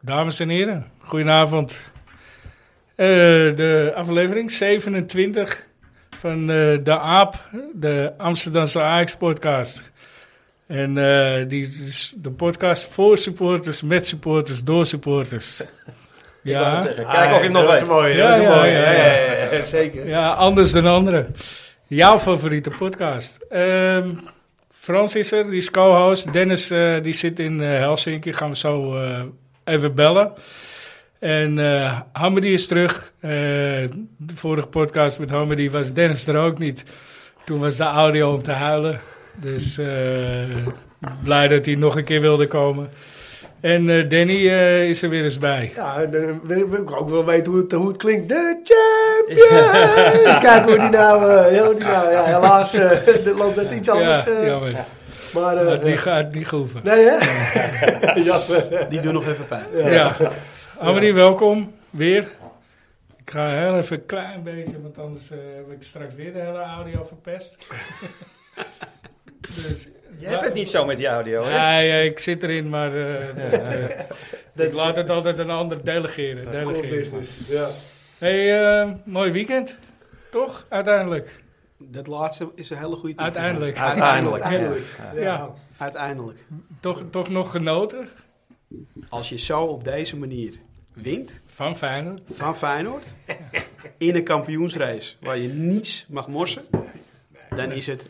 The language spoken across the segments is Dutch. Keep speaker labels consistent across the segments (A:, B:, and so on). A: Dames en heren, goedenavond. Eh, de aflevering 27 van eh, de AAP, de Amsterdamse Ajax-podcast. En eh, die is de podcast voor supporters, met supporters, door supporters.
B: wou het zeggen. Kijk of je hem nog
C: dat is
B: weet.
C: een mooie,
A: Ja,
C: dat is een
A: ja,
C: mooie.
A: ja,
C: Ja,
A: ja.
C: ja, ja, ja, zeker.
A: Ja, anders dan anderen. Jouw favoriete podcast. Ehm Frans is er, die is co-host. Dennis eh, die zit in eh, Helsinki, gaan we zo eh, even bellen. En eh Hamidi is terug. Eh, de vorige podcast met Hamidi was Dennis er ook niet. Toen was de audio om te huilen. Dus eh, blij dat hij nog een keer wilde komen. En eh, Danny eh, is er weer eens bij.
C: Ja, dan wil wil ik ook wel weten hoe het, hoe het klinkt. De champion! Kijk hoe die nou... eh, ja, hoe die nou ja, helaas eh, dit loopt dat iets anders.
A: ja,
C: eh,
A: jammer.
C: maar, eh,
A: Had niet, had niet gehoeven.
C: nee, hè? eh, Jammer.
B: Die doen nog even pijn.
A: Ja. Amelie, welkom weer. Ik ga heel even een klein beetje, want anders eh, heb ik straks weer de hele audio verpest. dus,
B: Je hebt het niet zo met die audio, hè?
A: Ja, ja, ik zit erin, maar eh, dat, eh, ik laat het altijd een ander delegeren.
C: eh, Core
A: delegeren.
C: business. Ja.
A: Hey, eh, mooi weekend. Toch? Uiteindelijk.
D: Dat laatste is een hele goede toevoeging.
A: Uiteindelijk.
B: Uiteindelijk.
C: Uiteindelijk. Ja.
A: Ja.
D: Uiteindelijk.
A: Toch, toch nog genoten
D: Als je zo op deze manier wint
A: van Feyenoord.
D: van Feyenoord in een kampioensrace waar je niets mag morsen, dan is het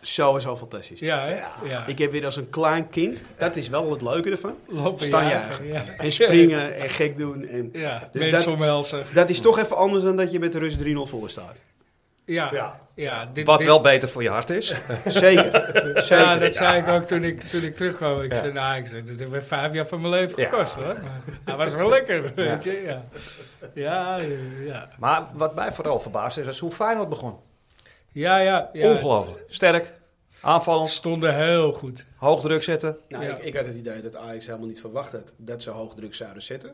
D: sowieso fantastisch.
A: Ja, hè? Ja.
D: Ik heb weer als een klein kind, dat is wel het leuke ervan,
A: Lopen
D: staan
A: jagen, ja.
D: en springen en gek doen. En
A: Ja,
D: Dus
A: mensen
D: dat-
A: omhelzen.
D: dat is toch even anders dan dat je met de rust 3-0 voor staat.
A: Ja, ja.
C: Ja.
A: dit,
B: Wat
A: dit-
B: wel beter voor je hart is.
D: Zeker, zeker.
A: Ja, dat zei ik ook toen ik, toen ik terugkwam. Ik zei, nou, ik zei, dit heeft me vijf jaar van mijn leven
B: Ja.
A: gekost, hoor. Maar dat was wel lekker, weet je. Ja, ja, ja.
B: Maar wat mij vooral verbaasd is, is hoe Feyenoord begon.
A: ja, ja, ja.
B: Ongelooflijk. Sterk, aanvallend,
A: Stonden heel goed.
B: hoog druk zetten.
D: Nou,
A: Ja.
D: ik, ik had het idee dat Ajax helemaal niet verwacht had dat ze hoog druk zouden zetten.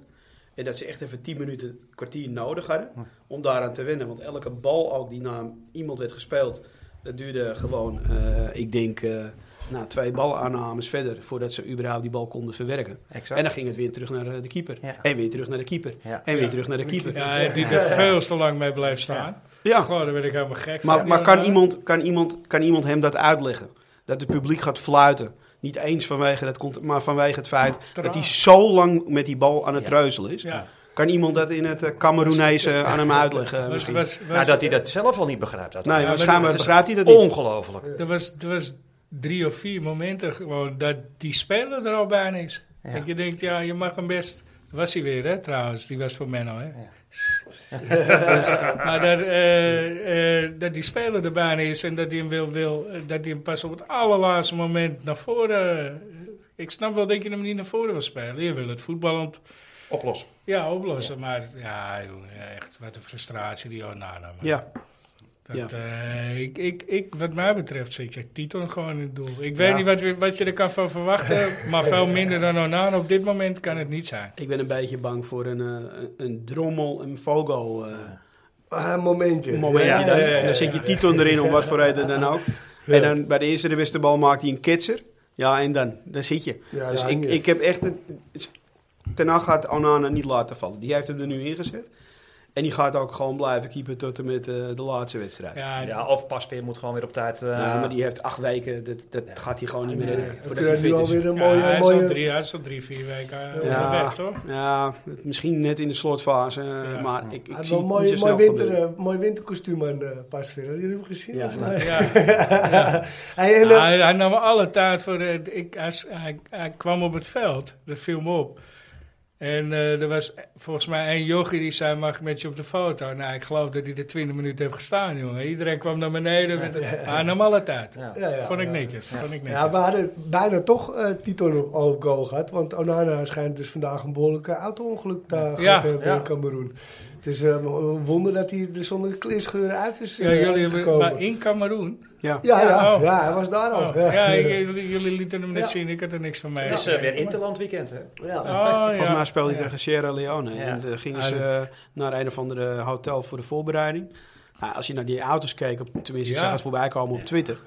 D: En dat ze echt even 10 minuten, een kwartier nodig hadden om daaraan te wennen. Want elke bal ook die naar iemand werd gespeeld, dat duurde gewoon, eh, ik denk, eh nou, twee balaannames verder voordat ze überhaupt die bal konden verwerken.
B: Exact.
D: En dan ging het weer terug naar eh, de keeper.
B: Ja.
D: En weer terug naar de keeper.
B: Ja.
D: En weer
A: Ja.
D: terug naar de keeper. Ja.
A: Ja, die er veel te lang mee blijft staan. Goh, daar werd ik helemaal gek van.
D: Maar, maar
A: Die
D: kan,
A: man.
D: iemand, kan, iemand, kan iemand hem dat uitleggen? Dat het publiek gaat fluiten. Niet eens vanwege dat, cont- maar vanwege het feit dat hij zo lang met die bal aan het treuzelen is.
A: Ja,
D: Kan iemand dat in het eh, Cameroenese aan hem uitleggen?
A: was,
D: Misschien?
A: was, was,
B: Nou, dat hij dat zelf al niet begrijpt. Dat
D: nee,
A: maar
D: maar schijnbaar
B: dat is
D: begrijpt hij dat niet.
B: Ongelooflijk.
A: er, was, er was drie of vier momenten gewoon dat die speler er al bijna is.
B: Ja.
A: Dat je denkt, ja, je mag hem best... Was hij weer, hè, trouwens. Die was voor Menno, hè. Dus, maar dat, eh, eh, dat die speler er bijna is en dat hij hem wil, wil eh, dat hij hem pas op het allerlaatste moment naar voren. eh, Ik snap wel dat je hem niet naar voren wil spelen. Je wil het voetballend
B: Oplossen.
A: ja, oplossen. Maar ja, jongen, echt wat een frustratie die Onana. man.
D: Ja,
A: Dat,
D: ja.
A: eh, ik, ik, ik, wat mij betreft zit je Titon gewoon in het doel. Ik weet
D: Ja.
A: niet wat, we- wat je er kan van verwachten, maar veel minder dan Onana op dit moment kan het niet zijn.
D: ik ben een beetje bang voor een, eh, een- een drommel, een fogo eh
C: Maar een momentje.
D: momentje.
C: Ja,
D: dan.
C: ja, ja,
D: En dan zit je
C: ja.
D: Titon erin, om wat voor reden dan ook. En dan bij de eerste de beste bal maakt hij een kitser. Ja, en dan, dan zit je.
C: Ja,
D: dus
C: daar
D: ik,
C: hang je.
D: ik heb echt... Een, Ten Hag gaat Onana niet laten vallen. Die heeft hem er nu ingezet. En die gaat ook gewoon blijven keeper tot en met eh, de laatste wedstrijd. Ja.
A: Ja,
B: Ja, of pas weer moet gewoon weer op tijd. eh,
D: maar die heeft acht weken, dat, dat gaat hij gewoon niet meer redden.
C: We
D: Voordat hij
C: kunnen nu
D: fit is.
C: alweer een
A: ja,
C: mooie...
A: hij, is al
C: mooie...
A: drie, hij is al drie, vier weken eh,
D: Ja.
A: weg, toch?
D: Ja, het- misschien net in de slotfase, eh,
A: Ja.
D: maar ik,
C: Hij
D: ik
C: had
D: zie
C: wel
D: het
C: een
D: niet zo
C: mooi, mooi,
D: snel
C: winter,
D: gebeuren.
C: eh, mooi winterkostuum aan uh, Pasveer. Hadden jullie hem gezien?
D: Ja,
C: Dat is
D: nou.
C: wel-
A: Ja.
C: Hey, en, eh,
A: hij, hij nam alle tijd voor. de- ik, hij, s- hij, hij kwam op het veld, dat viel me op. En eh, er was volgens mij één jochie die zei: Mag ik met je op de foto? Nou, ik geloof dat hij er 20 minuten heeft gestaan, jongen. Iedereen kwam naar beneden. Met de- maar hij nam alle tijd.
B: ja.
C: ja, ja,
A: vond ik
C: ja.
A: netjes. Vond ik netjes.
C: Ja, we hadden bijna toch eh Titon op, al op goal gehad. Want Onana schijnt dus vandaag een behoorlijk eh, auto-ongeluk daar gehad
A: Ja,
C: te hebben
B: ja.
C: in Cameroen. Het is eh, een wonder dat hij er zonder kleerscheuren uit is,
A: Ja,
C: eh, uit
A: jullie
C: is
A: hebben,
C: gekomen.
A: maar in Cameroen.
D: Ja.
C: Ja, ja, ja,
A: oh.
C: hij was daar al.
A: Oh,
C: ja.
A: ja, ik- jullie, jullie lieten hem net
C: Ja.
A: zien. Ik had er niks van mee.
B: Het is eh, weer Interland weekend, hè?
C: Ja.
A: Oh,
D: Volgens
A: ja.
D: mij speelde hij
A: Ja.
D: tegen Sierra Leone.
B: Ja.
D: En dan gingen
A: Ah,
D: ze eh, naar een of andere eh, hotel voor de voorbereiding. Nou, als je naar die auto's keek, op, tenminste, ik
A: Ja.
D: zag het voorbij komen op Twitter.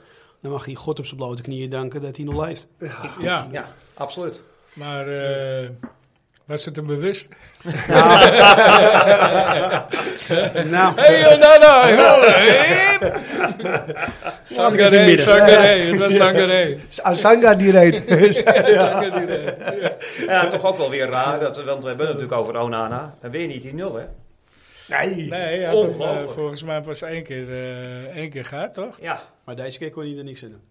D: Dan mag hij God op zijn blote knieën danken dat hij nog leeft.
A: Ja.
B: Ja, absoluut.
A: Maar eh, Was het hem bewust?
D: Nou,
A: Hey, yo, nou, nou, Sangaré,
D: midden.
A: Sangaré, het was Sangaré.
C: Dus Asanga die reed.
A: Sangaré.
B: Ja, toch ook wel weer raar, dat, want we hebben het natuurlijk over Onana. En weer niet die nul, hè?
C: Nee.
A: Nee, hij had hem, eh,
B: Ongelooflijk.
A: volgens mij pas één keer, eh één keer gehad, toch?
B: Ja,
D: maar deze keer kon hij er niks in doen.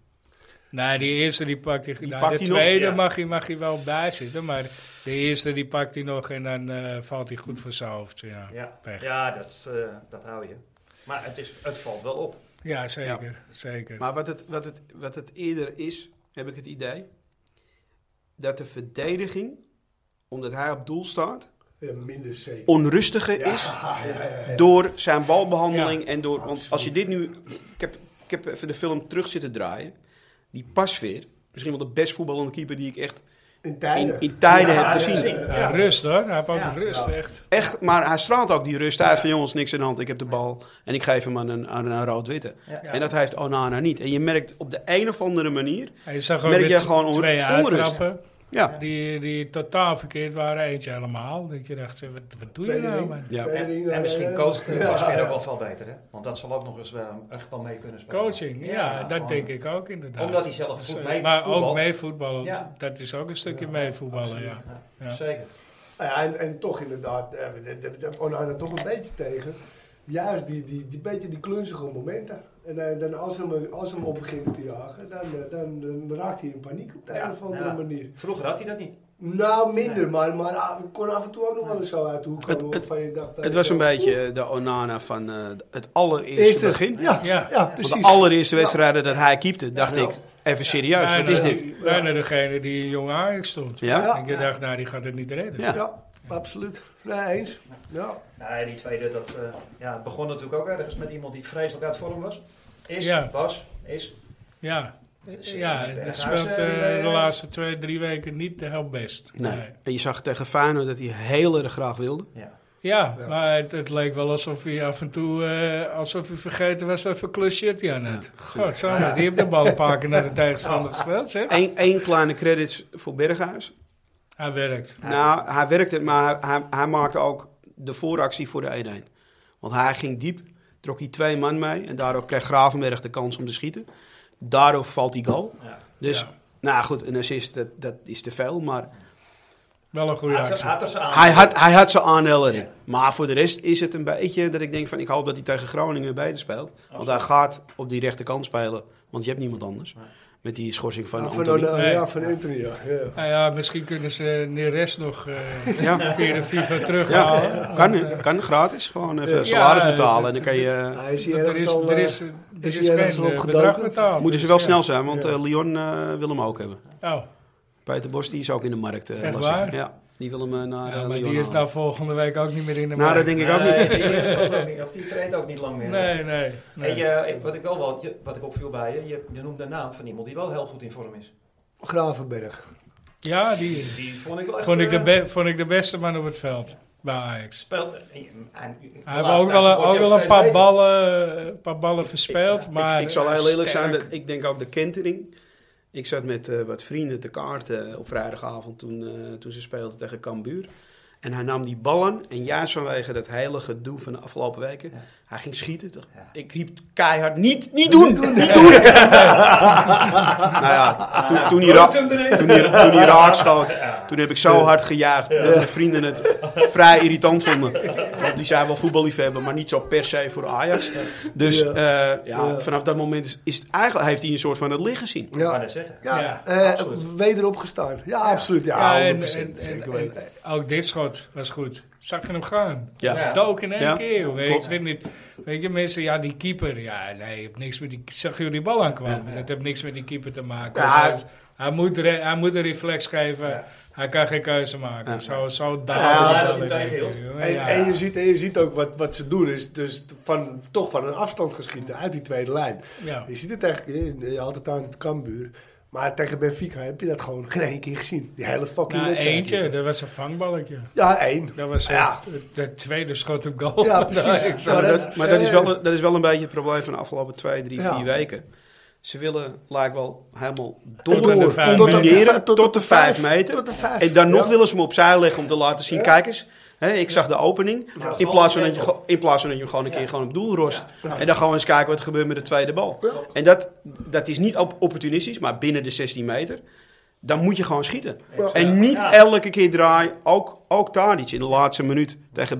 A: Nee, Nou, die eerste die pakt hij. nou,
D: pakt
A: de
D: hij nog,
A: tweede
D: ja.
A: mag, hij, mag hij wel bij zitten, maar de eerste die pakt hij nog en dan eh, valt hij goed voor zijn hoofd. Ja,
B: ja.
A: Pech.
B: ja dat, eh, dat hou je. Maar het, is, het valt wel op.
A: ja zeker. zeker.
D: Maar wat het, wat, het, wat het eerder is, heb ik het idee, dat de verdediging, omdat hij op doel staat,
C: Ja, minder zeker.
D: onrustiger is door zijn balbehandeling en door. Want
C: Absoluut.
D: als je dit nu. Ik heb, ik heb even de film terug zitten draaien. Die pasveer. Misschien wel de best voetballende keeper die ik echt
C: In
D: in,
C: tijden.
D: in tijden
B: Ja,
D: heb
B: ja,
D: gezien.
B: ja.
A: Ja, Rust hoor, hij heeft ook
B: Ja.
A: een rust, echt.
D: Echt, maar hij straalt ook die rust uit van jongens, niks in de hand. Ik heb de bal en ik geef hem aan een, aan een rood-witte.
B: Ja.
D: En dat heeft Onana niet. En je merkt op de een of andere manier.
A: En je zag ook
D: Merk jij
A: weer t-
D: gewoon on-
A: twee
D: onrust?
A: uittrappen
D: Ja,
A: die, die totaal verkeerd waren, eentje helemaal. Dat je dacht, wat, wat doe je
C: Tweede
A: nou
C: ring.
A: man?
D: ja.
B: En,
C: eh,
B: en misschien coacht de Pasveer ook wel veel beter, hè? Want dat zal ook nog eens wel echt wel mee kunnen spelen.
A: Coaching, ja, dat
B: gewoon
A: denk ik ook inderdaad.
B: Omdat hij zelf goed
A: Dus, eh,
B: mee
A: Maar
B: voetbalt.
A: ook meevoetballen,
B: Ja.
A: dat is ook een stukje meevoetballen, ja.
B: Ja,
A: Ja.
B: Zeker.
C: Nou Ja, en, en toch inderdaad, eh, we- we- we- we- Onana toch een beetje tegen. Juist die, die, die beetje die klunzige momenten. En eh, dan als hem, als hem op begint te jagen, dan, eh, dan, dan raakt hij in paniek op de
B: Ja,
C: een of andere
B: ja.
C: manier.
B: Vroeger had hij dat niet.
C: Nou, minder,
B: Nee.
C: maar, maar ah, ik kon af en toe ook nog wel eens zo uit de hoek
D: Het-
C: komen
D: het-
C: van je dacht. eh,
D: Het was een
C: zo,
D: beetje eh, de Onana van eh, het allereerste
C: Eerste.
D: begin.
C: Ja,
A: Ja.
C: ja,
D: Want
C: precies.
D: de allereerste wedstrijden dat hij keepte, dacht ik, even serieus, wat is
A: Bijna-
D: dit?
A: Bijna degene die in Jong Ajax stond.
D: Ja?
C: Ja.
A: En je dacht, nou, die gaat het niet redden.
D: Ja.
C: Ja, absoluut. Nee, eens. Ja.
B: Nee, die tweede, dat, eh, ja, het begon natuurlijk ook ergens met iemand die vreselijk uit vorm was. Is,
A: Ja.
B: was, is.
A: Ja,
B: Dus, eh,
A: ja dat
B: Berghuis,
A: speelt
B: eh,
A: eh,
B: bij, eh,
A: de laatste twee, drie weken niet de heel best.
D: Nee. En je zag tegen Feyenoord dat hij heel erg graag wilde.
B: Ja.
A: Ja,
C: Ja.
A: maar het, het leek wel alsof hij af en toe eh, alsof hij vergeten was even klusje hij aan het. God, die heeft de bal een paar keer naar de tegenstander gespeeld, zeg.
D: Eén één kleine credits voor Berghuis.
A: Hij werkt.
D: Nou, hij werkte, maar hij, hij maakte ook de vooractie voor de 1-1. Want hij ging diep, trok hij twee man mee en daardoor kreeg Gravenberg de kans om te schieten. Daardoor valt die goal.
B: Ja.
D: Dus,
A: Ja.
D: nou goed, een assist, dat, dat is te veel, maar
A: Wel een goede
B: Hij had ze-
A: actie.
B: had er ze aan.
D: Hij had, hij had zijn aandeel erin. Maar voor de rest is het een beetje dat ik denk van... ik hoop dat hij tegen Groningen beter speelt. Want hij gaat op die rechterkant spelen. Want je hebt niemand anders. Met die schorsing van
C: Ja, van,
D: Anthony.
C: Onana,
A: Nee.
C: ja, van Anthony, ja. ja.
A: Nou ja, misschien kunnen ze Neres nog eh,
D: Ja,
A: via de FIFA
D: ja.
A: terughalen. Want, eh,
D: Kan, kan gratis. Gewoon even
C: Ja,
D: salaris
A: eh,
D: betalen. En dan kan je...
C: Hij is hier
A: er
C: ergens
A: is,
C: al...
A: er
C: eh,
A: is, er
C: is
A: is
C: hij ergens
A: geen
C: al
A: eh, bedrag
C: opgedoken?
A: betaald.
D: Moeten ze
A: dus
D: wel
A: ja.
D: snel zijn, want
C: Ja.
D: eh, Lyon eh, wil hem ook hebben.
A: Oh,
D: Peter Bos die is ook in de markt. eh,
A: Echt
D: las ik.
A: waar?
D: Ja, die wil hem eh, naar
A: ja,
D: eh,
A: maar
D: Lyon
A: die is
D: halen.
A: nou volgende week ook niet meer in de
D: Nou,
A: markt.
D: dat denk ik ook niet.
B: Nee, die speelt ook niet. Of die traint ook niet lang meer.
A: Nee, nee. nee.
B: En je, ik- wat ik wel wat, je- wat ik opviel bij je, je, je noemde de naam van iemand die wel heel goed in vorm is.
C: Gravenberg.
A: ja, die
B: Die vond ik wel echt,
A: vond ik, de
B: eh,
A: be- vond ik de beste man op het veld bij Ajax.
B: speelt. en- en- en-
A: Hij
B: de
A: heeft
B: laatste
A: ook wel,
B: tijd
A: een-
B: wordt
A: ook
B: hij
A: wel een
B: steeds
A: paar
B: beter.
A: ballen, een paar ballen verspeeld,
D: Ik-
A: maar... eh,
D: Ik, zal heel eerlijk zijn,
A: sterk.
D: dat, ik denk ook de kentering. Ik zat met eh, wat vrienden te kaarten op vrijdagavond toen, eh, toen ze speelden tegen Cambuur. En hij nam die ballen en juist vanwege dat hele gedoe van de afgelopen weken,
B: Ja.
D: hij ging schieten. Toch?
B: Ja.
D: Ik riep keihard, niet, niet doen, niet doen. nou ja, toen, toen, hij ra-
B: Rood Ah, hem erin.
D: toen, hij, toen hij raak schoot, toen heb ik zo hard gejuicht dat mijn vrienden het vrij irritant vonden. Want die zijn wel voetballiefhebber, maar niet zo per se voor Ajax. Dus
C: Ja.
D: eh, ja,
C: Ja.
D: vanaf dat moment is, is het eigenlijk, heeft hij een soort van het licht gezien.
B: Ik wou
C: Ja,
B: net zeggen.
C: ja,
A: Ja,
C: eh,
B: absoluut.
C: wederop gestaan. Ja, absoluut. Ja,
A: Ja, en,
C: 100%.
A: en-
C: zeker
A: en-
C: weten.
A: en ook dit schot was goed. Zag je hem gaan?
D: Ja.
B: Ja.
A: Dook in één
D: Ja.
A: keer, joh. Ik
D: Klopt.
A: vind niet... Weet je, mensen, ja, die keeper... Ja, nee, je hebt niks met die... Zag jullie die bal aankwamen? Dat heeft niks met die keeper te maken.
C: Ja,
A: Hij, hij moet re- hij moet een reflex geven. Hij kan geen keuze maken.
D: Ja.
A: Zo, zo daar.
C: Ja,
B: dat hij tegenhield.
C: En,
A: Ja.
C: en, je ziet, en je ziet ook wat, wat ze doen, is dus van, toch van een afstand geschieten uit die tweede lijn.
A: Ja.
C: Je ziet het eigenlijk, je had het aan het Kambuur, maar tegen Benfica heb je dat gewoon geen één keer gezien. Die hele fucking
A: Nou,
C: wedstrijd.
A: eentje, dat was een vangballetje.
C: Ja, één.
A: Dat was eh,
C: Ja.
A: de, de tweede schot op goal.
C: Ja, precies.
A: Ik zag
C: Maar
D: Maar,
C: dat-
D: dat, maar dat, is
C: eh,
D: wel, een- dat is wel een beetje het probleem van de afgelopen twee, drie,
C: Ja.
D: vier weken. Ze willen, lijkt wel, helemaal
A: de
D: door
A: vijf
D: combineren
C: meter.
D: tot de vijf meter.
C: Tot de vijf.
D: En dan nog
C: Ja.
D: willen ze hem opzij leggen om te laten zien,
C: Ja.
D: kijk eens. Hè, ik zag de opening.
B: Nou,
D: in,
B: gewoon
D: plaats van
B: een
D: dat je,
B: keer.
D: ge- in plaats van dat je hem gewoon een keer
B: Ja.
D: gewoon op doel rost.
C: Ja.
D: En dan gewoon eens kijken wat er gebeurt met de tweede bal.
C: Ja.
D: En dat, dat is niet op- opportunistisch, maar binnen de 16 meter. Dan moet je gewoon schieten.
C: Ja.
D: En niet
B: Ja.
D: elke keer draaien. Ook, ook Tadic in de laatste minuut tegen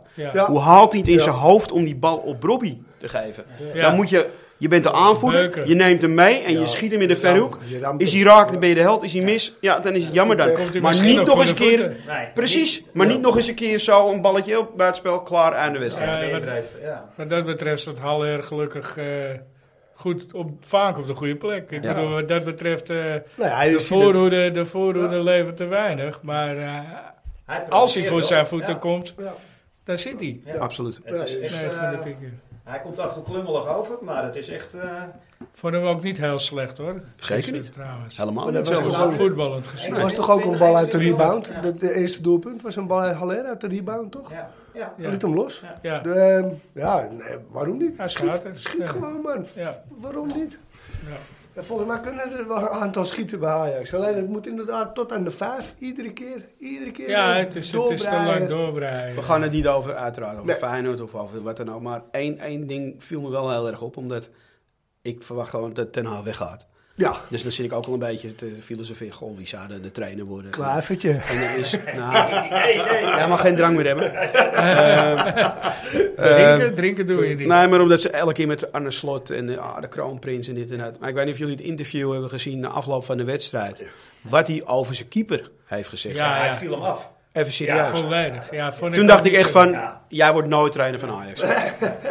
A: Ja.
C: Ja.
D: Hoe haalt hij het in
C: Ja.
D: zijn hoofd om die bal op Robbie te geven?
A: Ja.
D: Dan moet je... Je bent de aanvoerder,
A: Beuken.
D: je neemt hem mee en je
C: Ja.
D: schiet hem in de
C: Je
D: verhoek.
C: ramt- je ramt
D: Is hij
C: hem.
D: raak,
C: Ja.
D: dan ben je de held. Is hij mis, ja, dan is het jammer dan.
C: Komt hij
D: Maar
A: misschien
D: niet
A: op
D: nog eens een
A: goede
D: keer...
A: voeten.
B: Nee,
D: eh, Precies, maar niet nog eens een keer zo een balletje op buitenspel, klaar, aan de wedstrijd.
B: Ja,
A: Ja,
B: ja,
A: dat-
B: breed, ja.
A: Wat dat betreft staat Haller gelukkig eh, goed op, vaak op de goede plek. Ik
D: Ja.
A: bedoel, wat dat betreft, eh,
C: Nou ja, hij
A: de
C: is voor.
A: voorhoede, de voorhoede levert te weinig. Maar eh, als hij voor
B: probeert
A: zijn
B: wel.
A: voeten
B: Ja.
A: komt,
C: Ja.
A: daar zit hij.
B: Ja.
D: Absoluut.
B: Het is
C: Ja,
A: Nee,
B: echt,
A: ik
B: eh,
A: vind dat ik-
B: hij komt af en toe klungelig over, maar het is echt... eh,
A: Vond hem ook niet heel slecht hoor. Gisteren
D: niet.
A: Trouwens.
D: Helemaal
C: Maar
D: niet
C: dat was
D: zo.
C: gewoon-
A: Nou, voetballend gezien.
C: Het was
B: Nee.
C: toch ook een bal uit de
B: 20,
C: rebound?
B: ja.
C: De, de eerste doelpunt was een bal uit Haller uit de rebound, toch?
B: ja, ja.
C: Hij Liet hem los.
A: Ja.
C: De, ehm, ja, nee, waarom niet?
A: Hij
C: schiet
A: staat er.
C: schiet
A: Ja.
C: gewoon, man.
A: Ja.
C: Waarom niet? Ja, Volgens mij kunnen er wel een aantal schieten bij Ajax. Alleen het moet inderdaad tot aan de vijf, iedere keer. Iedere keer
A: ja,
C: weer
A: het is, het is te
C: doorbreien.
A: lang doorbreien.
D: We gaan het niet over, uiteraard, over
C: Nee.
D: Feyenoord of over wat dan ook. Maar één, één ding viel me wel heel erg op, omdat ik verwacht gewoon dat Ten Hag weggaat.
C: Ja,
D: Dus dan zit ik ook al een beetje te filosoferen. Goh, wie zou er de trainer worden?
C: klavertje.
D: En dan is... Nou, jij mag geen drang meer hebben. Eh, eh,
A: drinken, drinken doe je niet.
D: Nee, maar omdat ze elke keer met Arne Slot en eh, ah, de kroonprins en dit en dat. Maar ik weet niet of jullie het interview hebben gezien na afloop van de wedstrijd. Wat hij over zijn keeper heeft gezegd.
A: Ja,
B: hij
A: ja.
B: viel hem af.
D: Even serieus.
A: Volledig. Ja, vond
D: Toen
A: ik
D: dacht
A: ook
D: ik
A: niet
D: echt
A: zo.
D: van,
B: Ja.
D: jij wordt nooit trainer van Ajax.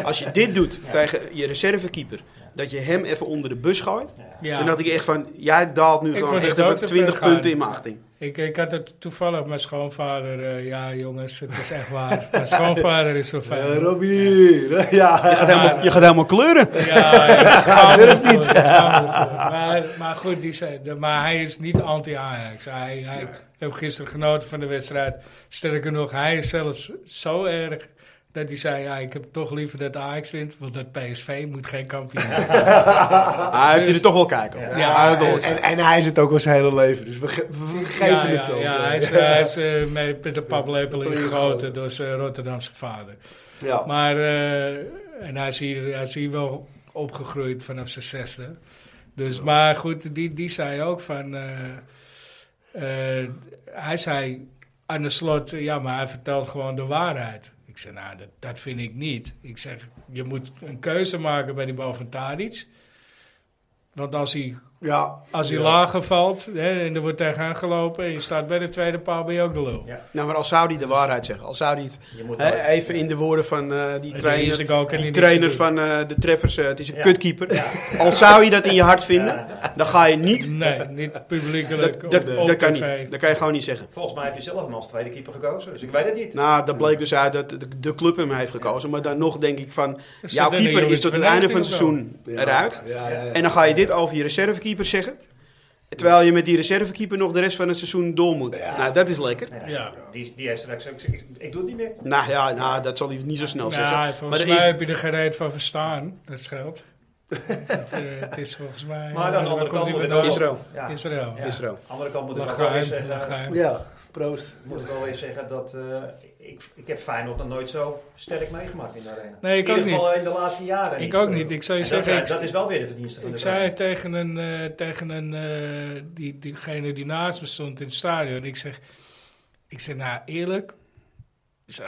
D: Als je dit doet tegen je reservekeeper, dat je hem even onder de bus gooit.
A: Ja.
D: Toen dacht ik echt van, jij daalt nu
A: Ik
D: gewoon
A: vond
D: echt
A: het ook
D: even
A: te
D: 20
A: ver gaan.
D: punten in mijn achting.
A: Ik, ik had het toevallig mijn schoonvader. eh, ja, jongens, het is echt waar. Mijn schoonvader is zo
C: Eh,
A: fijn.
C: Robbie.
D: Je
C: Ja.
D: gaat helemaal, je gaat helemaal kleuren.
A: Ja, ja, schaamelijk voor, schaamelijk voor. Maar, maar goed, die zei, de- maar hij is niet anti-Ajax. Hij, hij ik heb gisteren genoten van de wedstrijd. Sterker nog, hij is zelfs zo erg dat hij zei... Ja, ik heb toch liever dat Ajax wint, want dat PSV moet geen kampioen worden.
D: Ah, heeft hij er toch wel kijken op.
A: Dus- Ja,
D: Ah, dat
A: hij
D: hoort.
A: is-
C: En, en hij is het ook al zijn hele leven, dus we, ge- we geven
A: ja,
C: het
A: ja,
C: ook.
A: Ja,
C: eh.
A: hij is, hij is eh, mee- met de paplepel
C: Ja,
A: ingegoten door zijn Rotterdamse vader.
C: Ja.
A: Maar, eh, en hij is, hier, hij is hier wel opgegroeid vanaf zijn zesde. Dus, maar goed, die, die zei ook van... eh, eh, hij zei aan de slot, ja, maar hij vertelt gewoon de waarheid. Ik zei, nou, dat, dat vind ik niet. Ik zeg, je moet een keuze maken bij die bal van Tadic. Want als hij
C: ja.
A: als hij
C: Ja.
A: lager valt hè, en er wordt tegenaan gelopen en je staat bij de tweede paal, ben je ook de lul.
B: Ja.
D: Nou, maar al zou hij de waarheid zeggen, al zou hij het...
B: Je moet
D: hè,
B: nooit-
D: even in de woorden van eh, die
A: En
D: trainer,
A: eerste goal kan
D: die
A: hij niks
D: trainer
A: doen.
D: van eh, de treffers, eh, het is een
B: Ja.
D: kutkeeper. Al zou je dat in je hart vinden, dan ga je niet...
A: Nee, niet publiekelijk.
D: Dat, dat,
A: op- op
D: dat kan
A: tv.
D: niet. Dat kan je gewoon niet zeggen.
B: Volgens mij heb je zelf hem als tweede keeper gekozen, dus ik weet het niet.
D: Nou, dat bleek dus uit dat de, de club hem heeft gekozen. Maar dan nog denk ik van,
A: Dus
D: jouw
A: dat
D: keeper
A: ding
D: is tot het einde van het seizoen
C: Ja.
D: eruit.
C: Ja, ja, ja.
D: En dan ga je dit over je reservekeeper zeggen. Terwijl je met die reservekeeper nog de rest van het seizoen door moet.
B: Ja.
D: Nou, dat is lekker.
B: Ja,
A: Ja.
B: Die, die heeft straks ook gezegd, ik, ik doe het niet meer.
D: Nou ja, nou, dat zal hij niet zo snel zeggen.
A: Nou,
D: maar
A: volgens
D: er
A: mij
D: is,
A: heb je er geen reet van verstaan. Dat scheelt. het, eh, het is volgens mij...
B: Maar aan de
A: waar
B: andere
A: komt
B: kant
A: die
B: moet
A: vandaan?
B: het ook-
D: Israël.
B: Ja.
A: Israël.
B: Ja.
D: Israël.
B: Andere kant moet ik ook wel
A: Lachuim,
B: eens zeggen,
A: Lachuim.
C: Ja, proost.
B: moet ik wel eens zeggen dat eh, ik, ik heb Feyenoord nog nooit zo sterk meegemaakt in de arena.
A: Nee, ik
B: in
A: ook
B: ieder geval in de laatste jaren.
A: Ik ook niet. Ik zou je
B: En dat, eh,
A: zeggen, ik,
B: dat is wel weer de verdienste van
A: ik
B: de
A: zei
B: trainer.
A: tegen, een, eh, tegen een, eh, die, diegene die naast me stond in het stadion. Ik zeg, ik zeg nou eerlijk,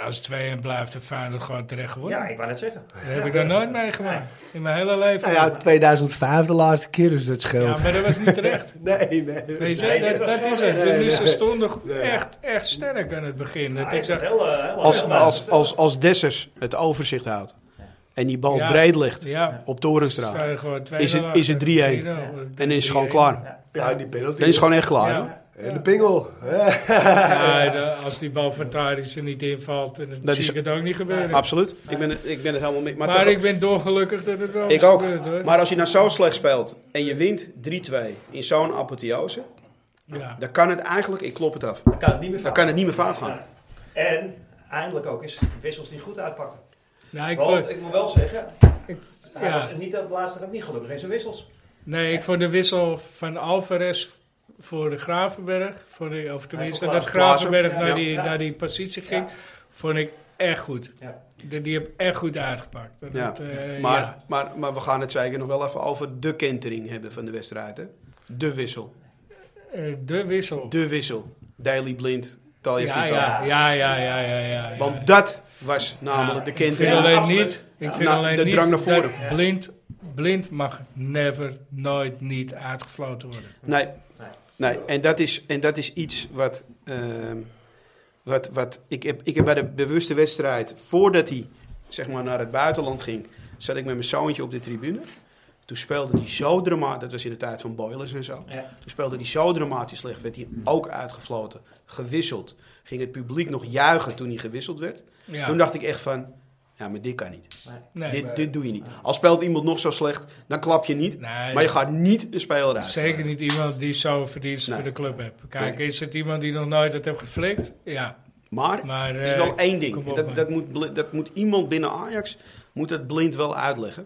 A: als het 2-1 blijft, dan Feyenoord gewoon terecht geworden.
B: Ja, ik wou net zeggen.
A: Dat heb ik nog nooit meegemaakt. In mijn hele leven.
C: Nou ja, 2005 de laatste keer, dus dat scheelt.
A: Ja, maar dat was niet terecht.
C: Nee, nee.
A: Weet je,
B: Nee, dit
A: dat,
B: was
A: dat is
B: sterk.
A: het. Dus
C: Nee,
A: ze
C: nee.
A: stonden
C: Nee.
A: echt, echt sterk aan het begin. Dat
B: Hij
A: ik
B: is het
A: dacht,
B: heel, eh, heel
D: Als,
B: erg.
D: als, als, als Dessers het overzicht houdt en die bal
A: Ja.
D: breed ligt
A: ja,
D: op
A: sta
D: Torenstra,
A: je gewoon twee
D: Is het- is het 3-1? dan is het gewoon klaar.
C: Ja, die penalty.
D: Dan is het gewoon echt klaar.
A: eh, Ja.
C: En de pingel. hè.
A: Ja, de- als die bal van Tadic er niet invalt, dan
D: Dat
A: zie
D: is-
A: ik het ook niet gebeuren.
D: Absoluut. Ik ben, het- ik ben het helemaal mee. Maar,
A: maar
D: toch-
A: ik ben dolgelukkig dat het wel
D: Ik
A: is
D: ook.
A: gebeurd, hoor.
D: maar als je nou zo slecht speelt en je wint 3-2 in zo'n apotheose,
A: ja.
D: dan kan het eigenlijk, ik klop het af,
B: Dan kan het niet meer
D: dan
B: fout.
D: kan het niet meer fout gaan.
B: Ja. En eindelijk ook eens wissels die goed uitpakten.
A: Nou, ik
B: Want
A: vond-
B: ik moet wel zeggen,
A: ik-
B: hij
A: ja.
B: was niet op het laatste dat niet gelukkig in zijn wissels.
A: Nee, ik vond de wissel van Alvarez voor de Gravenberg, voor de, of tenminste
B: voor
A: dat
B: Klaassen.
A: Gravenberg
B: Klaassen,
A: naar,
B: ja.
A: die,
B: Ja.
A: naar die positie ging,
B: Ja.
A: vond ik echt goed.
B: Ja.
A: Die, die heb echt goed uitgepakt. Dat,
D: Ja,
A: dat, eh,
D: Maar,
A: ja.
D: maar, maar we gaan het zeker nog wel even over de kentering hebben van de wedstrijd. Hè? De wissel.
A: Eh, de wissel.
D: De wissel. Daily Blind. Talja
A: ja,
D: Fico.
A: ja, ja, ja, ja, ja, ja, ja.
D: Want dat was
A: Ja,
D: namelijk de
A: Ik vind
D: kentering.
A: alleen
B: absoluut.
A: niet, ik vind
D: Nou,
A: alleen
D: de
A: niet
D: drang naar voren.
A: dat blind, blind mag never, nooit, niet uitgefloten worden.
D: Nee.
B: Nee.
D: nee. En, dat is, en dat is iets wat. ehm, wat, wat ik, heb, ik heb bij de bewuste wedstrijd. voordat hij zeg maar, naar het buitenland ging. zat ik met mijn zoontje op de tribune. Toen speelde hij zo dramatisch. Dat was in de tijd van boilers en zo.
B: Ja.
D: Toen speelde hij zo dramatisch slecht. werd hij ook uitgefloten. Gewisseld. Ging het publiek nog juichen toen hij gewisseld werd.
A: Ja.
D: Toen dacht ik echt van. Ja, maar dit kan niet.
A: nee.
D: dit,
C: maar-
D: dit doe je niet. Al speelt iemand nog zo slecht, dan klap je niet.
A: Nee,
D: Maar je gaat niet een speler uit.
A: Zeker niet iemand die zo'n verdienst
D: Nee.
A: voor de club heeft. Kijk, is het iemand die nog nooit het heeft geflikt? Ja.
D: Maar
A: Maar,
D: Er is
A: eh,
D: wel één ding.
A: kom op,
D: dat,
A: man.
D: dat, moet, bli- dat moet iemand binnen Ajax moet dat blind wel uitleggen.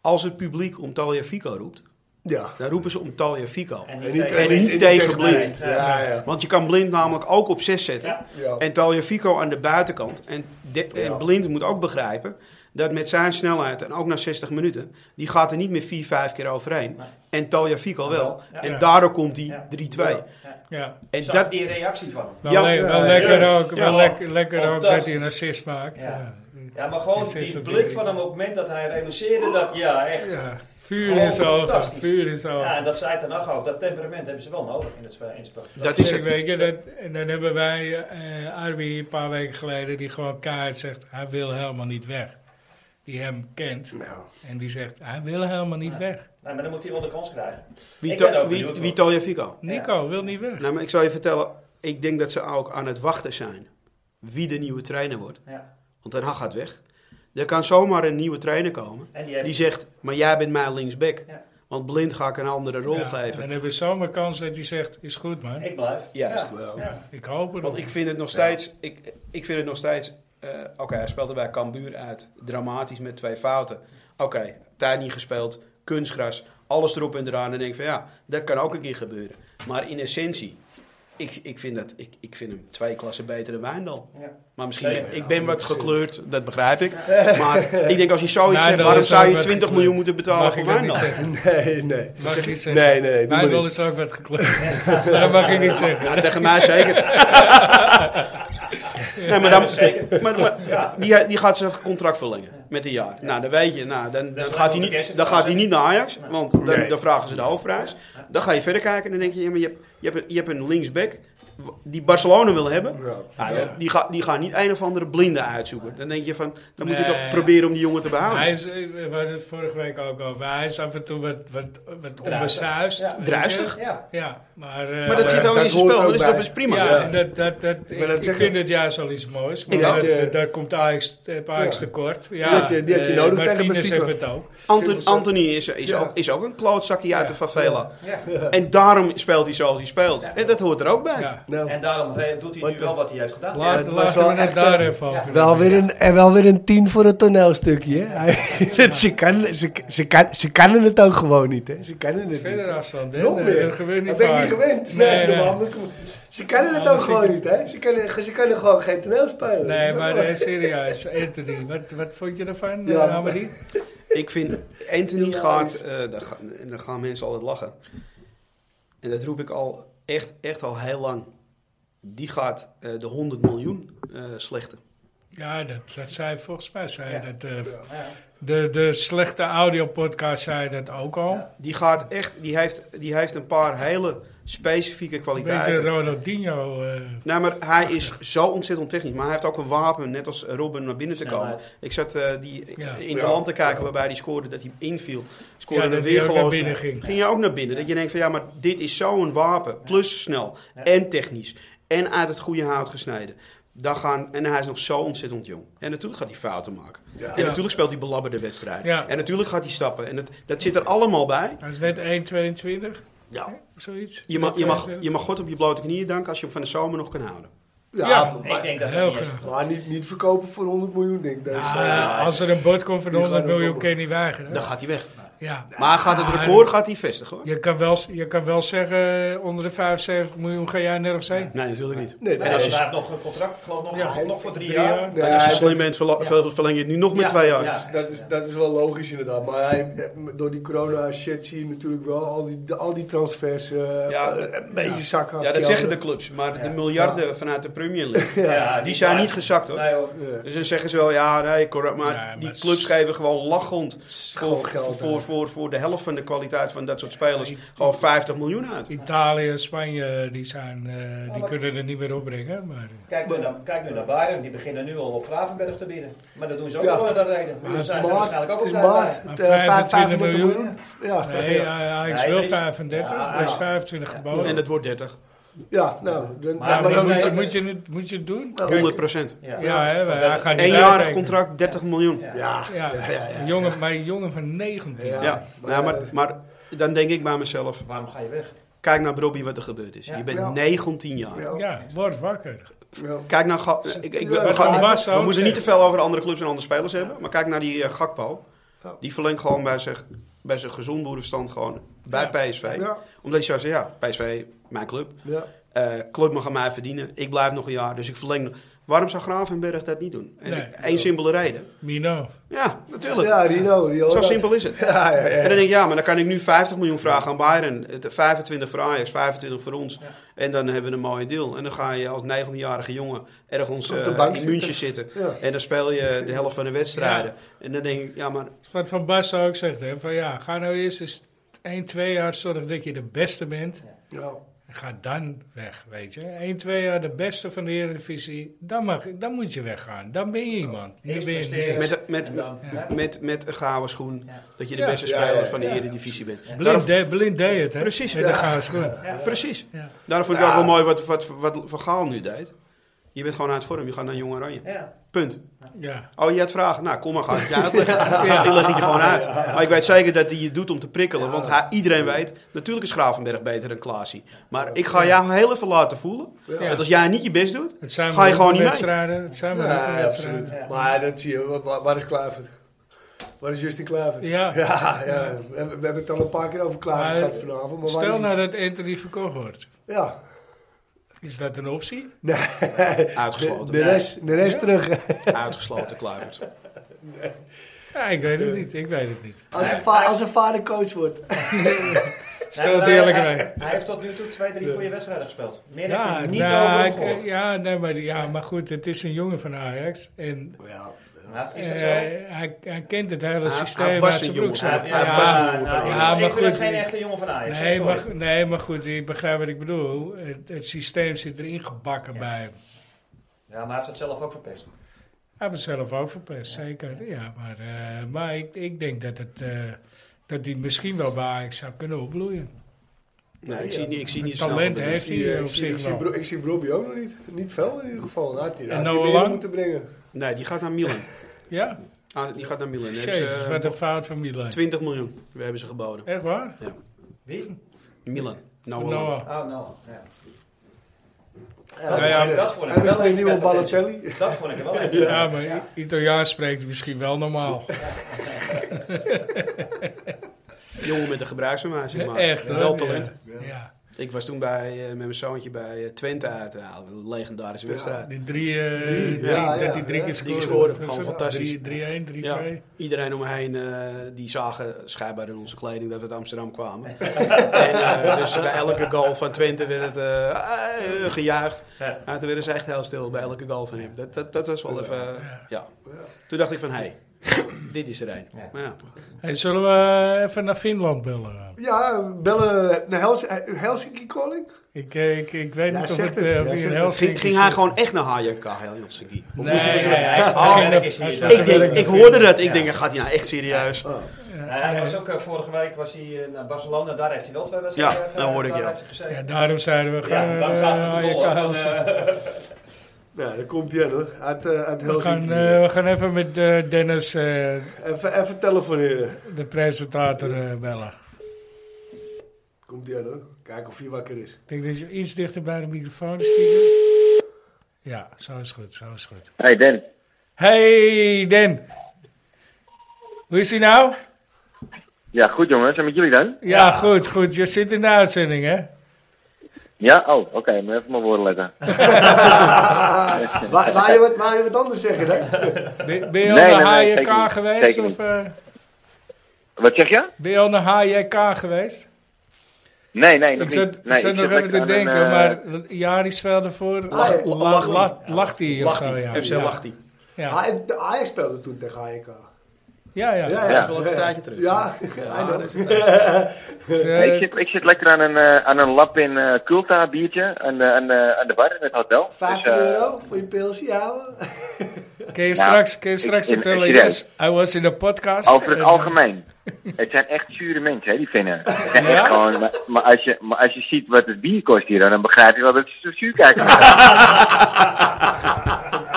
D: Als het publiek om Talia Fico roept,
C: Ja.
D: dan roepen ze om Talia Fico.
B: En
C: En
B: niet
C: niet-
B: tegen
D: en niet
B: blind.
D: tegen blind.
B: Nee,
C: Ja,
B: nee.
C: ja.
D: Want je kan blind namelijk ook op 6 zetten.
B: Ja.
C: ja.
D: En Talia Fico aan de buitenkant. En, de- en
C: Ja.
D: blind moet ook begrijpen dat met zijn snelheid, en ook na 60 minuten, die gaat er niet meer 4, 5 keer overheen.
B: Nee.
D: En Talia Fico wel.
B: Ja.
D: En
A: Ja.
D: daardoor komt hij
B: Ja.
D: 3-2.
A: ja.
D: En
B: Zag
D: dat,
B: die reactie van
A: Wel,
B: hem.
D: e- Ja, eh,
A: le- wel
C: ja,
A: lekker
B: ja.
A: ook, wel
D: Ja.
A: lek- lekker ook dat hij
B: Fantastisch.
A: een assist maakt.
B: Ja.
A: Ja.
B: Ja, maar gewoon
A: Is- is
B: die
A: ook
B: blik
A: niet-
B: van hem op het moment dat hij realiseerde dat, ja, echt. Ja,
A: Ja. Vuur
B: Gewoon
A: in zijn ogen,
B: fantastisch.
A: vuur in zijn ogen.
B: en dat zei ten ook, dat temperament hebben ze wel nodig in het, spe- in het spel.
D: dat
A: Dus
D: is
A: ik
D: het.
A: weet je, dat, en dan hebben wij eh Arby een paar weken geleden die gewoon kaart zegt, hij wil helemaal niet weg. Die hem kent
C: Nou,
A: en die zegt, hij wil helemaal niet
B: Ja.
A: weg.
B: Nou, maar dan moet hij wel de kans krijgen.
D: Wie,
B: Ik ben
D: Ta-
B: ook
D: wie,
B: benieuwd,
D: wie
B: hoor.
D: Talia Fico?
A: Nico wil niet weg.
D: Nou, maar ik zal je vertellen, ik denk dat ze ook aan het wachten zijn wie de nieuwe trainer wordt.
B: Ja.
D: Want Ten Hag gaat weg. Er kan zomaar een nieuwe trainer komen
B: En die heeft...
D: die zegt, maar jij bent mijn linksback.
B: Ja.
D: Want blind ga ik een andere rol
A: Ja,
D: geven.
A: Dan hebben we zomaar kans dat hij zegt, is goed man.
B: Ik blijf.
D: Juist.
B: Ja.
C: wel.
A: Ja, ik hoop het.
D: Want ik vind het nog steeds, ik, ik vind het nog steeds, eh, oké, hij speelde bij Cambuur uit, dramatisch met twee fouten. Oké, tijd niet gespeeld, kunstgras, alles erop en eraan. En denk ik van ja, dat kan ook een keer gebeuren. Maar in essentie, ik, ik, vind, dat, ik, ik vind hem twee klassen beter dan Wijndal.
B: Ja.
D: Maar misschien,
B: Nee,
D: ben-
C: ja,
D: ik ben wat
C: 100%.
D: gekleurd, dat begrijp ik. Maar ik denk als je zoiets
A: Nou,
D: zegt,
A: dat
D: waarom
A: is
D: zou
A: ook
D: je
A: wat
D: 20
A: gekleurd.
D: miljoen moeten betalen
A: mag
D: voor
A: ik dat niet
D: Wijndal?
A: zeggen?
C: Nee, nee.
A: Mag ik niet zeggen?
C: Nee, nee. doe maar
A: Wijndal
C: niet.
A: is ook wat gekleurd. Maar dat mag ik niet zeggen.
D: Ja, tegen mij zeker. nee, maar dan, maar, maar- die, die gaat zijn contract verlengen met een jaar. Nou, dan weet je, nou, dan, dan,
B: is
D: gaat, hij
B: wel de
D: niet,
B: kerst-
D: dan gaat hij niet naar Ajax,
B: Nee.
D: want dan,
C: Nee.
D: dan vragen ze de hoofdprijs. Dan ga je verder kijken en dan denk je, ja, maar je, hebt, je, hebt, een- je hebt een linksback die Barcelona wil hebben.
C: Ja.
D: Nou, die, ga, die gaan niet een of andere blinde uitzoeken. Dan denk je van, dan moet je
A: Nee.
D: toch proberen om die jongen te behouden.
A: Hij is, eh, we hadden het vorige week ook over. Hij is af en toe wat, wat, wat onbesuist.
B: Ja.
A: weet
D: Druistig?
B: Ja.
A: je. Ja, maar... eh,
D: maar dat
C: maar
D: zit ook
C: dat
D: in zijn
C: hoort ook
D: spel, dus dat is, dat
C: bij.
D: is prima.
A: Ja,
C: Ja.
A: en dat, dat, dat, ik,
C: dat
A: ik
C: zeggen-
A: vind het juist al iets moois. Maar
D: Ik ook.
A: dat, eh,
C: Ja.
A: daar komt Ajax, heb Ajax
C: Ja.
A: tekort. Ja,
C: Die had je- die had je
A: eh,
C: nodig tegen
A: Martinez
C: Benfica.
A: heeft het ook.
D: Anton,
C: 100%.
D: Anthony is, is,
C: Ja.
D: ook, is ook een klootzakje uit
A: Ja.
D: de favela.
B: Ja.
D: En daarom speelt hij zoals hij speelt.
B: Ja.
D: En dat hoort er ook bij.
A: Ja.
C: Nou,
B: En daarom re- doet hij nu
C: Wat,
B: wel
C: eh,
B: wat hij heeft gedaan.
C: Ja,
A: Laat,
C: het was
A: laten
C: wel
A: we het
C: echt,
A: daar
C: eh,
A: even
B: ja.
A: over
C: Wel
A: hebben.
C: weer een, en wel weer een tien voor het toneelstukje. Hè? ze, kan, ze, ze, kan, ze kennen het ook gewoon niet. Hè? Ze kennen het niet.
A: Verder afstand. hè?
C: Nog
A: Dat-
C: meer.
A: Dat gebeurt niet
C: Dat ben ik
A: vaak.
C: niet gewend.
A: Nee,
C: Nee,
A: nee.
C: normaal moet ik hem- Ze kennen het
A: Ja,
C: ook
A: maar
C: gewoon
A: zeker.
C: niet, hè? Ze kennen, ze kennen gewoon geen toneel spelen. Dat
A: Nee,
C: is
A: maar
C: wel-
A: eh, serieus, Anthony, wat, wat vond je ervan,
C: Ja.
A: eh, Amelie?
D: Ik vind, Anthony gaat, eh daar, ga- en daar gaan mensen altijd lachen. En dat roep ik al echt, echt al heel lang. Die gaat eh, de 100 miljoen eh, slechten.
A: Ja, dat, dat zei volgens mij zei
B: Ja.
A: dat, eh,
B: Ja.
A: de, de slechte audiopodcast zei dat ook al.
B: Ja.
D: Die, gaat echt, die, heeft, die heeft een paar hele specifieke
A: Een beetje
D: kwaliteiten.
A: Ronaldinho. eh
D: Nou, maar hij is zo ontzettend technisch. Maar hij heeft ook een wapen, net als Robin, naar binnen te komen.
B: Snelheid.
D: Ik zat eh, die
A: Ja.
D: in de land te kijken waarbij hij scoorde dat hij hem inviel. Scoorde
A: ja,
D: er
A: dat
D: weer
A: hij ook naar
D: geloosd.
A: binnen ging.
D: ging je ook naar binnen. Dat je denkt van ja, maar dit is zo'n wapen. Plus snel
B: Ja.
D: en technisch. En uit het goede hout gesneden. Daar gaan, en hij is nog zo ontzettend jong. En natuurlijk gaat hij fouten maken.
C: Ja.
D: En natuurlijk speelt hij belabberde wedstrijden.
A: Ja.
D: En natuurlijk gaat hij stappen. En het, dat zit er allemaal bij.
A: Hij is net 1,22,
D: Ja.
A: zoiets.
D: Je, mag, je, mag, je mag God op je blote knieën danken als je hem van de zomer nog kan houden.
C: Ja,
A: Ja.
C: maar,
B: Ik denk dat
A: Heel
B: dat niet is.
A: graag.
C: maar niet, niet verkopen voor 100 miljoen, denk ik. Dat is,
A: Ah,
C: eh,
A: als er een bord komt van
C: Die gaan
A: 100
C: er
A: miljoen,
C: komen.
A: kan je niet weigeren.
D: Dan gaat hij weg.
A: Ja.
D: Maar gaat het
A: Ah,
D: record gaat hij vestigen hoor?
A: Je kan, wel, je kan wel zeggen, eh, onder de 75 miljoen ga jij nergens heen.
D: Nee, natuurlijk niet.
C: Nee,
B: Nee,
C: nee,
D: En als
B: hij
D: je-
B: heeft nog een contract, ik geloof nog,
A: Ja.
B: nog voor drie,
A: Drie
B: jaar.
A: jaar.
C: nee,
D: en als je
C: dat-
D: slim bent, verla- ver- verleng je het nu nog met
B: Ja,
D: twee jaar.
B: ja.
C: Dat is, dat is wel logisch inderdaad. Maar hij, door die corona shit zie je natuurlijk wel al die, de- al die transfers eh,
D: Ja,
C: eh, een beetje zakken.
D: Ja, dat zeggen de clubs. Maar
B: Ja.
D: de miljarden vanuit de Premier League,
B: Ja,
D: die zijn niet gezakt hoor.
B: Nee, hoor.
C: Ja.
D: Dus dan zeggen ze wel, ja, nee, correct. Maar,
A: Ja, maar
D: die
A: het is-
D: clubs geven gewoon lachend voor,
C: Gewoon geld,
D: voor,
C: hè.
D: voor, voor, voor de helft van de kwaliteit van dat soort spelers gewoon 50 miljoen uit.
A: Italië en Spanje, die, zijn, eh, die
B: maar-
A: kunnen er niet meer opbrengen. Maar, eh,
B: Kijk nu, naar, kijk nu naar Bayern, die beginnen nu al op Gravenberg te bieden. Maar dat doen ze ook
C: Ja.
B: wel aan de reden.
C: Ja, het
B: Daar
C: is
B: zijn ze
C: maart,
B: waarschijnlijk ook
C: het
B: al
C: is
B: klaar
C: maart,
B: mee.
C: het, eh, vijf-
A: 25
C: 25 miljoen.
A: miljoen.
C: Ja,
A: nee, hij, hij is
B: Nee,
A: wel
B: er is-
A: 35,
B: Ja,
A: hij is
C: ja.
A: 25 geboden.
D: En dat wordt 30.
C: ja, nou, dan,
B: Maar
C: dan-
B: we
C: dan-
B: zijn-
A: moet, je,
B: nee,
A: moet, je, het- moet je het doen?
C: Nou,
A: Kijk,
D: 100 procent.
B: Ja,
A: ja, hè, wij- hij gaat niet
D: Eenjarig
A: uitrekenen.
D: contract, 30 miljoen. Ja,
B: Ja.
C: ja,
A: Ja,
C: ja, ja,
A: Een jongen, maar een jongen van 19.
C: Ja.
D: Nou, maar, maar dan denk ik bij mezelf,
B: Waarom ga je weg?
D: kijk naar Robbie wat er gebeurd is.
B: Ja.
D: Je bent
C: Ja.
D: 19 jaar.
C: ja.
A: Ja, word wakker.
C: ja.
D: Kijk naar... Ga- ik, ik, we,
C: Ja,
D: gaan
C: Van
D: niet-
A: Basten
D: we
A: ook
D: moeten niet te
A: zeggen.
D: veel over andere clubs en andere spelers hebben. Maar kijk naar die eh, Gakpo.
C: Ja.
D: Die verlengt gewoon bij zijn, bij zijn gezond boerenverstand gewoon bij PSV.
C: Ja,
D: Omdat je zou zeggen, ja, PSV, mijn club.
C: ja.
D: eh club mag aan mij verdienen. Ik blijf nog een jaar, dus ik verleng nog. Waarom zou Gravenberg dat niet doen?
A: Nee.
D: Eén simpele reden.
A: Mino.
D: Ja, natuurlijk.
C: ja Rino, Rino.
D: Zo
C: dat-
D: simpel is het.
C: Ja, ja,
D: En dan
C: ja.
D: denk ik, ja, maar dan kan ik nu 50 miljoen vragen aan Bayern. Het- 25 voor Ajax, 25 voor ons.
B: Ja.
D: En dan hebben we een mooie deal. En dan ga je als 19-jarige jongen ergens
C: Op de
D: eh, in
C: bank
D: München zitten.
C: Ja.
D: En dan speel je de helft van de wedstrijden. En dan denk ik, ja, maar
A: Wat Van Basten ook zegt, hè, van ja, ga nou eerst eens 1, 2 jaar zorgen dat je de beste bent.
C: Ja.
A: En ga dan weg, weet je. 1, 2 jaar de beste van de Eredivisie. Dan, mag, dan moet je weggaan. Dan ben je iemand. Nu
B: Oh, Eerst
A: ben je
B: presteren.
A: niks.
D: met, met,
B: En dan,
A: Ja.
D: met, met een gouden schoen
B: Ja.
D: dat je de
A: Ja.
D: beste
C: Ja,
D: speler
C: ja, ja.
D: van de Eredivisie bent.
A: Blind, de, blind deed het, hè?
D: Precies,
A: Met
D: ja.
A: de gouden schoen.
B: Ja.
D: Precies.
A: Ja.
D: Daarom vond ik ook wel mooi wat, wat, wat Van Gaal nu deed. Je bent gewoon uit vorm, je gaat naar Jong Oranje.
B: Ja.
D: Punt.
A: Ja.
D: Oh, je had vragen? Nou, kom maar, ga ik je uitleggen. Ik leg het je gewoon uit. Maar ik weet zeker dat hij je doet om te prikkelen. Want hij, iedereen weet, natuurlijk is Gravenberg beter dan Klaasie. Maar ik ga jou heel even laten voelen.
A: Ja.
D: Dat als jij niet je best doet...
A: Het zijn
D: Ga
A: maar
D: je gewoon
A: lieve
D: niet mee?
A: wedstrijden. Het zijn maar
C: Ja,
A: lieve wedstrijden.
C: absoluut.
B: Ja.
C: Maar dat zie je. Waar, waar- waar is Kluivert? Waar is Justin Kluivert?
A: Ja.
C: ja, ja. We, hebben, we hebben het al een paar keer over Kluivert
A: Maar,
C: gehad vanavond. Maar waar
A: Stel
C: is
A: nou dat Anthony verkocht wordt.
C: hij? Ja.
A: Is dat een optie?
C: Nee. De,
D: Uitgesloten.
C: de rest, de rest terug.
D: Uitgesloten, Kluivert.
A: Ja, ik weet het niet. Ik weet het niet.
C: Als een, va- als een vader coach wordt.
A: Stel het
B: Nee, maar
A: eerlijk
B: hij-
A: bij.
B: Hij heeft tot nu toe twee, drie goede wedstrijden gespeeld. Meer heb
A: Ja,
B: ik niet
A: nou,
B: over hem
A: ik-
B: gehoord.
A: ja, nee, maar, ja, maar goed, het is een jongen van Ajax. En
C: Ja.
B: Nou, Is
A: eh,
B: dat zo?
A: hij, hij kent het hele
D: Hij-
A: systeem
D: hij was
A: uit
D: een
A: zijn
D: jongen van
A: broekzak.
D: Ajax. Hij was een jongen van
B: nou,
A: Ajax. Ja, maar
B: ik vind het
A: goed,
B: geen
A: ik-
B: echte jongen van Ajax.
A: Nee
B: sorry.
A: maar, go- nee, maar goed, ik begrijp wat ik bedoel. Het, het systeem zit erin gebakken bij hem.
B: Ja, maar hij heeft het zelf ook verpest.
A: Hij heeft het zelf ook verpest, zeker. Ja, maar eh, maar ik, ik denk dat, het, eh, dat hij misschien wel bij Ajax zou kunnen opbloeien.
D: Nee, ik zie, niet- ik zie niet snel...
A: Talent
D: gebeuren.
A: heeft
C: Ik zie,
A: hij
C: eh,
A: op
C: ik zie, ik
A: zich
C: zie,
A: wel.
C: Bro- ik zie Brobbey ook nog niet. Niet veel in ieder geval. Nou, had hij-
A: En
C: had hij
A: Noah
C: weer
A: Lang?
C: moeten brengen.
D: Nee, die gaat naar Milan.
A: Ja?
D: Ah, die gaat naar Milan. Daar hebben ze,
A: Jezus,
D: eh,
A: wat een fout van Milan.
D: 20 miljoen. We hebben ze geboden.
A: Echt waar?
B: Wie?
D: Milan. Nou,
A: Van
D: wel.
A: Noah.
B: Oh, nou. Ja.
C: Ja,
A: ja,
C: dat is-
B: dat vond ik
C: Hij
B: wel
C: was de
B: een
C: nieuwe
B: vettige
C: Balotelli.
B: Dat vond ik er wel echt.
A: eh, Ja, maar I- Italiaans spreekt hij misschien wel normaal.
D: Jongen met een gebruiksaanwijzing. Maar
A: Echt, hoor.
D: wel talent.
A: Ja. Ja.
D: Ik was toen bij, eh, met mijn zoontje bij eh, Twente uit. Nou, een legendarische
C: Ja.
D: wedstrijd.
A: Die drie, eh,
C: Drie,
A: drie-
C: ja, ja,
A: dat die drie keer
C: ja.
D: Die
A: scoorde.
D: scoorde,
A: Dat
D: gewoon
A: is-
D: fantastisch.
A: drie- 3-1, 3-2.
D: Ja. Iedereen om me heen, eh, die zagen schijnbaar in onze kleding dat we uit Amsterdam kwamen. en, eh, dus bij elke goal van Twente werd het eh, eh, gejuicht.
B: Ja.
D: Maar toen werden ze echt heel stil bij elke goal van hem. Dat, dat, dat was wel even... eh,
A: Ja.
D: ja. Toen dacht ik van, hé, hey, dit is er een.
B: Ja.
D: Maar ja,
A: Hey, zullen we eh, even naar Finland bellen?
C: Ja, bellen naar Hels Helsinki calling.
A: Ik, eh, ik, ik weet
C: Ja,
A: niet of,
C: zeg
A: het,
C: het.
A: eh, of
C: Ja,
A: hij
C: zeg
A: in
C: het.
A: Helsinki
D: ging, ging hij
A: zit.
D: gewoon echt naar HJK Helsinki? Of
A: Nee,
D: moest hij
A: nee,
D: voor zijn-
A: nee,
B: hij is
A: hij-
B: van
A: hij-
B: werk is hij
A: hij is
B: daar.
A: van
D: Ik,
A: zijn
D: denk,
A: werk.
D: ik hoorde dat. Ik denk, gaat hij nou echt serieus?
C: Oh.
A: Ja,
B: Ja, hij
A: nee.
B: was ook, eh, vorige week was hij eh, naar Barcelona, daar heeft hij wel twee wedstrijden
D: Ja,
B: eh,
D: dat hoorde ik,
B: daar
D: ja.
B: heeft hij gezeten.
A: Ja, daarom zeiden we, gaan
B: Ja, waarom
A: eh,
B: zaten we te
A: Ajax
B: dol, hè, van,
A: Helsinki.
B: eh,
C: Ja, daar komt hij aan hoor. Uit, eh, uit
A: we, gaan,
C: Helsinki.
A: eh, we gaan even met eh, Dennis, eh,
C: even, even telefoneren.
A: de presentator, eh, bellen.
C: Komt hij aan hoor. Kijk of hij wakker is.
A: Ik denk dat je iets dichter bij de microfoon spreekt. Ja, zo is goed, zo is goed.
E: Hey Den,
A: Hey Den, hoe is hij nou?
E: Ja, goed jongens. En met jullie dan?
A: Ja, goed, goed. Je zit in de uitzending, hè?
E: Ja? Oh, oké. maar even mijn woorden letten.
C: Waar, waar, je wat, waar je wat anders zeggen, hè?
A: Ben, ben je al
E: Nee, nee,
A: naar
E: nee,
A: HJK
E: zeker niet.
A: geweest?
E: Zeker
A: Of, eh,
E: Wat zeg je?
A: ben je al naar HJK geweest?
E: Nee, nee, nog
A: Ik
E: niet.
A: zat,
E: nee,
A: ik zat nog even
E: lekker
A: te
E: aan een,
A: denken,
E: eh,
A: maar Jaris wel daarvoor.
C: Lacht-
A: la-
D: lacht hij.
A: la- Lacht hij of
D: Lacht
A: zo, ja.
D: hij. FC
A: Ja.
D: lacht hij.
A: Ja,
C: Ajax- de Ajax speelde toen tegen AEK.
A: ja. ja.
E: Ja.
D: Dat is wel even een tijdje terug.
C: Ja,
D: Ja, dat is-
A: Dus, eh,
E: nee, ik, zit, ik zit lekker aan een, eh, aan een lap in eh Kulta biertje aan de, aan, de, aan de bar in het hotel. Dus,
C: 15
E: eh,
C: euro voor je pilsje, ja.
A: Kun je
E: Nou,
A: straks, kun je
E: ik-
A: straks
E: ik-
A: vertellen,
E: ik- ik-
A: yes, hij was in de podcast.
E: Over het
A: En,
E: algemeen. Het zijn echt zure mensen, hè, die vinden.
A: Ja?
E: Gewoon, maar, maar als je, maar als je ziet wat het bier kost hier, dan begrijp je wel dat ze zo zuur kijken.
A: eh,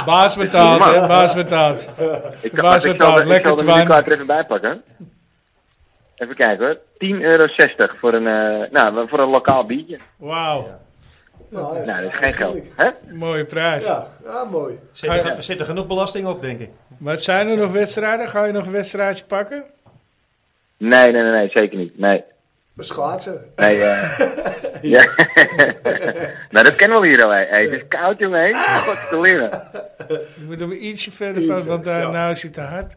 A: Baas betaald,
E: man.
A: hè, baas betaald.
E: Ik
A: Waar
E: kan, maar
A: is
E: ik
A: het
E: zal,
A: nou?
E: de- ik
A: Lekker
E: zal de
A: twang.
E: menukaart er even bij pakken. Even kijken hoor. 10,60 euro voor een, eh, nou, voor een lokaal biertje.
A: Wauw,
C: Nou,
E: Nou, dat is geen
C: eigenlijk.
E: geld. Hè?
A: mooie prijs.
C: Ja, ja, mooi.
B: Zit
A: Oh, Ja. Oh,
B: er, ge- zit er genoeg belasting op, denk ik.
A: Maar zijn er nog wedstrijden? Ga je nog een wedstrijdje pakken?
E: Nee, nee, nee, nee, zeker niet. Nee.
C: Maar schaatsen.
E: nee eh. ja. nou, dat kennen we hier al. hè. Hey, het is koud, jongen. hè. Wat te leren.
A: Je moet er ietsje verder
C: Ietsje,
A: van, want daar
C: ja.
A: nou is het te hard.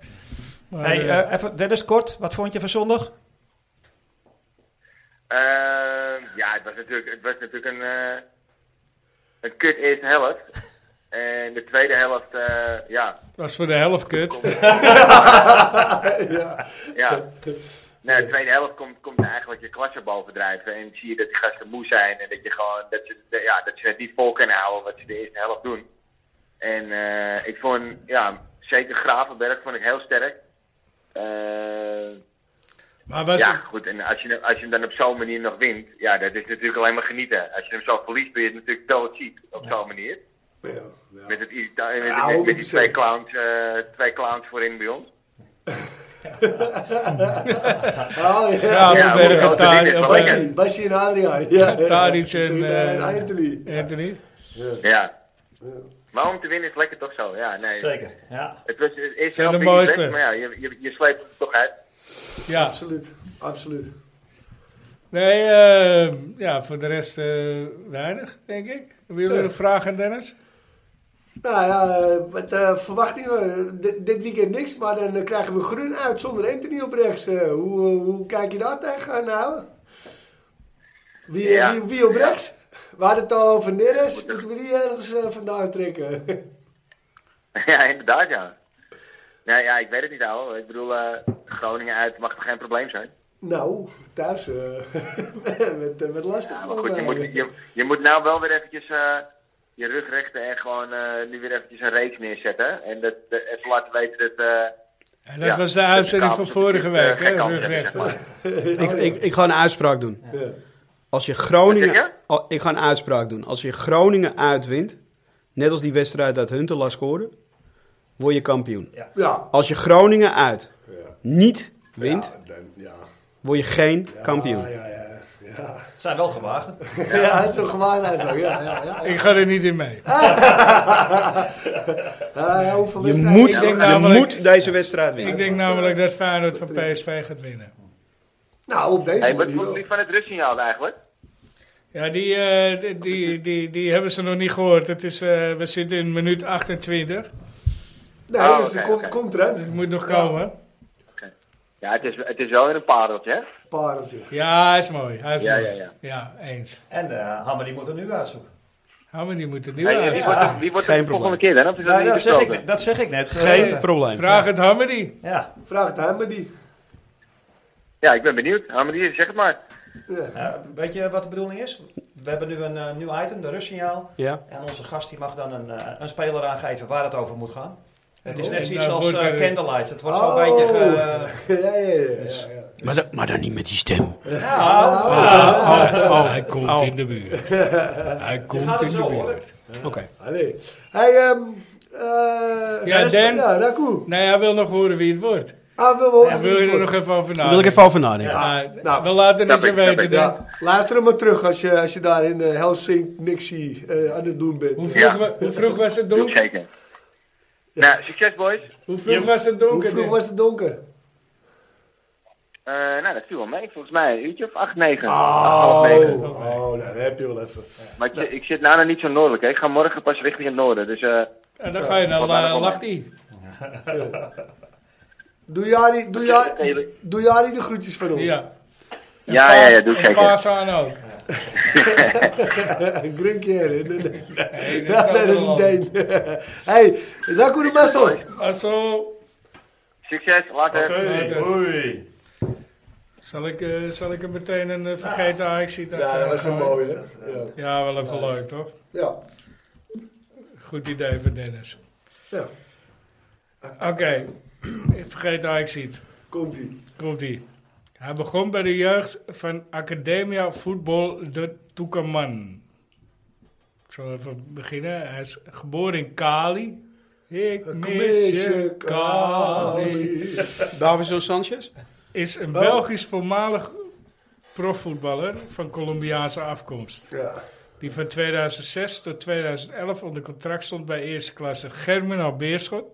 A: Maar,
B: Hey,
A: eh,
B: eh, even, Dennis, kort. Wat vond je van zondag?
E: Ehm, ja, het was natuurlijk, het was natuurlijk een, eh, een kut eerste helft. En de tweede helft, eh, ja,
A: was voor de helft kut.
C: Ja.
E: Ja. Nou, de tweede helft komt, komt eigenlijk je klassebal verdrijven. En zie je dat die gasten moe zijn. En dat, je gewoon, dat, ze, dat- ja, dat ze het niet vol kunnen houden wat ze de eerste helft doen. En eh, ik vond, ja, zeker Gravenberg vond ik heel sterk. Eh,
A: Maar was
E: ja,
A: het-
E: goed. En als je, als je hem dan op zo'n manier nog wint, ja, dat is natuurlijk alleen maar genieten. Als je hem zo verliest, ben je het natuurlijk doodziek op zo'n manier.
C: Ja, ja.
E: Met, het, irrita- met,
C: Ja,
E: met- met die
C: 100%.
E: twee clowns, eh, twee clowns voorin bij ons.
C: Oh, ja.
E: Ja,
A: Gravenberg
E: want-
A: en Tar-
E: want-
A: en
E: want-
A: Bas-
C: Bassie, Bassie en Adriaan. Ja, ja.
A: Tadic en,
C: Bassie
A: eh,
C: en Anthony.
A: Anthony?
E: Ja. Maar om te winnen is lekker toch zo? Ja, nee.
B: Zeker. Ja.
E: Het was het eerste
A: Zijn de
E: helft niet
A: mooiste.
E: best, maar ja, je, je, je sleept het toch uit.
A: Ja.
C: Absoluut, absoluut.
A: Nee, eh, ja, voor de rest eh, weinig, denk ik. Hebben jullie
C: Ja.
A: nog vragen aan Dennis?
C: Nou ja, eh, wat eh, verwachtingen? Dit- dit weekend niks, maar dan eh, krijgen we groen uit zonder Anthony op rechts. Eh, hoe, eh, hoe kijk je daar tegenaan nou? Wie, eh,
E: Ja.
C: wie, wie op
E: Ja.
C: rechts? We hadden het al over Neres.
E: Moet er-
C: Moeten we die ergens eh, vandaan trekken?
E: ja, inderdaad, ja. Nou ja, ik weet het niet, ouwe. Ik bedoel, eh, Groningen uit mag toch geen probleem zijn?
C: nou, thuis. eh met, eh, met lastig.
E: Ja, maar
C: man,
E: goed, je
C: eh.
E: moet, je, je moet nou wel weer eventjes eh, je rug rechten en gewoon eh, nu weer eventjes een reeks neerzetten. En dat, dat- even laten weten dat... eh,
A: En dat
E: ja,
A: was de uitzending
E: kabels
A: van
E: natuurlijk,
A: vorige
E: eh,
A: week,
E: geen
A: hè?
E: kans hebben, zeg
A: Rugrechten.
E: maar.
D: Ik, ik, ik ga een uitspraak doen.
C: Ja.
D: Als je
E: Wat zeg
D: Groningen,
E: je?
D: al- ik ga een uitspraak doen. Als je Groningen uitwint, net als die wedstrijd dat Huntelaar scoorde, word je kampioen.
C: Ja.
D: Als je Groningen uit
C: Ja.
D: niet wint,
C: Ja, dan- ja.
D: word je geen
C: Ja,
D: kampioen.
C: Ja, ja, ja.
B: Het zijn wel gewaagd.
C: ja. het is een gewaarde uitspraak. Ja, ja, ja.
A: Ik ga er niet in mee.
C: Ah, ja, hoeveel
D: Je
C: wedstrijden-
D: moet,
A: Ik denk
D: je
A: namelijk-
D: moet deze wedstrijd
A: Ik
D: winnen.
A: denk namelijk dat Feyenoord van PSV gaat winnen.
C: Nou, op deze
E: hey, wat
C: manier
E: vond
C: wel.
E: je van het rustsignaal eigenlijk?
A: Ja, die, eh, die, die, die, die hebben ze nog niet gehoord. Het is, eh, we zitten in minuut 28.
C: Nee,
E: Oh,
C: dus
E: oké,
C: die komt,
E: oké.
C: komt eruit.
A: Het moet nog komen.
E: Ja, het is, het is wel weer een pareltje, hè?
C: Pareltje.
A: Ja, hij is mooi. Hij is
E: Ja,
A: mooi.
E: ja, ja.
A: eens.
B: En eh Hammer, die moet er nu uitzoeken.
A: Hammer, die moet het nieuw
E: Hey, en
A: uit.
E: wie wordt het- wie wordt het
D: Geen
E: de volgende
D: probleem.
E: keer dan? Of is dat
B: Nou,
E: niet
B: ja, dat, zeg
E: besproken?
B: ik, dat zeg ik net.
D: Geen
B: Eh,
D: probleem.
A: Vraag het Hammer die.
B: Ja.
C: Vraag het hem maar die.
E: Ja, ik ben benieuwd. Ah, maar die- zeg het maar.
C: Ja.
B: Eh, weet je wat de bedoeling is? We hebben nu een eh, nieuw item, de rustsignaal.
D: Ja.
B: En onze gast die mag dan een, eh, een speler aangeven waar het over moet gaan. Het is
A: Oh,
B: net
A: en
B: zoiets
A: dan
B: als
A: wordt
B: eh,
A: er-
B: Candlelight. Het wordt zo'n
C: Oh.
B: beetje... Ge, Dus-
C: ja, ja, ja, ja, ja.
D: Maar, dat- maar dan niet met die stem.
B: Nou,
A: Hij komt
D: Oh.
A: in de buurt. Hij
B: gaat
A: komt in
B: hem
A: de
B: zo, hoor.
A: buurt.
D: Oké.
C: Allee. Hey, ehm... eh
A: Ja,
C: Dennis-
A: Dan.
C: Ja, Raku.
A: Nee, hij wil nog horen wie het wordt.
C: Ah, we wonen
A: Daar wil je er nog even over
D: Daar
A: nadenken.
D: wil ik even over nadenken.
A: Maar
C: Nou,
A: we laten
E: snap
A: het je
E: ik, snap
A: weten,
E: ik.
A: Dan.
C: Ja, luister hem maar terug als je, als je daar in eh, Helsinki eh, aan het doen bent.
A: Hoe vroeg,
E: Ja.
A: wa- hoe vroeg was het
E: Doe ik
A: donker?
E: zeker. Nou, succes boys.
A: Hoe vroeg was het donker?
C: Hoe vroeg
A: Dan?
C: was het donker?
E: Eh, nou, dat viel wel mee. Volgens mij een uurtje of acht, negen.
A: Ah,
E: Acht, half
C: Oh,
E: negen.
C: oh, nou, dat heb je wel even.
E: Maar ik, zit- ik zit nou nog niet zo noordelijk. Hè. Ik ga morgen pas richting het noorden. Dus eh,
A: En dan ga je naar
E: Wat waren
A: uh,
E: er
A: Lachti.
C: Doe Jari, doe
E: Ja,
C: Jari, doe Jari de groetjes van ons.
A: Ja. En
E: Ja, ja, ja, doe
A: Paas-
E: ik
A: En
E: zeker.
A: paas aan ook.
C: Grunkier. hè? Nee, nee, nee.
A: Nee,
C: Ja, nee, dat is een Deen. hey, dank u de best wel.
A: Also,
E: succes, later.
A: Later.
F: oei.
A: zal ik, eh, zal ik er meteen een eh, vergeten ajax
C: Ja, dat was een mooie. Ja.
A: Ja, wel even leuk, toch?
C: Ja.
A: Goed idee van Dennis.
C: ja,
A: Oké, vergeet ajax
C: komt ie.
A: Komt ie. Hij begon bij de jeugd van Academia Voetbal de Tucumán. Ik zal even beginnen. Hij is geboren in Cali. Ik mis je, Cali.
D: Davinson Sanchez?
A: Is een Belgisch voormalig profvoetballer van Colombiaanse afkomst.
C: Ja.
A: Die van 2006 tot 2011 onder contract stond bij eerste klasse Germinal Beerschot.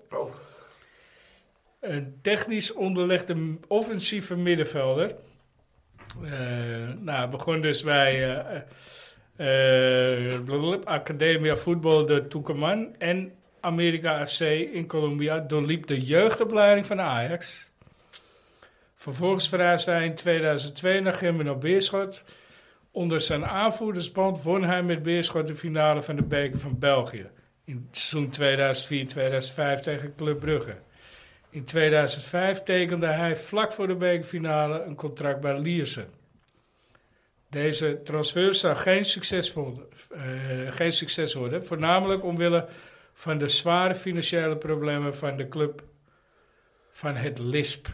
A: Een technisch onderlegde m- offensieve middenvelder. Eh, nou, begon dus bij eh eh, blablabla, Academia Voetbal de Tucumán en Amerika FC in Colombia. Doorliep de jeugdopleiding van Ajax. Vervolgens verhuisde hij in 2002 naar Germinal Beerschot. Onder zijn aanvoerdersband won hij met Beerschot de finale van de Beker van België. In het seizoen 2004-2005 tegen Club Brugge. In 2005 tekende hij vlak voor de bekerfinale een contract bij Lierse. Deze transfer zou geen succes, worden, eh, geen succes worden, voornamelijk omwille van de zware financiële problemen van de club van het LISP.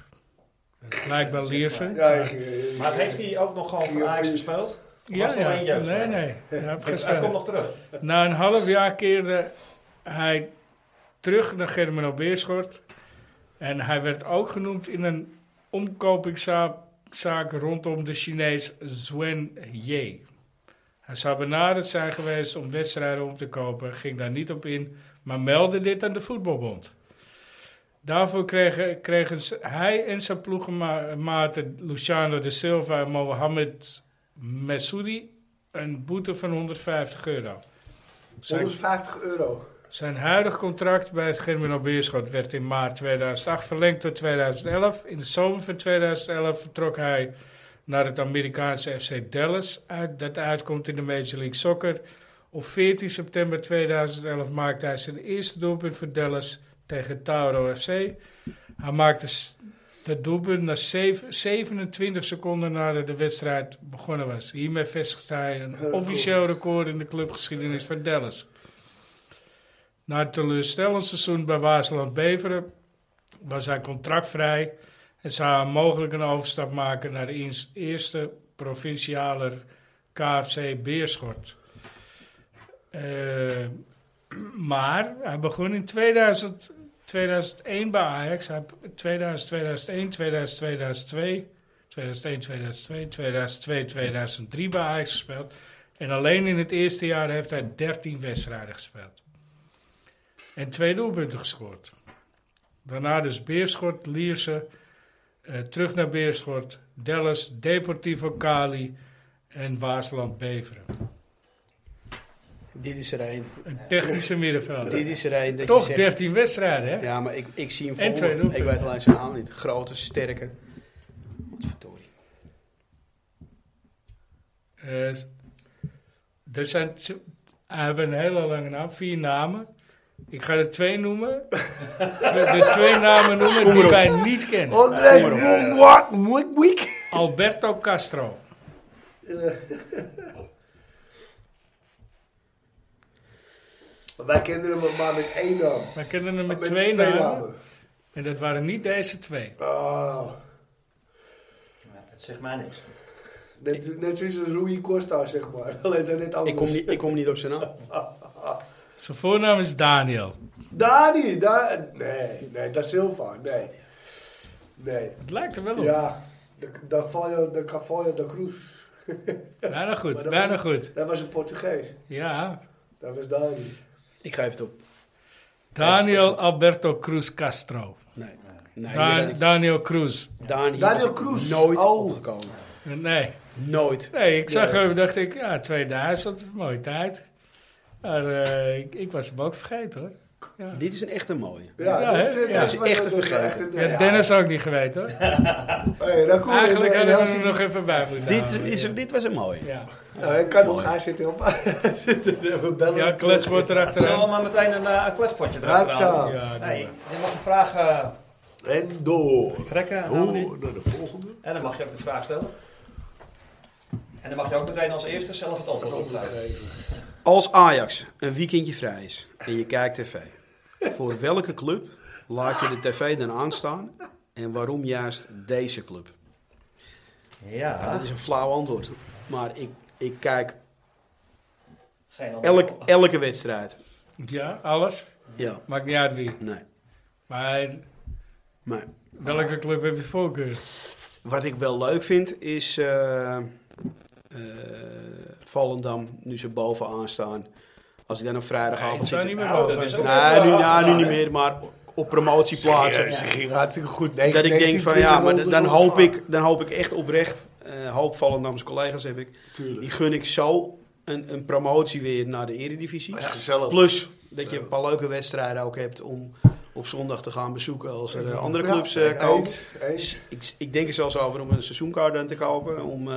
A: Gelijk bij Lierse.
C: Ja, ik, eh,
B: Maar heeft hij ook nog gewoon voor Ajax gespeeld? was nog één jeugd.
A: Nee, nee. Hij heeft
B: Het, het komt
A: gespeeld.
B: nog terug.
A: Na een half jaar keerde hij terug naar Germinal Beerschot. En hij werd ook genoemd in een omkopingszaak zaak rondom de Chinees Zhuan Ye. Hij zou benaderd zijn geweest om wedstrijden om te kopen, ging daar niet op in, maar meldde dit aan de voetbalbond. Daarvoor kregen, kregen ze- hij en zijn ploegenmaten Luciano de Silva en Mohamed Messoudi een boete van 150 euro. Zijn
C: 150 euro.
A: zijn huidig contract bij het Germinal Beerschot werd in maart 2008 verlengd tot 2011. In de zomer van 2011 vertrok hij naar het Amerikaanse FC Dallas, uit- dat uitkomt in de Major League Soccer. Op 14 september 2011 maakte hij zijn eerste doelpunt voor Dallas tegen Tauro FC. Hij maakte s- dat doelpunt na zeven- 27 seconden nadat de wedstrijd begonnen was. Hiermee vestigde hij een officieel record in de clubgeschiedenis van Dallas. Na het teleurstellend seizoen bij Waasland Beveren was hij contractvrij en zou hij mogelijk een overstap maken naar de eens- eerste provinciale KFC Beerschot. Eh, maar hij begon in 2000, 2001 bij Ajax. Hij heb 2000, 2001, 2000, 2002, 2001, 2002, 2002, 2003 bij Ajax gespeeld. En alleen in het eerste jaar heeft hij 13 wedstrijden gespeeld en twee doelpunten gescoord. Daarna dus Beerschot, Lierse, eh, terug naar Beerschot, Dallas, Deportivo Cali en Waasland Beveren.
D: Dit is er één.
A: Een technische middenvelder.
D: Dit is er één. dat je
A: Toch
D: zegt-
A: 13 wedstrijden, hè?
D: Ja, maar ik, ik zie hem
A: En twee
D: voor me.
A: doelpunten.
D: Ik weet alleen zijn naam niet. Grote, sterke. Wat verdorie.
A: Eh, er zijn, ze- hij heeft een hele lange naam, vier namen. Ik ga er twee noemen. De twee namen noemen die wij niet kennen.
C: Andres Moenwak, Moenwik.
A: Alberto Castro.
C: Wij kenden hem maar met één naam.
A: Wij kennen hem met
C: Met
A: twee namen. En dat waren niet deze twee.
C: Oh,
B: Ja, het zegt mij niks.
C: net, net zoals een Rui Costa, zeg maar. Alleen dan net anders.
D: Ik kom, niet, ik kom niet op zijn naam.
A: Zijn voornaam is Daniel.
C: Dani, da nee, nee, Da Silva, nee. Nee,
A: Het lijkt er wel op.
C: ja, de, de, Folha- de Cavalho da Cruz.
A: Bijna goed,
C: Maar dat
A: bijna
C: was-
A: goed.
C: Dat was een Portugees,
A: Ja.
C: dat was Dani.
D: Ik geef het op.
A: Daniel Alberto Cruz Castro.
D: Nee. Nee,
A: Da-
D: hier ben ik-
A: Daniel Cruz.
D: Daan hier
C: Daniel
D: was ik
C: Kroes.
D: Nooit
C: Oh.
D: opgekomen.
A: Nee.
D: Nooit.
A: Nee, ik zag
D: Ja.
A: hem dacht ik, ja, 2000, mooie tijd. Maar eh, ik, ik was hem ook vergeten hoor. Ja.
D: Dit is een echte mooie.
A: Ja, hè? Ja.
D: Dat is echt te vergeten.
A: Ja, Dennis ook niet geweten hoor.
C: Hey, Rakour,
A: Eigenlijk
C: en-
A: hadden we hem
C: en Helsinki.
A: nog even bij moeten
D: Dit,
A: houden,
D: is,
A: ja.
D: dit was een mooie.
A: Ja,
C: Nou, ik kan nog
D: Mooi.
C: gaan zitten op. We bellen.
A: ja klets wordt
B: Zullen we
A: erachteraan.
B: maar meteen een, eh, een kletspotje eruit halen?
C: Raadzaam.
A: Ja, doe
B: Nee,
A: maar.
B: je mag een vraag eh,
C: En door.
B: trekken.
C: Door
B: Harmony.
C: naar de volgende.
B: En dan mag je ook de vraag stellen. En dan mag je ook meteen als eerste zelf het antwoord opgeven.
D: Als Ajax een weekendje vrij is en je kijkt tv, voor welke club laat je de tv dan aanstaan en waarom juist deze club? Ja,
B: Ja,
D: dat is een flauw antwoord, maar ik, ik kijk
B: geen antwoord.
D: elk, elke wedstrijd.
A: ja, alles.
D: Ja,
A: Maakt niet uit wie.
D: nee.
A: Maar
D: Maar
A: welke club heb je voorkeur?
D: wat ik wel leuk vind is eh eh, Volendam, nu ze bovenaan staan. Als ik dan op
A: Het
D: vrijdagavond
A: zou
D: zit...
A: niet
D: Nee,
A: meer
B: Nou, dat
A: mogen.
B: is ook-
D: nu,
B: Ja,
D: nou, nu
B: ja.
D: niet meer, maar op promotie plaatsen.
C: Ze ging hartstikke goed.
D: Dat ik denk van ja, maar dan
C: 1920
D: hoop
C: rondes
D: ik, dan hoop ik echt oprecht, eh hoop Volendamse collega's heb ik,
C: gaan. Tuurlijk.
D: die gun ik zo een, een promotie weer naar de eredivisie.
C: Dat is gezellig.
D: Plus dat je een paar leuke wedstrijden ook hebt om op zondag te gaan bezoeken als er eh, andere
C: Ja,
D: clubs eh, komen.
C: eens, eens.
D: Dus ik, ik denk er zelfs over om een seizoenkaart aan te kopen, om eh,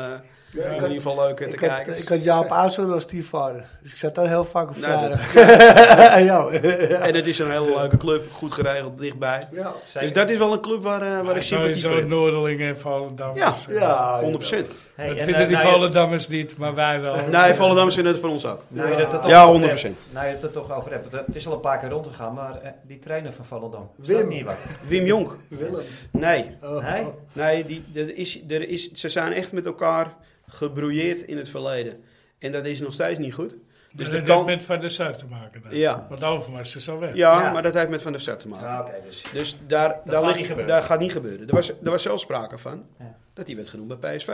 C: Ja,
D: in
C: ik
D: ieder
C: had-
D: geval leuk eh, te
C: ik had-
D: kijken.
C: ik had Jaap Aanzoon als stiefvader. Dus ik zat daar heel vaak op
D: Nou, dat-
C: vrijdag. En jou.
D: En het is een hele leuke club, goed geregeld, dichtbij.
C: Ja.
D: Dus dat is wel een club waar, eh, waar ik sympathie voor
A: Sowieso
D: heb.
A: Noordelingen en Volendammers.
D: Ja,
A: Eh,
C: Ja,
D: 100%.
B: Hey,
A: Dat
B: en,
A: vinden
B: eh,
A: die
B: nou je-
A: Volendammers niet, maar wij wel.
D: Nee, Volendamers vinden het voor ons ook.
B: Nou je het er toch
D: Ja,
B: over
D: 100%.
B: hebt, Nou je het er toch over hebt. want Het is al een paar keer rondgegaan, maar eh, die trainer van Volendam. Is
C: Wim.
B: dat niet wat?
D: Wim Jonk?
C: Willem.
D: Nee.
C: Oh.
B: Nee?
D: Nee, die, er is, er is, ze zijn echt met elkaar gebroeierd in het verleden. En dat is nog steeds niet goed. Dus
A: Dus
D: de
A: dat
D: kan-
A: heeft met Van der Sar te maken. Dan.
D: Ja.
A: Want Overmars is al weg.
D: Ja,
B: Ja.
D: maar dat heeft met Van der Sar te maken.
B: Nou, oké, dus.
D: Dus daar, daar,
B: gaat
D: ligt-
B: niet gebeuren.
D: daar gaat niet gebeuren. Er was, er was zelfs sprake van
B: Ja.
D: dat hij werd genoemd bij PSV.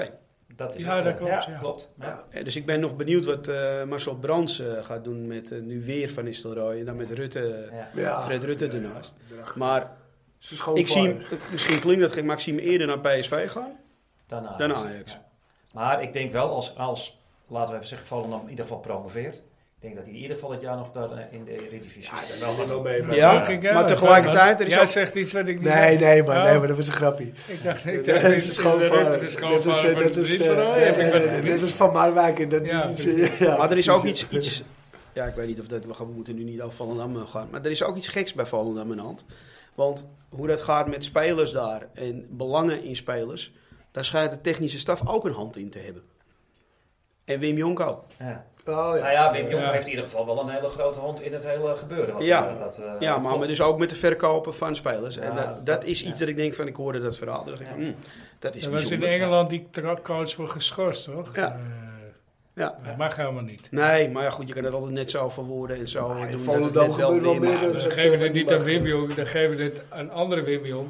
B: Dat is
A: Ja,
B: ook- eh,
A: dat klopt,
B: Ja,
A: ja.
B: klopt. Ja.
D: Eh, Dus ik ben nog benieuwd wat eh, Marcel Brands eh, gaat doen met eh, nu weer Van Nistelrooy. En dan met Rutte,
B: Ja.
C: Ja.
D: Fred Rutte ernaast. Maar
C: Zijn schoonvader.
D: ik zie, hem- misschien klinkt dat gek, maar ik zie hem eerder naar PSV gaan.
B: Dan Ajax.
D: Dan Ajax.
B: dus, Ja. Maar ik denk wel, als, als, laten we even zeggen, Volendam in ieder geval promoveert. Ik denk dat hij in ieder geval het jaar nog daar eh, in de Eredivisie zit.
C: Wel wat wel mee.
A: Dat
D: Ja,
A: dacht ik,
D: maar
A: dat
D: tegelijkertijd,
A: kan.
D: er is
A: Jij
D: ook-
A: zegt iets wat ik niet
C: Nee,
A: weet.
C: nee, maar,
A: Oh,
C: nee, maar dat was een grapje.
A: Ik dacht, ik
C: Dat
A: dacht,
C: is
A: dit
C: de
A: is de
C: schoonvader. Dit is,
A: schoonvader
C: eh,
A: van
C: dit
A: de
C: is, eh,
A: Nistelrooy. Heb ik
C: eh,
A: wat
C: eh, Dit is
A: gemist?
C: van Marwijk. En dat,
A: Ja,
C: dit-
A: precies.
C: ja,
D: maar er is ook
C: precies,
D: iets, iets. Ja, ik weet niet of dat. We gaan- we moeten nu niet over Volendam eh, gaan. Maar er is ook iets geks bij Volendam in de hand. Want hoe dat gaat met spelers daar en belangen in spelers. Daar schijnt de technische staf ook een hand in te hebben. En Wim Jonk ook.
B: Ja.
C: Oh, ja.
B: Nou ja, Wim Jong
A: Ja.
B: heeft in ieder geval wel een hele grote hand in het hele gebeuren. wat
D: Ja.
B: er, eh, dat, eh,
D: Ja, maar,
B: klopt.
D: maar dus ook met de verkopen van spelers. En
B: Ja,
D: dat, dat is
B: ja.
D: iets dat ik denk van, ik hoorde dat verhaal. Toen dacht ik,
B: Ja.
D: hmm, dat is
A: Er was in
D: bijzonder.
A: Engeland die tra- coach voor geschorst, toch?
D: Ja.
A: Eh,
D: Ja.
A: Dat mag helemaal niet.
D: Nee, maar ja, goed, je kan het altijd net zo verwoorden en zo. doen
C: in
D: dat het
C: Volendam
D: net wel
C: gebeurt wel
D: weer-
C: meer,
D: maar-
C: eh,
A: Dan geven we het niet aan Wim Jong, dan geven we het aan andere Wim Jong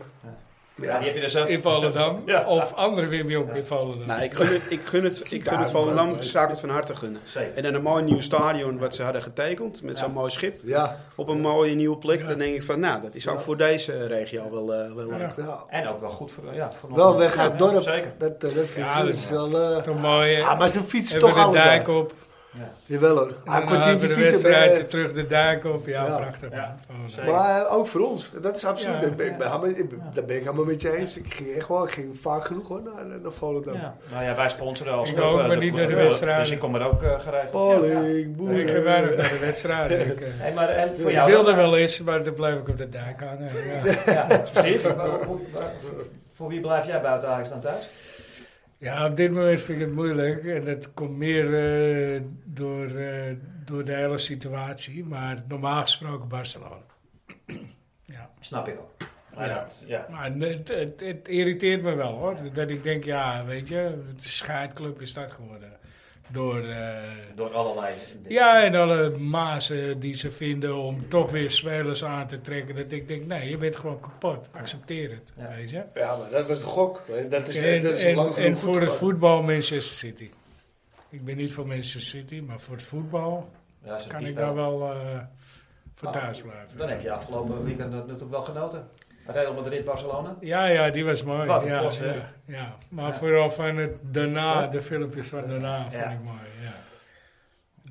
B: Ja, die heb je dus ook.
A: in Volendam.
B: Ja.
A: Of andere Wim Jong in Volendam.
D: Nee, ik gun het, ik gun het, ik gun het Volendam, ik zou het van harte gunnen.
B: Zeker.
D: En dan een mooi nieuw stadion wat ze hadden getekend met
B: Ja.
D: zo'n mooi schip.
C: Ja,
D: Op een mooie nieuwe plek.
A: Ja.
D: Dan denk ik van, nou, dat is ook
C: Ja.
D: voor deze regio wel, eh, wel leuk.
A: Ja.
C: ja.
B: En ook wel goed voor... Ja, voor
C: Wel weg uit het dorp.
B: Zeker.
C: nou, Dat, eh, dat vind
A: Ja,
C: ik
A: dat
C: dat
A: is-
C: is wel... eh,
A: Toch mooi. hè?
C: ah, maar ze fietsen
A: Hebben
C: toch
A: de
C: alle
A: dijk
C: dag.
A: op.
B: Ja.
C: Jawel hoor.
A: En
C: Ah, Een
A: dan hebben we
C: kwartiertje
A: de
C: fietsen. bij-
A: wedstrijdje terug de dijk op. Ja,
C: eh, Ja.
A: prachtig.
B: Ja.
A: Volendam.
B: Zeker.
C: Maar eh, ook voor ons, dat is absoluut.
A: Ja.
C: Ik ben, ik ben helemaal- ik ben- Daar ben ik helemaal met je eens. Ik ging echt wel, ik ging vaak genoeg hoor, naar, naar Volendam.
B: Ja. Nou ja, wij sponsoren als
A: Ik
B: club,
A: ook,
B: eh,
A: maar niet naar de
B: club.
A: wedstrijden.
B: Dus ik kom er ook eh geregeld.
C: Polling, boer.
A: Ik ga weinig naar de wedstrijd. Ik, eh,
B: Hey, maar en voor
A: ik
B: jou?
A: wilde wel eens, maar dan blijf ik op de dijk hangen. Ja.
B: Ja, Steve, waar- hoe- waar- voor wie blijf jij buiten Ajax dan thuis?
A: Ja, op dit moment vind ik het moeilijk. En dat komt meer eh, door, eh, door de hele situatie. Maar normaal gesproken Barcelona. ja.
B: Snap ik ook. Maar
A: Ja.
B: dat- ja.
A: Maar het, het, het irriteert me wel hoor. Dat ik denk, ja, weet je, het is een scheidclub is dat geworden. Door. eh,
B: Door allerlei dingen.
A: ja, en alle mazen die ze vinden om toch weer spelers aan te trekken. Dat ik denk, nee, je bent gewoon kapot. Accepteer het,
B: Ja.
A: weet je.
C: Ja, maar dat was de gok. Dat is,
A: En,
C: dat is
A: en-
C: lang genoeg
A: en
C: goed
A: voor het
C: gegaan.
A: voetbal Manchester City. Ik ben niet voor Manchester City, maar voor het voetbal
B: Ja, ze-
A: kan
B: die
A: ik
B: spel-
A: daar wel eh, voor
B: Ah,
A: thuis blijven.
B: Dan heb je afgelopen weekend natuurlijk wel genoten. Real Madrid, Barcelona.
A: Ja, ja, die was mooi.
B: Wat een
A: ja,
B: pot, hè?
A: ja, ja. Maar
B: Ja.
A: vooral van het daarna,
B: Wat?
A: de filmpjes van daarna, vond
B: Ja.
A: ik mooi. Ja.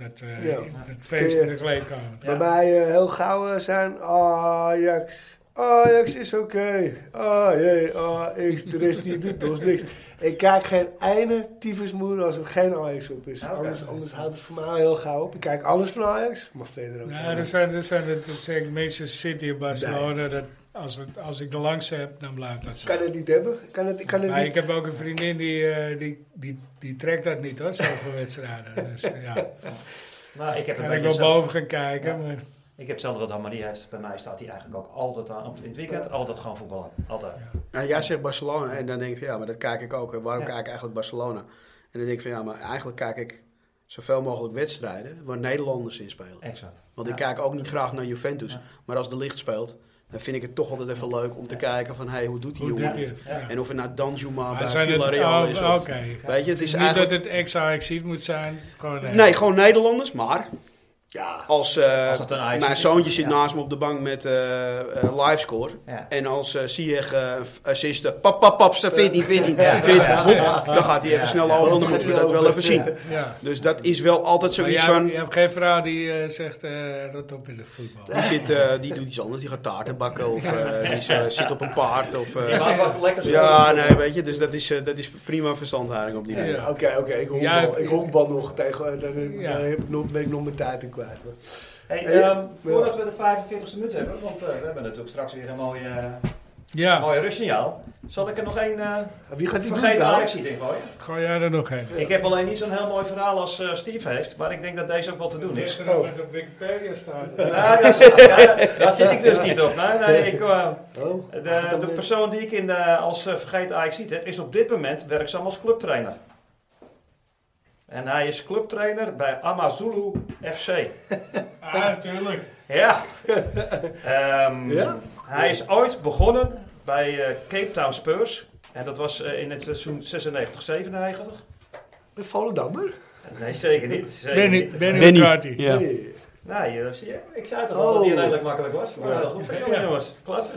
A: Dat, eh,
C: Ja.
A: dat feest in de
C: Ja.
A: kleedkamer.
B: Ja.
C: Bij mij eh, heel gauw eh, zijn Ajax. Ajax is oké. Ajax, Ajax, de rest die doet ons niks. Ik kijk geen ene tyfusmoer als het geen Ajax op is.
B: Oké.
C: Anders, anders houdt het voor mij al heel gauw op. Ik kijk alles van Ajax, maar verder ook.
A: Ja,
C: Ja,
A: er zijn, er zijn het, het zijn Manchester City en Barcelona. Dat als, het, als ik de langs heb, dan blijft dat
C: Ik
A: zo.
C: kan het niet hebben. Ik kan het, ik kan het
A: Maar ik
C: niet.
A: heb ook een vriendin die, eh, die, die, die trekt dat niet hoor, zoveel wedstrijden. Dus ja,
B: Nou, ik heb een
A: kan ik
B: beetje
A: wel
B: zo-
A: boven gaan kijken.
B: Ja.
A: Maar
B: Ik heb hetzelfde wat Anne-Marie heeft. Bij mij staat hij eigenlijk ook altijd aan. Op, in het weekend altijd gewoon voetballen. Altijd.
D: Nou, jij zegt Barcelona en dan denk ik van ja, maar dat kijk ik ook. hè. Waarom
B: Ja.
D: kijk ik eigenlijk Barcelona? En dan denk ik van ja, maar eigenlijk kijk ik zoveel mogelijk wedstrijden waar Nederlanders in spelen.
B: Exact.
D: Want
B: Ja.
D: ik kijk ook niet graag naar Juventus.
B: Ja.
D: Maar als de licht speelt, dan vind ik het toch altijd even leuk om te kijken van hey, hoe doet die
A: hoe doet
D: jongen
A: hij
D: het?
A: het? Ja.
D: En of het nou Danjuma
A: Maar
D: bij
A: zijn het-
D: Villarreal
A: oh,
D: is of...
A: Oké.
D: Weet je, het is
A: Niet
D: eigenlijk...
A: dat het ex-Ajaxiet moet zijn. Gewoon nee.
D: Nee, gewoon Nederlanders, maar
B: Ja.
D: als, eh,
B: Als dat een Ajax
D: mijn
B: is.
D: zoontje zit
B: Ja.
D: naast me op de bank met eh eh, livescore.
B: Ja.
D: En als eh Sieg eh, assisten, pap, pap, pap, 14, 14,
B: Ja, ja,
D: 14,
B: ja,
D: hoep,
B: ja.
D: dan gaat hij even
B: Ja,
D: snel
B: ja.
D: over, want dan moeten we dat wel even zien.
A: Ja.
D: Dus dat is wel altijd
A: Maar
D: zoiets
A: jij,
D: van,
A: je hebt geen vrouw die eh, zegt eh rot op in de voetbal.
D: die, zit, eh, die doet iets anders, die gaat taarten bakken of eh, die is, eh, zit op een paard of... eh,
B: Je maakt wat lekkers
D: ja,
B: van.
D: nee, weet je, dus dat is, eh, dat is prima verstandhouding op die manier.
A: Ja.
C: Oké, oké, ik honkbal,
A: Ja,
C: ik
A: ik-
C: honkbal nog tegen. eh, Daar,
A: Ja.
C: daar heb ik nog, ben ik nog mijn tijd in kwijt. maar-
B: Hey,
C: Hey,
B: ehm,
C: ja.
B: voordat we de 45e minuut hebben, want eh, we hebben natuurlijk straks weer een mooie, eh,
A: Ja,
B: mooie rustsignaal. Zal ik er nog één eh
C: Wie gaat die doen
B: vergeten
C: trouwens?
B: Ajax in gooien?
A: gooi jij er nog heen.
B: Ik heb alleen niet zo'n heel mooi verhaal als eh, Steve heeft, maar ik denk dat deze ook wel te doen is.
C: Oh.
A: wat op Wikipedia staan.
B: Nou, daar, zit- ja, daar zit ik dus niet op. Nee, nee, ik, eh,
C: Oh, gaat
B: de,
C: dat
B: de
C: met-
B: persoon die ik in, eh, als eh, vergeten Ajax ziet, heb, is op dit moment werkzaam als clubtrainer. En hij is clubtrainer bij Amazulu FC.
A: Ah, natuurlijk.
B: Ja. Ehm,
C: Ja?
B: Hij is ooit begonnen bij eh, Cape Town Spurs. En dat was eh, in het seizoen 96-97.
C: Een Volendammer?
B: Nee, zeker niet. Zeker
A: Benny,
B: niet.
A: Benny,
D: Benny.
A: McCarthy.
D: Ja.
C: Nee.
B: Nou, hier, dat zie je. ik zei toch al dat
C: Oh.
B: hij redelijk makkelijk was. Maar
C: Ja.
B: heel goed voor jullie,
A: Ja.
B: jongens. Klasse.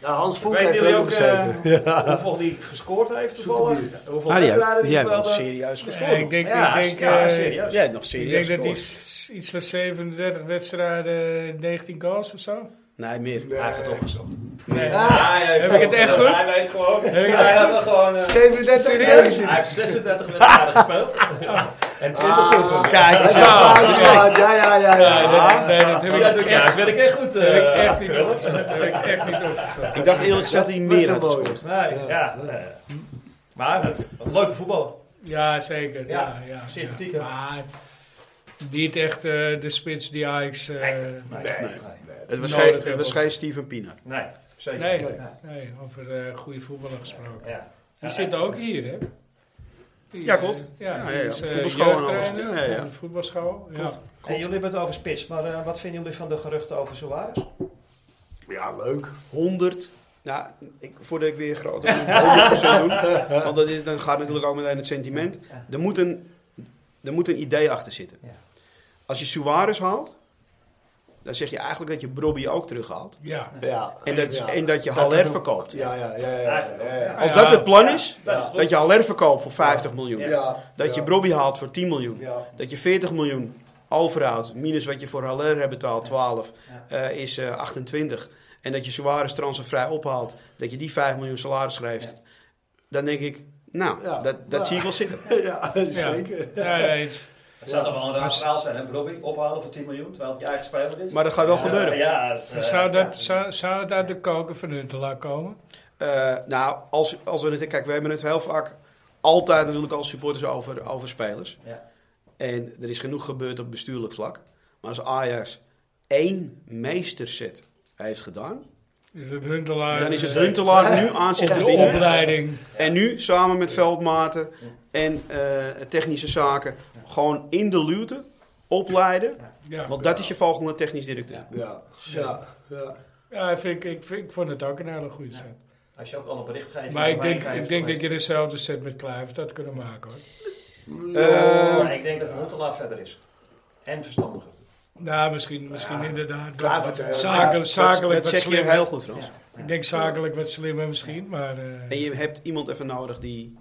C: Ja, Hans Vonk
B: Weet
C: heeft er
B: jullie
C: ook
B: ook
C: gezeten.
B: eh, hoeveel hij gescoord heeft toevallig? Hoeveel
D: Ah, die,
B: wedstrijden
D: heeft-
B: die
D: die heeft wel
B: speelde?
D: serieus
A: Ja,
D: gescoord.
A: ik denk,
B: Ja,
A: ik denk,
B: ja,
A: eh,
B: serieus.
D: Jij hebt nog
A: Ik
D: serieus
A: denk dat hij
D: gescoord.
A: s- iets van 37 wedstrijden, 19 goals of zo.
D: Nee, meer.
B: Hij heeft het opgezocht.
A: Nee.
B: Ja,
D: Ah.
B: hij heeft eh,
A: Heb ik het echt goed?
B: Hij weet gewoon.
A: Heb ik het
B: Hij
A: echt
B: had er gewoon... eh,
C: 37
A: Serieus?
B: Hij heeft 36 wedstrijden gespeeld. En 20 doelpunten.
D: Kijk eens
A: Ja.
D: aan.
C: Ja, ja, ja, ja, ja.
A: Ja, nee, dat heb ik
B: Ah. Ja, dat
A: echt,
B: ja, werk echt goed.
A: heb ik
B: eh,
A: echt niet
B: Krullen.
A: opgezocht. Heb ik echt niet opgezocht.
D: Ik dacht eerlijk gezegd dat hij meer had
C: mooi.
D: gescoord.
B: Nee, ja. eh, maar dat is een leuke voetbal.
A: Ja, zeker. Ja,
B: Ja,
A: ja, ja,
B: sympathiek, hè?
A: Maar niet echt eh, de spits die Ajax... eh,
B: Nee,
D: nee.
B: nee.
D: Het was,
A: Nodig
D: geen,
A: hebben
D: het was
A: we.
D: geen Steven Pienaar.
B: Nee, zeker
A: nee,
B: niet.
A: nee,
B: Ja.
A: over eh, goede voetballer gesproken.
B: Ja.
A: Die
B: Ja,
A: zit
B: ja.
A: ook hier, hè? Die,
D: Ja, klopt.
A: eh, Ja,
D: Ja,
A: die
D: ja, ja.
A: is, eh,
D: Voetbalschool en alles.
A: jeugdtrainer
D: Ja, ja, ja.
A: van de Voetbalschool. Ja.
D: Klopt.
B: En jullie hebben het over spits, maar eh, wat vinden jullie van de geruchten over Suarez?
C: Ja, leuk.
D: 100. Nou, ik, voordat ik weer groot 100% doen. Want dat is, dan gaat natuurlijk ook meteen het sentiment.
B: Ja.
D: Er moet een, er moet een idee achter zitten.
B: Ja.
D: Als je Suarez haalt, dan zeg je eigenlijk dat je Brobby ook terughaalt.
A: Ja.
C: Ja.
D: En dat,
C: ja.
D: en dat je
C: Dat
D: Haller
C: dat ook-
D: verkoopt.
C: Ja, ja, ja, ja.
B: Eigenlijk wel,
C: ja, ja.
D: Als
A: Ja.
D: dat het plan is,
B: Dat is
D: dat je Haller verkoopt voor 50 miljoen.
B: Ja.
C: Ja,
D: Dat je
C: ja.
D: Brobby haalt voor 10 miljoen.
C: Ja.
D: Dat je 40 miljoen overhoudt, minus wat je voor Haller hebt betaald, 12, eh, is eh, 28. En dat je Suarez transfervrij ophaalt, dat je die 5 miljoen salaris geeft. Dan denk ik, nou,
C: Ja.
D: dat, dat
C: Ja.
D: zie ik wel zitten.
C: Ja, zeker.
A: Ja, ja, eens.
B: Dat zou toch wel een raar verhaal zijn, hè? Robbie, ophalen voor 10 miljoen, terwijl het je eigen speler is?
D: Maar dat gaat wel gebeuren.
B: Ja, het, eh,
A: Zou, dat,
B: ja.
A: zou, zou het uit de koken van Huntelaar komen?
D: Eh, nou, als, als we het, kijk, we hebben het heel vaak altijd natuurlijk als supporters over, over spelers.
B: Ja.
D: En er is genoeg gebeurd op bestuurlijk vlak. Maar als Ajax één meesterzet heeft gedaan,
A: Is het Huntelaar?
D: dan is het
A: eh,
D: Huntelaar nu aan zich
A: Op
D: te
A: de
D: binnen.
A: opleiding.
D: En nu samen met veldmaten en eh, technische zaken gewoon in de luwte opleiden.
A: Ja.
D: Want dat is je volgende technisch directeur.
C: Ja, ja, ja.
A: Ja, ik, vind, ik, vind, ik vond het ook een hele goede set.
B: Als je ook alle berichtgeving...
A: Maar ik
B: erbij
A: denk,
B: krijgt,
A: ik denk dat
B: geweest.
A: je dezelfde set met Kluivert had kunnen maken hoor.
D: Eh,
A: Eh,
B: Maar ik denk dat Huntelaar verder is. En verstandiger.
A: Nou, misschien, misschien inderdaad.
C: klaar
A: wat-
C: voor
A: wat
C: het, eh,
A: zakel-
D: Dat-
A: zakelijk
D: dat
A: wat
D: zeg je
A: slimmer.
D: heel goed, Frans.
A: Ik denk zakelijk wat slimmer misschien, maar... eh,
D: En je hebt iemand even nodig die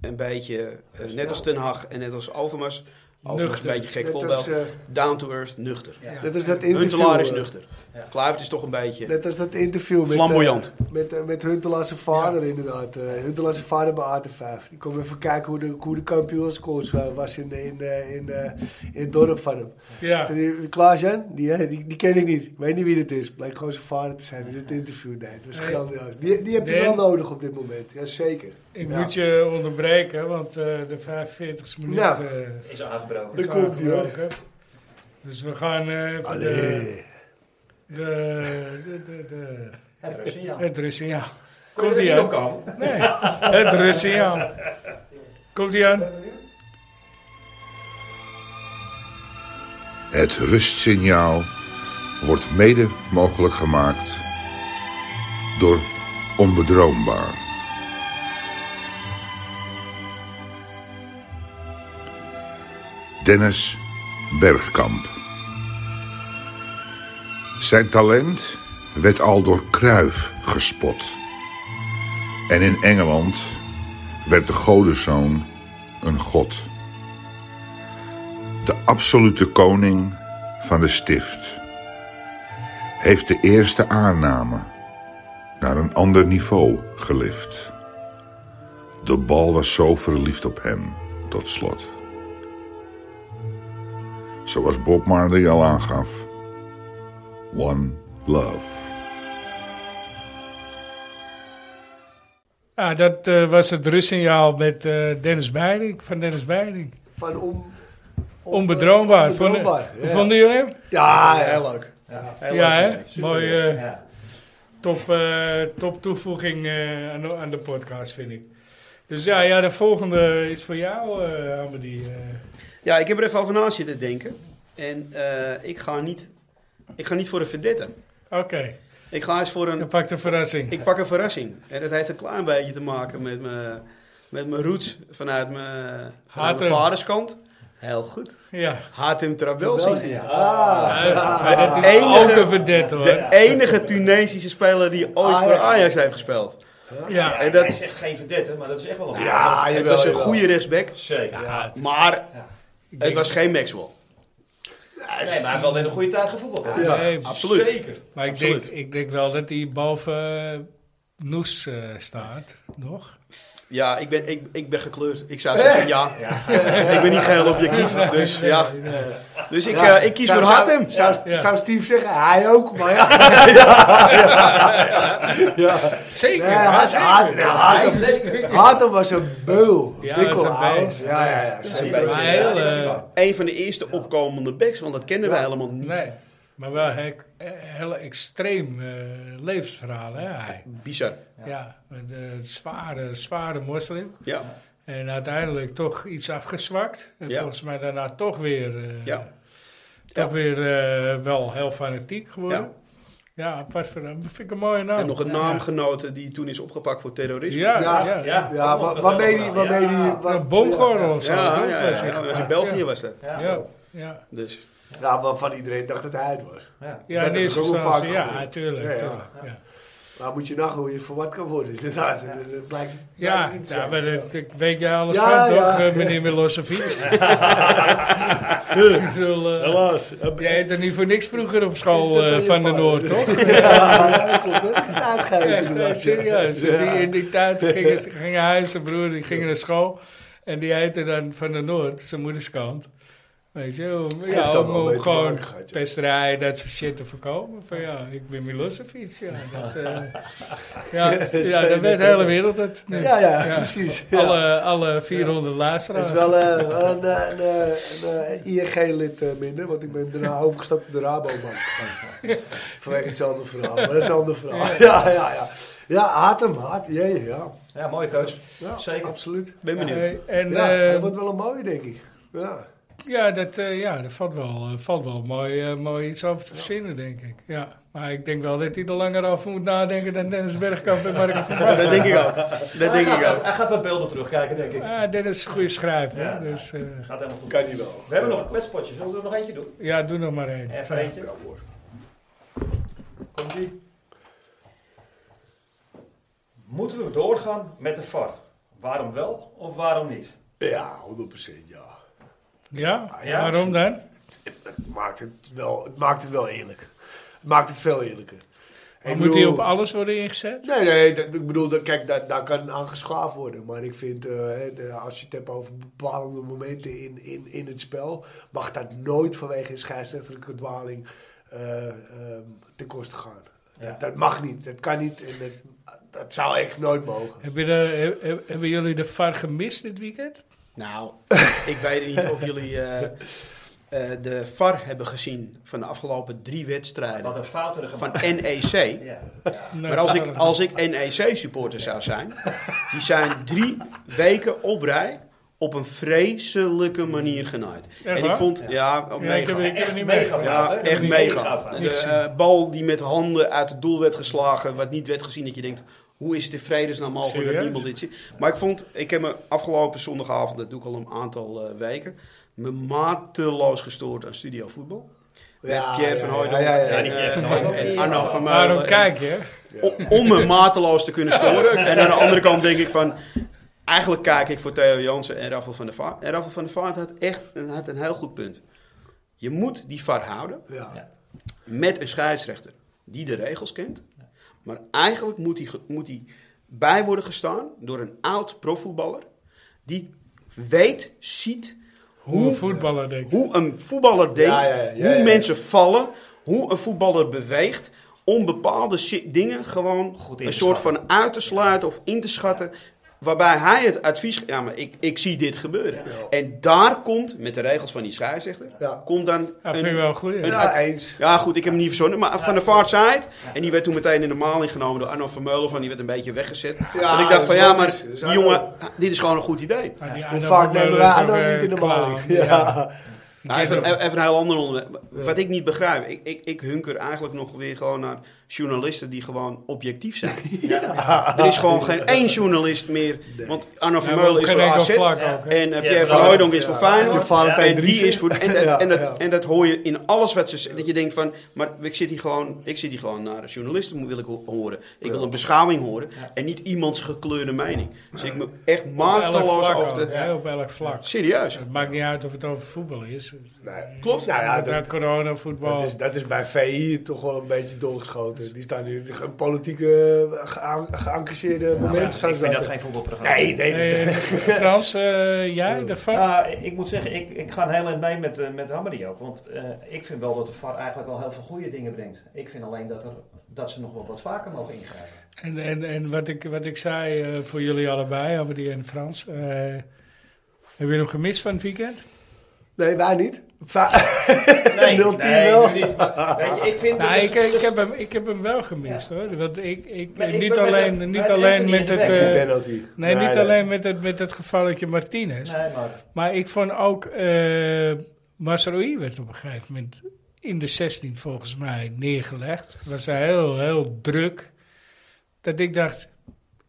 D: een beetje, eh, net als Ten Hag en net als Overmars, Overmars
A: Nuchter.
D: een beetje gek
C: Net als,
D: voorbeeld,
C: eh,
D: down to earth, nuchter.
B: Ja.
A: ja.
C: Net als dat interview.
D: Huntelaar is
C: eh,
D: nuchter.
B: Ja.
D: Kluivert is toch een beetje...
C: Net als dat interview met,
D: Flamboyant.
C: eh, met, eh, met Huntelaar zijn vader inderdaad. eh Huntelaar zijn vader bij AT5. Die kwam even kijken hoe de, hoe de kampioenscoach eh, was in, in, eh, in, eh, in het dorp van hem.
A: Ja.
C: Zei die, Klaas-Jan, die, eh, die, die ken ik niet. Ik weet niet wie dat is. Blijkt gewoon zijn vader te zijn die dit interview deed. Dat is
A: Nee.
C: grandioos. Die, die heb je
A: Nee.
C: wel nodig op dit moment. Jazeker.
A: Ik
C: Ja.
A: moet je onderbreken, want eh, de 45 e minuut
C: Nou.
A: eh,
B: Is aangebroken.
A: is
C: Daar komt-ie, hoor.
A: aangebroken. Dus we gaan eh, even de,
C: Allee.
A: de, de, de, de-
B: Het rustsignaal.
A: het rustsignaal.
B: Kun je
A: Eh, Komt
B: er
A: ie
B: niet op
A: aan?
B: komen?
A: Nee, het rustsignaal. Komt ie aan?
F: Het rustsignaal wordt mede mogelijk gemaakt door onbedroombaar. Dennis Bergkamp. Zijn talent werd al door Kruif gespot. En in Engeland werd de godenzoon een god de absolute koning van de stift. Heeft de eerste aanname naar een ander niveau gelift. De bal was zo verliefd op hem, tot slot. Zoals Bob Marley al aangaf. One love.
A: Ja, dat eh, was het rustsignaal met eh, Dennis Beiring, van Dennis Beiring.
C: Van on, on-
A: Onbedroombaar. Vonden-
C: onbedroombaar,
A: Hoe
C: ja.
A: vonden jullie hem?
C: Ja, ja.
D: heel leuk.
B: Ja.
D: Heel
A: ja,
D: leuk.
A: hè? Mooi, eh,
B: Ja.
A: top, eh, top toevoeging eh, aan, de- aan de podcast, vind ik. Dus ja, ja de volgende is voor jou, eh Amadie. eh.
D: Ja, ik heb er even over na zitten denken. En eh, ik, ga niet, ik ga niet voor een verdette.
A: Oké,
D: Ik ga eens voor een...
A: dan pak de verrassing.
D: Ik pak een verrassing. En dat heeft een klein beetje te maken met mijn, met mijn roots vanuit mijn, vanuit mijn
A: Hatem.
D: vaderskant. Heel goed.
A: Ja,
D: Hatem
C: België.
D: Trabelsi.
C: Ah.
A: Eh, maar dat is
D: enige-
A: ook een verdette, hoor.
D: De enige Tunesische speler die ooit voor
C: Ajax.
D: Ajax heeft gespeeld.
B: Ja,
A: ja.
D: En dat-
B: Hij is echt geen verdette, maar dat is echt wel een
C: Ja,
D: Het
C: jawel,
D: was een
C: jawel.
D: goede rechtsback,
B: Zeker. Ja.
D: maar
A: ik
D: het
A: denk-
D: was geen Maxwell.
B: Nee, maar hij heeft wel in een goede tijd gevoetbald. hoor.
C: Ja.
A: Nee,
D: Absoluut.
B: Zeker.
A: maar ik denk,
D: absoluut.
A: ik denk wel dat hij boven eh, Noes eh, staat, nog.
D: Ja, ik ben, ik, ik ben gekleurd. Ik zou zeggen ja. ik ben niet geheel objectief, dus ja. Dus ik,
C: Ja.
D: eh, ik kies
C: Zou-
D: voor
C: zou-
D: Hatem.
C: Zou,
A: Ja.
C: zou Steve zeggen, hij ook, maar ja.
A: Zeker,
C: Nee,
A: ja,
C: Hatem,
A: zeker.
C: Hatem, Hatem, Hatem was een beul.
A: Ja,
C: Dikkel,
A: was een
C: ouwe.
A: beest,
C: Ja, ja, ja.
A: beest.
D: is een
C: zeker.
D: beest.
A: Maar
B: Ja,
A: heel,
B: dat is
A: eh,
B: waar.
D: Een van de eerste opkomende backs, want dat kenden wij helemaal niet.
A: nee, maar wel hek- eh, heel extreem eh, levensverhaal, hè, hij.
D: Bizar.
A: Ja, met, eh, het zware, zware moslim.
D: Ja.
A: En uiteindelijk toch iets afgezwakt. En
D: Ja.
A: volgens mij daarna toch weer, eh,
D: Ja.
A: Toch
D: Ja.
A: weer eh, wel heel fanatiek geworden. Ja, apart van hem. Vind ik een mooie naam.
D: En nog een
A: Oh, Ja.
D: naamgenote die toen is opgepakt voor terrorisme.
A: Ja, ja.
C: Ja.
A: ja.
B: Ja,
C: Ja,
B: dat
C: wa-
B: was
C: waarmee
B: wel
C: die...
B: wel.
C: Waarmee die
B: Ja.
C: wa-
A: Een bomgordel of zo.
D: Ja, ja,
A: toch?
D: ja,
A: Dat is
D: ja,
A: echt
D: dat was in
A: waar.
D: België was dat.
A: Ja,
B: Ja.
A: ja. ja.
D: Dus
C: Nou, waarvan iedereen dacht dat hij het was.
B: Ja.
A: Ja,
C: heb
A: in
C: ik
A: eerste
C: ook wel
A: instantie.
C: vaak
A: Ja,
C: gehoord.
A: tuurlijk.
C: Ja, ja.
A: tuurlijk, ja.
C: Maar moet je nagaan hoe je voor wat kan worden, inderdaad. En dat blijkt,
A: Ja,
C: blijkt iets te
A: ja,
C: zijn.
A: maar dat, ik weet jij alles
C: Ja,
A: van, toch,
C: ja.
A: eh, meneer Milosevic? Ik bedoel, eh,
B: Helaas.
A: jij hebt er niet voor niks vroeger op school
C: Dat ben
A: eh,
C: je
A: van de
C: fout.
A: Noord, toch?
C: Ja, dat klopt. Dat is het uitgeven,
A: Echt, eh,
C: inderdaad.
A: serieus. Die, in die tijd gingen ze- gingen hij en zijn broer die gingen naar school. En die heette dan van de Noord, zijn moederskant. Weet je, om,
C: Heeft
A: ja,
C: ook
A: om,
C: wel
A: om
C: mee te
A: gewoon
C: maken gehad, ja.
A: pesterij, dat soort shit te voorkomen. Van ja, ik ben Milosevic. Ja, dat, eh, ja, ja, dat weet de hele wereld het. nu.
C: Ja, ja,
A: Ja.
C: precies. Ja.
A: Alle, alle 400
C: Dat
A: luisteraars.
C: is wel eh, wel een, eh, een, eh, een, eh, ING-lid eh, minder, want ik ben daarna overgestapt op de Rabobank. Vanwege hetzelfde verhaal, maar dat is een ander verhaal. Ja, ja, ja. Ja, haat hem, haat. Jee, ja.
B: Ja, mooie keus.
C: ja
B: Zeker.
C: Absoluut.
D: ben benieuwd.
A: Nee, En
C: ja,
A: eh,
C: hij wordt wel een mooie, denk ik. Ja.
A: ja, Ja, dat, eh, ja, dat valt wel, eh, valt wel mooi, eh, mooi iets over te verzinnen, denk ik. Ja. Maar ik denk wel dat hij er langer over moet nadenken dan Dennis Bergkamp en Marco van Basten.
D: Dat denk ik ook. Dat denk ik ook.
B: Hij gaat wat beelden terugkijken, denk ik.
A: Ah, Dennis is een goede schrijver,
B: Ja.
A: dus eh,
B: Gaat helemaal goed.
D: Kan niet wel.
B: We hebben nog een kletspotje. Zullen we er nog eentje doen?
A: ja, doe nog maar één.
B: Even eentje. Komt ie. Moeten we doorgaan met de VAR? Waarom wel of waarom niet?
C: Ja, 100% ja.
A: Ja?
B: ja.
A: Waarom dan?
C: Het maakt het wel, het maakt het wel eerlijk. Het maakt het veel eerlijker.
A: Maar
C: Ik
A: moet hij
C: bedoel-
A: op alles worden ingezet?
C: Nee, nee, dat- ik bedoel, dat- kijk, daar, daar kan aan geschaafd worden. Maar ik vind, eh, hè, de- als je het hebt over bepalende momenten in, in, in het spel, mag dat nooit vanwege een scheidsrechterlijke dwaling eh, ehm, ten koste gaan.
B: Ja.
C: Dat, dat mag niet, dat kan niet en dat, dat zou echt nooit mogen.
A: Hebben, de, he- he- hebben jullie de VAR gemist dit weekend?
D: Nou, ik weet niet of jullie eh, eh, de VAR hebben gezien van de afgelopen drie
B: Wat
D: wedstrijden
B: een fouten er
D: van
B: gemaakt.
D: NEC.
B: Ja.
A: Nee,
D: Maar als
A: dat
D: ik,
A: kan
D: als ik NEC-supporter zou zijn, die zijn drie weken op rij op een vreselijke manier genaaid. en ik
A: waar?
D: vond, ja, oh,
A: Ja, ik
D: mega.
A: heb- ik heb er
B: Echt
A: niet
B: mega
A: mee.
B: fout, hè?
D: Ja, echt mega.
B: fout.
D: De eh, bal die met handen uit het doel werd geslagen, wat niet werd gezien, dat je denkt, hoe is het in vredesnaam mogelijk dat
A: Serieus?
D: niemand dit ziet? Maar ik vond, ik heb me afgelopen zondagavond, dat doe ik al een aantal eh, weken, me mateloos gestoord aan studio voetbal. Met Pierre van Hooydonk
C: ja, ja, ja.
D: en,
B: die Pierre
D: eh,
B: van Hooijdonk.
D: en Arno van Meulen.
A: Waarom
D: en-
A: kijk je?
D: O- om me mateloos te kunnen storen. En aan de andere kant denk ik van... Eigenlijk kijk ik voor Theo Jansen en Rafael van der Vaart. En Rafael van der Vaart had echt een, had een heel goed punt. Je moet die VAR houden
C: Ja.
B: Ja.
D: met een scheidsrechter die de regels kent. Maar eigenlijk moet die, ge- moet die bij worden gestaan door een oud profvoetballer... die weet, ziet
A: Hoe een voetballer denkt.
D: hoe een voetballer denkt,
C: Ja, ja, ja, ja,
D: hoe
C: ja.
D: mensen vallen, hoe een voetballer beweegt. Om bepaalde si- dingen gewoon
B: Goed in
D: een
B: te
D: soort
B: schatten.
D: van uit te sluiten of in te schatten. Waarbij hij het advies ge- Ja, maar ik, ik zie dit gebeuren. En daar komt, met de regels van die scheidsrechter,
C: Ja.
D: komt dan...
A: Dat vind ik
D: een-
A: wel goed. ja.
C: Ja, eens.
D: ja, goed, ik heb hem niet verzonnen, maar van de vaart zei het. En die werd toen meteen in de maling genomen door Arno Vermeulen. Van, die werd een beetje weggezet.
C: Ja,
D: en ik dacht
C: dat
D: van,
C: is
D: ja,
C: logisch.
D: maar
C: Dat is
D: die jongen, ah, dit is gewoon een goed idee.
A: Maar die
C: Hoe
A: Arno
C: vaak
A: van
C: nemen
A: Meulen
C: wij
A: is
C: Arno
A: ook, eh,
C: niet in de
A: clown.
C: maling?
A: Ja.
C: Ja.
A: Ik
D: Nou,
A: ken
D: even,
A: hem.
D: even een heel ander onderwerp. Wat ik niet begrijp, ik, ik, ik hunker eigenlijk nog weer gewoon naar journalisten die gewoon objectief zijn. Er is gewoon geen één journalist meer. Want Arno
A: Ja,
D: van
A: maar
D: Meulen
A: op
D: is
A: geen
D: voor
A: enkel
D: AZ.
A: vlak
B: Ja.
A: ook, hè.
D: En eh, Pierre
B: Ja,
D: van Hooydonk is voor Feyenoord.
C: Ja, Valentijn
D: en die
C: Driessen.
D: is voor... En, dat- en, dat,
C: Ja, ja.
D: en dat hoor je in alles wat ze zeggen. Dat je denkt van... Maar ik zit hier gewoon, ik zit hier gewoon naar de journalisten moet- wil ik ho- horen. Ik wil een beschouwing horen. En niet iemands gekleurde mening. Dus ik me echt
A: Op elk
D: mateloos
A: vlak
D: over
A: ook,
D: de...
A: hè, Op elk vlak.
D: Serieus.
A: Het maakt niet uit of het over voetbal is.
C: Klopt. Nou ja, dat,
A: Corona, coronavoetbal.
C: Dat is, dat is bij VI toch wel een beetje doorgeschoten. Die staan nu een politieke eh, gea- geëngageerde moment.
B: Ik vind dat geen voetbalprogramma.
C: Nee, nee, nee.
A: Eh, Frans, eh, jij, de VAR?
B: Nou, ik moet zeggen, ik, ik ga een heel eind mee met, eh, met Hammery ook. Want eh, ik vind wel dat de VAR eigenlijk wel heel veel goede dingen brengt. Ik vind alleen dat, er, dat ze nog wel wat vaker mogen ingrijpen.
A: En, en, en wat, ik, wat ik zei eh, voor jullie allebei, Abdi en Frans. eh, hebben jullie hem gemist van het weekend?
C: Nee, wij niet. Va- 0-10
B: nee,
C: wel.
B: nu niet. Maar, weet je, ik vind...
A: Nou,
B: dus-
A: ik, ik,
B: dus-
A: heb hem, ik heb hem wel gemist hoor. Want ik, ik, eh,
B: Maar ik
A: niet
B: ben met
A: alleen,
B: hem-
A: niet
B: met
A: alleen
B: Anthony
A: met
B: in
A: het.
B: de back.
A: eh,
C: Die penalty.
A: nee, niet alleen met het, met het gevalletje Martinez.
B: Nee, maar...
A: Maar ik vond ook. eh Masrui werd op een gegeven moment in de 16 volgens mij neergelegd. Was hij heel, heel druk. Dat ik dacht: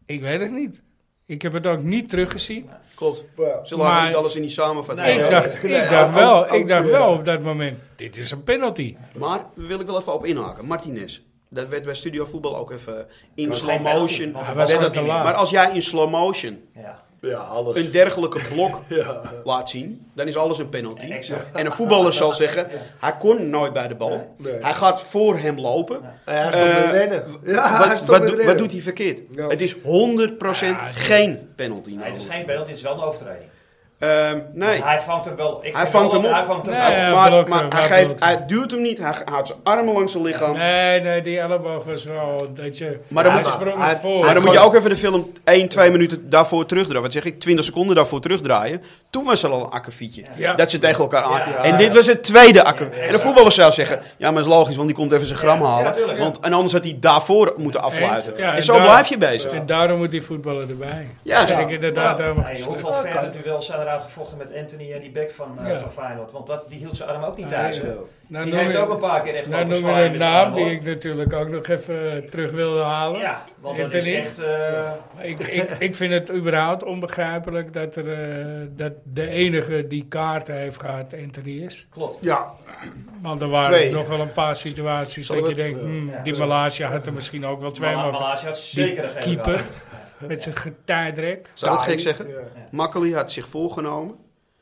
A: ik weet het niet. Ik heb het ook niet teruggezien.
D: Klopt.
C: Ja.
D: Ze laten
A: Maar-
D: niet alles in die samenvatting.
B: Nee,
A: ik
B: ja,
A: dacht,
C: nee,
A: ik dacht
C: ook-
A: wel,
C: ook-
A: ik dacht
C: ja.
A: wel op dat moment, dit is een penalty.
D: Maar daar wil ik wel even op inhaken. Martinez. Dat werd bij Studio Voetbal ook even in
B: was
D: slow
B: geen penalty,
D: motion.
B: want
A: hij was
D: werd
A: gewoon
D: dat-
A: te laat.
D: Maar als jij in slow motion
B: Ja.
C: Ja, alles.
D: een dergelijke blok
C: Ja.
D: laat zien, dan is alles een penalty.
B: Exact.
D: En een voetballer zal zeggen, hij kon nooit bij de bal.
C: Nee. Nee.
D: Hij gaat voor hem lopen.
C: Nou Hij stopt met
D: Eh,
C: rennen. Ja, Ah, hij
D: Wat,
C: stopt
D: wat
C: met
D: doe-
C: rennen.
D: wat doet hij verkeerd?
C: Ja.
D: Het is 100%
A: Ja,
D: geen penalty.
B: Nee, het is
D: namelijk.
B: geen penalty, het is wel een overtreding.
D: Ehm, nee.
B: Hij vangt hem wel... Ik
D: Hij
B: vind wel
D: vangt hem
B: dat
D: op.
B: Hij vangt hem
A: Nee,
B: wel.
A: ja,
D: maar
A: blokt
D: maar
A: hem,
D: hij,
A: hij
D: geeft,
A: blokt
D: hij duwt hem niet. Hij houdt zijn armen langs zijn lichaam.
A: Nee, nee, die elleboog was wel dat je...
D: Maar dan
A: hij
D: moet-
A: sprong
C: hij-
A: ervoor.
D: Maar dan moet je
C: gewoon-
D: ook even de film 1, 2 minuten daarvoor terugdraaien. Wat zeg ik? 20 seconden daarvoor terugdraaien. Toen was er al een akkefietje.
A: Ja.
D: Dat ze tegen elkaar aan.
B: Ja.
D: en
B: Ja.
D: dit was het tweede akkefietje. en de
B: exact.
D: voetballer zou zeggen: Ja, maar is logisch, want die komt even zijn gram
B: Ja,
D: halen.
B: tuurlijk.
D: want, en anders had hij daarvoor moeten afsluiten.
A: Eens. Ja,
D: en
A: en
D: zo
A: daar-
D: blijf je bezig.
A: En daarom moet die voetballer erbij.
D: Juist.
A: Ik denk inderdaad
C: Ja.
A: helemaal
B: Hey,
A: geslaagd.
B: hoeveel verder duels zijn er uitgevochten met Anthony en die bek van, eh
A: Ja.
B: van Feyenoord. Want dat, die hield zijn arm ook niet
A: Nee,
B: thuis.
A: ja.
B: hè.
A: Nou,
B: die
A: noem
B: heeft
A: je-
B: ook een paar keer echt
A: nou
B: lopen
A: noem je
B: zwaaien
A: een
B: met zijn
A: naam
B: arm,
A: die
B: hoor.
A: ik natuurlijk ook nog even eh, terug wilde halen.
B: Ja, want dat is
A: Anthony.
B: echt... eh,
A: Ik, ik, ik vind het überhaupt onbegrijpelijk dat, er, eh, dat de enige die kaarten heeft gehad Anthony is.
B: klopt.
D: Ja,
A: Want er waren
D: Twee.
A: nog wel een paar situaties
D: Zal
A: dat
D: ik
A: je
D: het-
A: denkt, hmm,
B: ja.
A: die Malasia had er misschien ook wel twee
B: Mala-
A: mogen.
B: Malasia had zeker een gele
A: keeper.
B: kaart.
A: Met zijn getijdrek.
D: zou ik dat
C: Taai.
D: gek zeggen?
C: Ja.
D: Makkely had zich voorgenomen.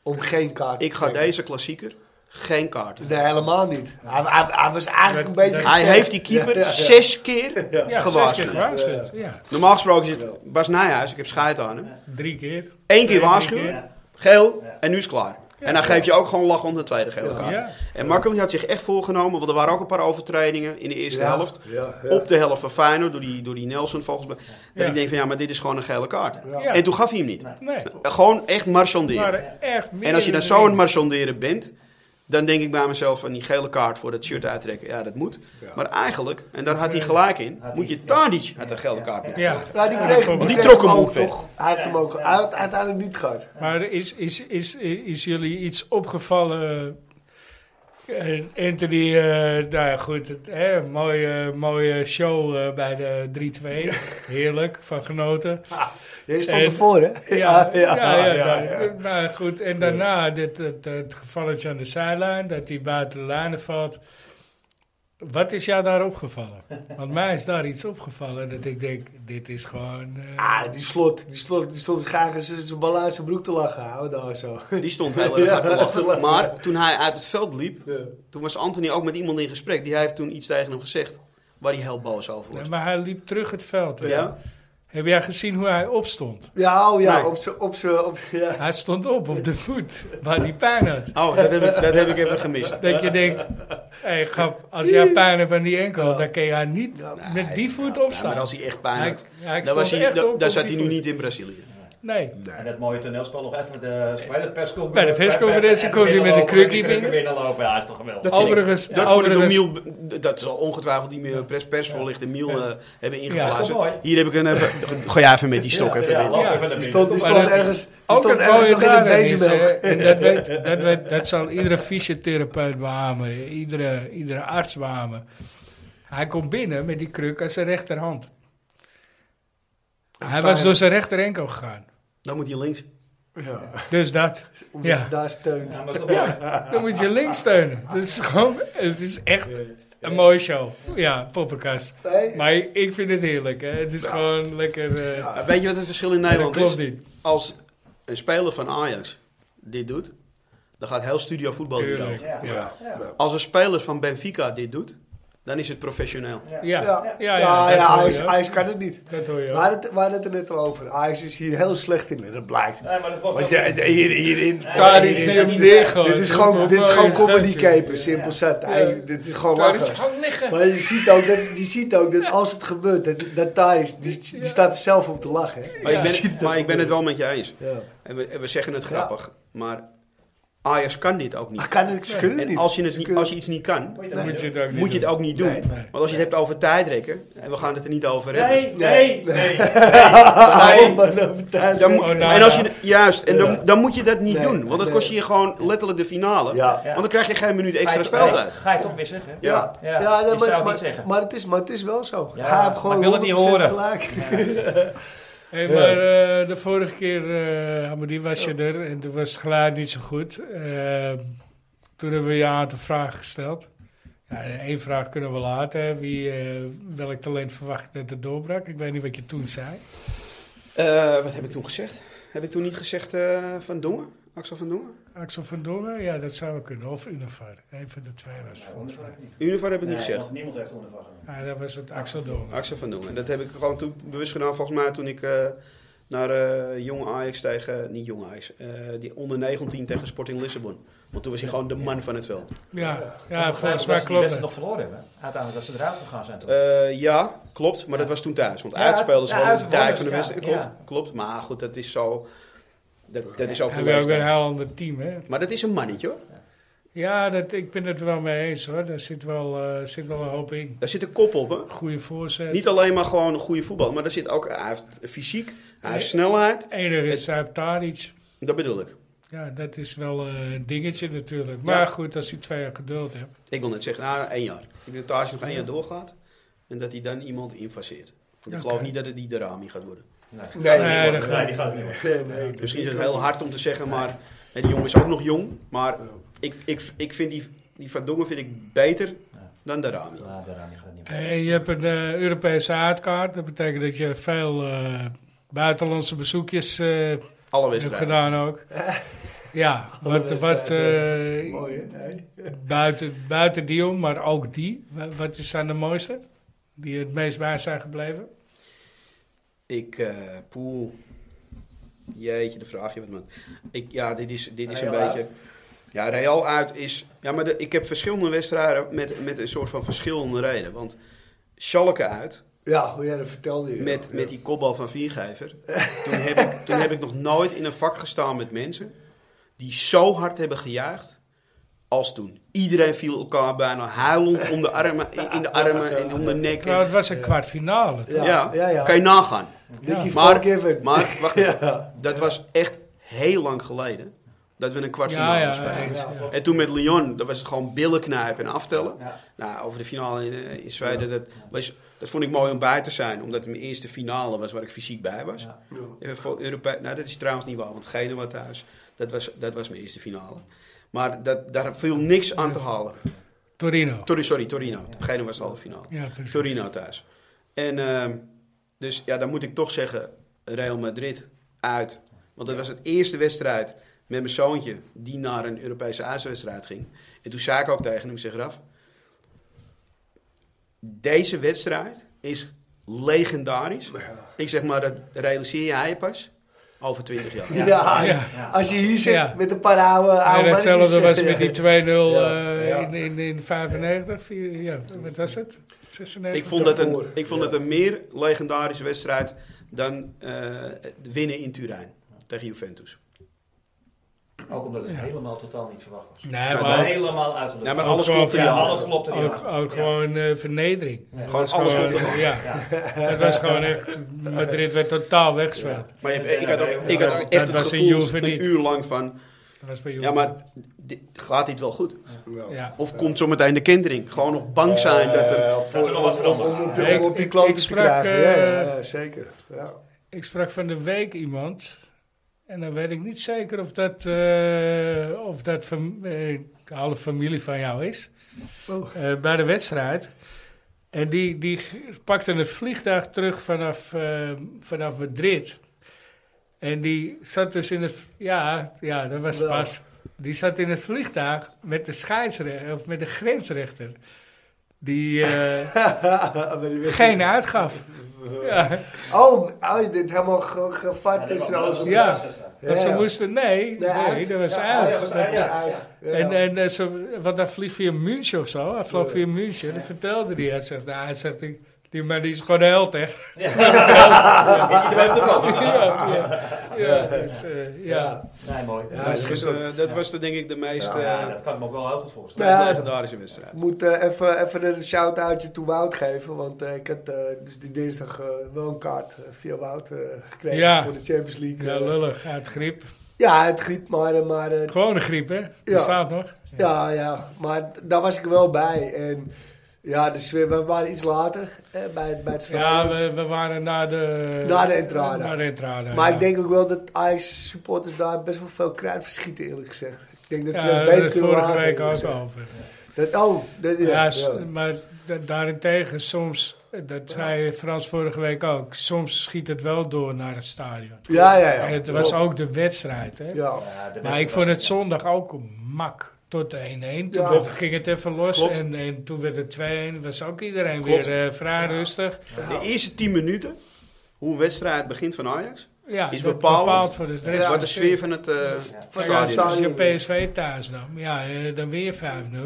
C: Om geen kaart
D: Ik ga
C: trekken.
D: deze klassieker geen kaart.
C: Nee, helemaal niet. Hij, hij, hij was eigenlijk
A: Dat-
C: een beetje...
D: Hij
C: getergd.
D: heeft die keeper
C: Ja, ja, ja.
D: zes keer
A: Ja, zes keer
D: gewaarschuwd.
A: gewaarschuwd. Ja,
D: Normaal gesproken is het Bas Nijhuis, ik heb scheid aan hem.
A: drie keer.
D: Eén
A: Twee,
D: keer
A: drie
D: waarschuwen,
A: keer.
D: geel,
B: Ja.
D: en nu is het klaar. En dan geef je ook gewoon lach om de tweede gele kaart.
A: Ja.
D: En Makkely had zich echt voorgenomen, want er waren ook een paar overtredingen in de eerste
C: Ja,
D: helft.
C: ja, ja.
D: Op de helft van Feyenoord, door die, door die Nelson volgens mij. Dat
A: Ja.
D: ik denk van ja, maar dit is gewoon een gele kaart.
A: Ja.
D: En toen gaf hij hem niet. Eh,
A: Nee, eh,
D: Gewoon echt
A: het
D: marchanderen.
A: waren echt meer
D: En als je dan
A: dan
D: zo aan het
A: drie.
D: marchanderen bent, dan denk ik bij mezelf van die gele kaart voor dat shirt uittrekken. Ja, dat moet. Maar eigenlijk, en daar had hij gelijk in,
B: Had
D: moet
B: hij-
D: je
B: ja.
D: Tadic uit de gele kaart moeten.
A: Ja,
C: Ja, die kreeg,
A: maar
D: die trok hem
C: ook
D: ook weg.
C: toch. Hij heeft hem ook uit- uiteindelijk niet gehad.
A: Maar is, is, is, is jullie iets opgevallen? Eh, Anthony, eh, nou ja, goed, het, hè, mooie, mooie show eh, bij de 3-2. Heerlijk, van genoten.
C: Je stond
A: En-
C: ervoor, hè?
A: dat- Maar goed, en daarna dit, het, het gevalletje aan de zijlijn, dat hij buiten de lijnen valt. Wat is jou daar opgevallen? Want mij is daar iets opgevallen dat ik denk, dit is gewoon... eh,
C: Ah, die slot, die slot, die stond graag eens zijn bal uit zijn broek te lachen, houden daar zo.
D: Die stond heel erg hard te
C: Ja,
D: lachen. Maar toen hij uit het veld liep,
C: Ja.
D: toen was Anthony ook met iemand in gesprek. Die heeft toen iets tegen hem gezegd, waar hij heel boos over
A: nee,
D: was.
A: maar hij liep terug het veld. hè?
D: Ja?
A: Heb jij gezien hoe hij opstond?
C: Ja, oh ja,
D: Nee.
C: op zijn, op zijn, op z'n- ja.
A: Hij stond op op de voet, waar die pijn had.
D: Oh, dat heb, ik, dat heb ik even gemist.
A: Dat je denkt, hey, grap, als jij pijn hebt aan die enkel, dan kan jij niet met die voet
D: Ja, nou, maar
A: opstaan.
D: als hij echt pijn
A: Hij-
D: had,
A: ja, ik
D: dan was
A: stond
D: hij,
A: echt
D: dan-
A: op
D: dan
A: op
D: zat
A: die
D: hij nu
A: voet.
D: niet in Brazilië.
A: Nee,
B: En dat mooie toneelspel nog even met de, bij de persconferentie.
A: Bij de persconferentie komt hij met een krukje binnen.
B: lopen, ja, is toch geweldig.
D: Dat vind ik-
A: overigens,
D: Dat, voor de
A: overigens
D: Domiel, dat zal ongetwijfeld die meer pers, persvoorlichter Miel eh, hebben
A: Ja,
B: is toch
D: ingefluisterd.
B: mooi?
D: Hier heb ik een even... Ga jij even met die stok even binnen.
B: loop
A: Ja.
B: even naar
C: Die
B: binnen.
C: stond, die
A: Maar
C: stond
A: dat-
C: ergens, die
A: ook
C: stond
A: het
C: ergens
A: mooie
C: nog in het
A: daarin is, hè,
C: bezemmelk.
A: en dat, weet, dat, weet, dat zal iedere fysiotherapeut beamen, iedere, iedere arts beamen. Hij komt binnen met die kruk aan zijn rechterhand. Hij was door zijn rechter enkel gegaan.
D: Dan moet hij links.
C: Ja,
A: Dus dat,
C: omdat
A: ja.
C: je daar steunt.
B: Ja, maar is toch mooi?
A: Dan moet je links steunen. Dat is gewoon, het is echt een mooie show. Ja, poppenkast.
C: Nee,
A: Maar ik vind het heerlijk. Hè. Het is gewoon lekker. eh,
D: Maar Weet je wat het verschil in
A: dat
D: Nederland
A: klopt
D: is?
A: niet.
D: Als een speler van Ajax dit doet, dan gaat heel studio voetbal
A: Tuurlijk.
D: hierover.
A: Ja.
B: Ja.
A: Ja.
D: Als een speler van Benfica dit doet, dan is het professioneel.
B: Ja.
A: Ja.
C: ja,
A: ja,
C: ja, ja,
A: dat hoor je
C: Ajax,
A: ook.
C: Ajax kan het niet.
A: Dat hoor je
C: We
A: ook.
C: hadden het- we hadden het er net al over. Ajax is hier heel slecht in, dat blijkt.
B: Nee, maar dat wordt
C: Want
B: wel-
C: ja, hier, hierin...
A: Daar
C: hierin
A: is
C: zit-
A: hem neergegooid.
C: Oh, Dit is gewoon,
A: Hoe
C: dit is
A: mooi
C: gewoon
A: dat,
C: comedy
A: joh?
C: caper, simpel zat. Hij- Dit is gewoon
A: Daar is
C: lachen.
A: gewoon liggen.
C: Maar je ziet ook dat, je ziet ook dat als het gebeurt, dat, dat Thijs, die, die staat er zelf op te lachen. hè.
D: Maar, ik, ben, maar ik ben het wel met je eens.
C: Ja.
D: En we, en we zeggen het grappig, maar Ajax kan dit ook
C: Maar
D: niet.
C: Ah, kan het, ze kunnen het
D: En
C: niet.
D: als je, het
C: Ze
D: niet,
C: kunnen-
D: als je iets niet kan,
B: Moet je dat
A: Moet je het ook niet
D: moet je het ook niet doen.
C: Nee.
A: Nee.
D: Want als je het hebt over tijdrekken, en we gaan het er niet over hebben.
B: Nee, nee, nee.
C: Waarom maar dan vertellen?
D: Dan moet-
A: Oh, nou,
D: en als je,
A: nou.
D: juist, en dan, dan moet je dat niet
C: Nee,
D: doen. Want dat
C: nee.
D: kost je gewoon letterlijk de finale.
C: Ja.
D: Want dan krijg je geen minuut
B: Ga
D: extra
B: je toch-
D: speeltijd.
B: Ga je toch weer zeggen?
C: Ja,
B: Ja,
C: ja,
B: ik
C: nee,
B: zou het
C: maar,
B: niet
C: maar,
B: zeggen.
C: maar, het is, maar het is wel zo.
B: Ja,
C: Hij heeft
B: maar
C: gewoon
B: ik wil het niet
C: 100%
B: horen.
C: Gelijk.
A: Hey,
C: Ja.
A: maar eh, de vorige keer, eh Amadie, was je er en toen was het geluid niet zo goed. Eh, toen hebben we je een aantal vragen gesteld. Ja, één vraag kunnen we laten. hè. Wie, eh, welk talent verwacht je dat het doorbrak? Ik weet niet wat je toen zei.
D: Eh, wat heb ik toen gezegd? Heb ik toen niet gezegd eh, Van Dongen? Axel van Dongen?
A: Axel van Dongen? Ja, dat zou wel kunnen. Of Univar. Eén van de twee was het volgens mij.
D: Univar heb ik
B: Nee,
D: niet gezegd.
B: want niemand heeft ondervragen.
A: Ja, dat was het Axel Dongen.
D: Axel van Dongen. En dat heb ik gewoon toen bewust gedaan volgens mij toen ik eh, naar eh jonge Ajax tegen... Niet jonge Ajax. eh, die onder 19 tegen Sporting Lissabon. Want toen was hij gewoon de man van het veld.
A: Ja, ja volgens
B: Volgens
A: mij klopt
B: dat. ze die wedstrijd nog
A: dat.
B: verloren hebben. Uiteindelijk dat ze eruit gegaan zijn toch?
D: Eh, ja, klopt. Maar dat was toen thuis. Want
B: Ja,
D: uitspelen is
B: ja,
D: wel
B: uit-
D: de dijk van de
B: ja,
D: wedstrijd. Klopt,
B: ja.
D: klopt. Maar goed, dat is zo... Dat, dat is ook de
A: Hij wil ook een
D: leeftijd.
A: heel ander team, hè?
D: Maar dat is een mannetje hoor.
A: Ja, dat, ik ben het er wel mee eens, hoor. Daar zit wel, eh, zit wel een hoop in.
D: Daar zit een kop op hè.
A: Goede voorzet.
D: Niet alleen maar gewoon een goede voetbal. Maar daar zit ook... Hij heeft fysiek. Hij heeft snelheid.
A: Enige is, hij heeft daar iets.
D: Dat bedoel ik.
A: Ja, dat is wel eh, een dingetje natuurlijk. Maar
D: Ja.
A: goed, als hij twee jaar geduld hebt.
D: Ik wil net zeggen, na één jaar. Ik denk dat Tage nog één jaar doorgaat en dat hij dan iemand infaseert. Ik
A: Oké.
D: geloof niet dat het die de Rami gaat worden.
C: Nee,
A: Nee,
C: dat
A: dat
B: Nee, die gaat het niet worden.
C: Nee, nee.
D: Misschien is het heel hard om te zeggen, maar hè, die jongen is ook nog jong. Maar ik, ik, ik vind die, die Van Dongen vind ik beter dan de Rami.
B: Nou, daaraan die gaat het niet worden.
A: En je hebt een eh, Europese aardkaart. Dat betekent dat je veel eh, buitenlandse bezoekjes eh,
D: Alle
A: hebt
D: wedstrijden.
A: gedaan ook. Ja, wat, wat eh,
C: Mooi, hè? Nee.
A: buiten, buiten die om, maar ook die. Wa- Wat is aan de mooiste? Die het meest bij zijn gebleven?
D: Ik, eh poel. Jeetje, de vraag je wat man. Ik, ja, dit is, dit is een
B: Real uit.
D: beetje. Ja, Real uit is. Ja, maar de- ik heb verschillende wedstrijden met, met een soort van verschillende reden. Want Schalke uit,
C: Ja, hoe jij dat vertelde. je.
D: met, met die kopbal van Viergever. Toen heb, ik, toen heb ik nog nooit in een vak gestaan met mensen die zo hard hebben gejuicht als toen. Iedereen viel elkaar bijna huilend om de armen, in in de armen en om de nek.
A: Nou,
D: En-
A: het was een kwartfinale. toch?
C: Ja,
D: ja,
C: ja, ja.
D: kan je nagaan.
C: Nicky
A: Ja.
D: Maar-
C: Forgiven.
D: Maar wacht even, dat was echt heel lang geleden dat we een kwartfinale
A: Ja, ja,
D: speelden.
A: eens, ja.
D: En toen met Lyon, dat was het gewoon billen knijpen en aftellen.
B: Ja.
D: Nou, over de finale in, eh, in Zweden, dat, was, dat vond ik mooi om bij te zijn. Omdat het mijn eerste finale was waar ik fysiek bij was.
B: Ja.
D: Eh, Voor Europe nou, dat is trouwens niet waar, want Genua thuis, dat was, dat was mijn eerste finale. Maar dat, daar viel niks aan te halen.
A: Torino.
D: Tor- sorry, Torino. Genua was de halve finale.
A: Ja, precies.
D: Torino nou thuis. En ehm, dus ja, dan moet ik toch zeggen Real Madrid uit. Want dat was het eerste wedstrijd met mijn zoontje die naar een Europese uitwedstrijd ging. En toen zei ik ook tegen hem, ik zeg Raf, deze wedstrijd is legendarisch. Ik zeg maar, dat realiseer jij pas over 20 jaar.
C: Ja,
A: Ja.
C: als je hier zit
A: Ja.
C: met een paar oude
A: En
C: oude
A: hetzelfde
C: mannetjes.
A: was met die 2-0 eh,
C: Ja.
A: in, in, in 95. vier- ja, wat was het? 96?
D: Ik vond, dat een,
C: Daarvoor,
D: ik vond
C: ja.
D: het een meer legendarische wedstrijd dan eh, winnen in Turijn tegen Juventus.
B: Ook omdat het helemaal totaal niet verwacht was.
A: Nee,
D: Ja,
A: maar ook-
B: helemaal uit de lucht.
D: Ja, maar
A: Ook
D: alles
A: wel
D: klopt in
A: van-
D: die
B: ja,
A: halve.
B: alles klopt. er niet
A: Ook,
B: aan.
A: ook
B: Ja.
A: gewoon eh, vernedering.
B: Ja.
A: Dat was
D: Alles
A: gewoon-
D: klopt
A: Ja, dat was gewoon echt... Madrid werd totaal weggespeeld.
D: Maar je hebt- ik had ook, ik
A: Ja,
D: had ook
A: dat
D: echt het
A: was in
D: gevoel
A: Juve niet.
D: een uur lang van...
A: Dat was bij
D: Ja,
A: Juventus.
D: maar dit, gaat dit wel goed?
A: Ja.
D: Of komt zometeen de kentering? Gewoon nog bang zijn dat er...
C: Eh,
B: Dat er nog wat verandert.
C: Om, op
A: Ja,
C: je-
A: ik-
C: om op je
A: ik- ik
C: kloten te
A: sprak,
C: krijgen. Ja,
A: eh,
C: ja, ja, zeker. Ja.
A: Ik sprak van de week iemand. En dan weet ik niet zeker of dat, eh, of dat fam- eh, de halve familie van jou is. Eh, bij de wedstrijd. En die, die pakte het vliegtuig terug vanaf, eh, vanaf Madrid. En die zat dus in het... Ja, ja dat was
C: Wel.
A: pas. Die zat in het vliegtuig met de scheidsrechter, of met de grensrechter. Die eh,
C: Maar die wist
A: geen eh,
C: niet.
A: uitgaf. Ja.
C: Oh, oh, dit helemaal ge-
B: Ja,
C: gevat
B: dat
C: is en
B: was-
C: alles.
B: dat was
A: Ja.
B: de laatste
A: Dat ze
C: Ja.
A: moesten, nee,
C: Nee,
A: nee,
C: uit.
A: dat was
C: Ja,
A: uit.
C: ja, dat was uit.
A: Dat-
C: Ja, uit. Ja.
A: En, en eh, ze, want hij vliegt via München of zo. Hij vloog
C: Ja.
A: via München. Dat vertelde hij. Hij zegt, nou, hij zegt, ik, die man die is gewoon de held, hè.
B: wedstrijd. Is iedereen op de kant?
A: ja, ja, ja, dus, eh, ja.
B: Nee, mooi.
C: Ja,
D: Dat
C: dat
D: is
C: is
D: dus,
C: ook-
D: eh, dat was toch denk ik de meest eh,
B: Ja, dat kan ik me ook wel heel goed voorstellen.
C: Ja.
D: legendarische wedstrijd.
C: Ik moet eh, even, even een shout-outje toe Wout geven. Want eh, ik had eh, dus die dinsdag eh, wel een kaart eh, via Wout eh, gekregen
A: Ja.
C: voor de Champions League.
A: ja,
C: eh.
A: lullig. Uit griep.
C: ja, het griep maar. eh, maar eh,
A: Gewone griep, hè. Dat
C: Ja.
A: staat nog.
C: ja, ja, maar daar was ik wel bij. En ja, de sfeer, we waren iets later eh, bij, bij het
A: Ja,
C: stadion.
A: we, we waren naar de...
C: Naar de entrada.
A: Naar de entrada,
C: maar
A: ja.
C: ik denk ook wel dat Ajax supporters daar best wel veel kruid verschieten eerlijk gezegd. Ik denk dat
A: Ja,
C: ze
A: daar
C: het
A: hadden we
C: beter
A: het
C: kunnen
A: vorige
C: laten,
A: week
C: eerlijk
A: ook
C: gezegd.
A: over.
C: Dat, oh, dat, ja,
A: Ja,
C: ja,
A: s- maar da- daarentegen soms, dat zei Frans vorige week ook, soms schiet het wel door naar het stadion.
C: ja, ja, ja.
A: En het was ook de wedstrijd, hè?
C: Ja.
B: Ja, de
A: Maar
B: beste
A: ik vond het
B: wedstrijd.
A: zondag ook een mak tot de 1-1. Toen
C: Ja.
A: werd- ging het even los
D: Klopt.
A: en, en toen werd het 2-1. Was ook iedereen
D: Klopt.
A: weer eh, vrij rustig.
D: De eerste 10 minuten, hoe een wedstrijd begint van Ajax,
A: Ja,
D: Is
A: dat
D: bepalend
A: bepaalt voor de rest.
D: wat
A: van
D: de
A: de
D: sfeer van het eh
C: van
A: Ja,
C: het
D: stadion
A: als
D: is.
C: stadion.
A: je PSV thuis nam, ja, eh, dan weer 5-0.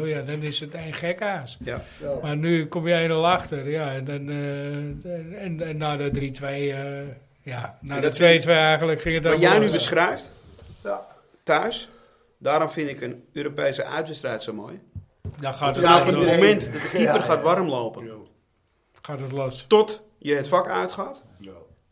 A: Ja, dan is het één gekhuis.
D: Ja.
C: ja.
A: Maar nu kom jij er al achter. Ja, en, dan, eh, en, en na de 3-2... eh, ja, na
D: En
A: de
D: dat
A: 2-2 eigenlijk ging het
D: Wat
A: allemaal
D: jij nu
A: los.
D: beschrijft,
C: Ja.
D: thuis, daarom vind ik een Europese uitwedstrijd zo mooi.
A: Dan gaat het,
D: Vanaf
A: gaat
D: het
A: het,
C: iedereen-
D: moment dat de keeper
C: Ja.
D: gaat warmlopen,
A: gaat het los.
D: tot je het vak uitgaat,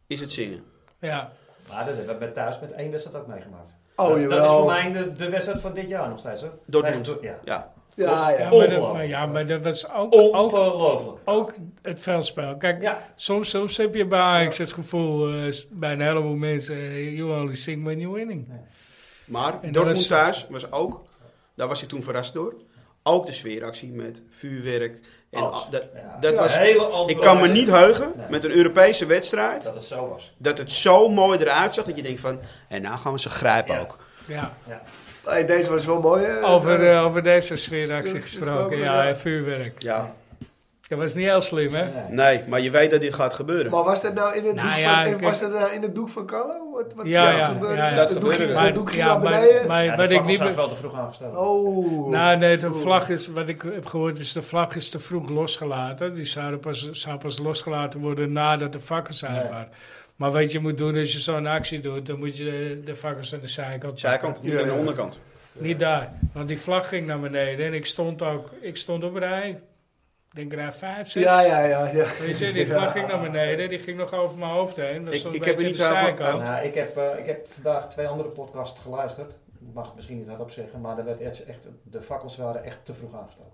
D: is het zingen.
A: Ja,
B: Maar dat hebben we bij thuis met één wedstrijd ook meegemaakt.
C: Oh,
B: dat, dat is
C: jawel.
B: voor mij de, de wedstrijd van dit jaar nog steeds. Hoor.
D: Dortmund.
B: Tegen- Ja.
D: Ja.
C: Ja,
A: Ja, maar,
C: ja.
A: dat,
B: Ongelooflijk.
A: maar ja, maar dat was ook, ook,
B: Ongelooflijk.
A: ook het veldspel. Kijk,
B: Ja.
A: soms, soms heb je bij Ajax het gevoel eh, s- bij een heleboel mensen... eh, you only sing when you're winning.
D: Maar
A: dat
D: Dortmund
A: is-
D: thuis was ook, daar was hij toen verrast door. Ook de sfeeractie met vuurwerk. En
B: Alles.
D: al- dat,
B: Ja.
D: dat
B: Ja,
D: was,
B: hele andere
D: ik kan me niet heugen
B: Nee.
D: met een Europese wedstrijd
B: Dat het zo was.
D: dat het zo mooi eruit zag dat je denkt van, en nou gaan we ze grijpen
B: Ja.
D: ook.
A: Ja.
B: Ja.
C: Hey, deze was wel mooi. hè?
A: Over,
C: Eh,
A: eh, over deze sfeeractie gesproken, ja, en vuurwerk.
D: Ja,
A: Dat was niet heel slim, hè?
B: Nee.
D: nee, maar je weet dat dit gaat gebeuren.
C: Maar was dat nou in het,
A: Nou
C: doek,
A: ja,
C: van,
A: ik-
C: was dat nou in het doek van Carlo? Wat, wat
A: Ja,
C: wat
A: ja,
C: gebeurde?
A: ja, ja.
C: Dat
D: Dat
C: doek ging,
D: gebeurde.
C: dat doek ging naar
A: maar,
C: beneden.
A: maar
B: Ja,
A: wat
B: de
A: ik
B: vakkels
A: niet...
B: zijn
A: be-
B: veel te vroeg aangesteld.
C: oh.
A: Nou, nee, de vlag is, wat ik heb gehoord, is de vlag is te vroeg losgelaten. Die zou pas, zou pas losgelaten worden nadat de vakkers uit
B: Ja.
A: waren. Maar wat je moet doen, als je zo'n actie doet, dan moet je de, de vakkers aan de zijkant
D: Zijkant, niet
C: Ja,
D: aan de
C: ja.
D: onderkant.
A: Niet daar. Want die vlag ging naar beneden en ik stond ook, ik stond op rij, ik denk rij 5, 6.
C: Ja, ja, ja. ja.
A: Weet je, die vlag ging naar beneden, die ging nog over mijn hoofd heen. Dat
D: Ik-
A: stond
D: ik
A: een
D: heb
A: beetje
D: er
A: aan
D: niet
A: de
D: zoveel
A: zijkant.
B: Nou, ik, heb, eh, ik heb vandaag twee andere podcasts geluisterd. Ik mag het misschien niet hardop zeggen, maar er werd echt, echt, de fakkels waren echt te vroeg aangestoken.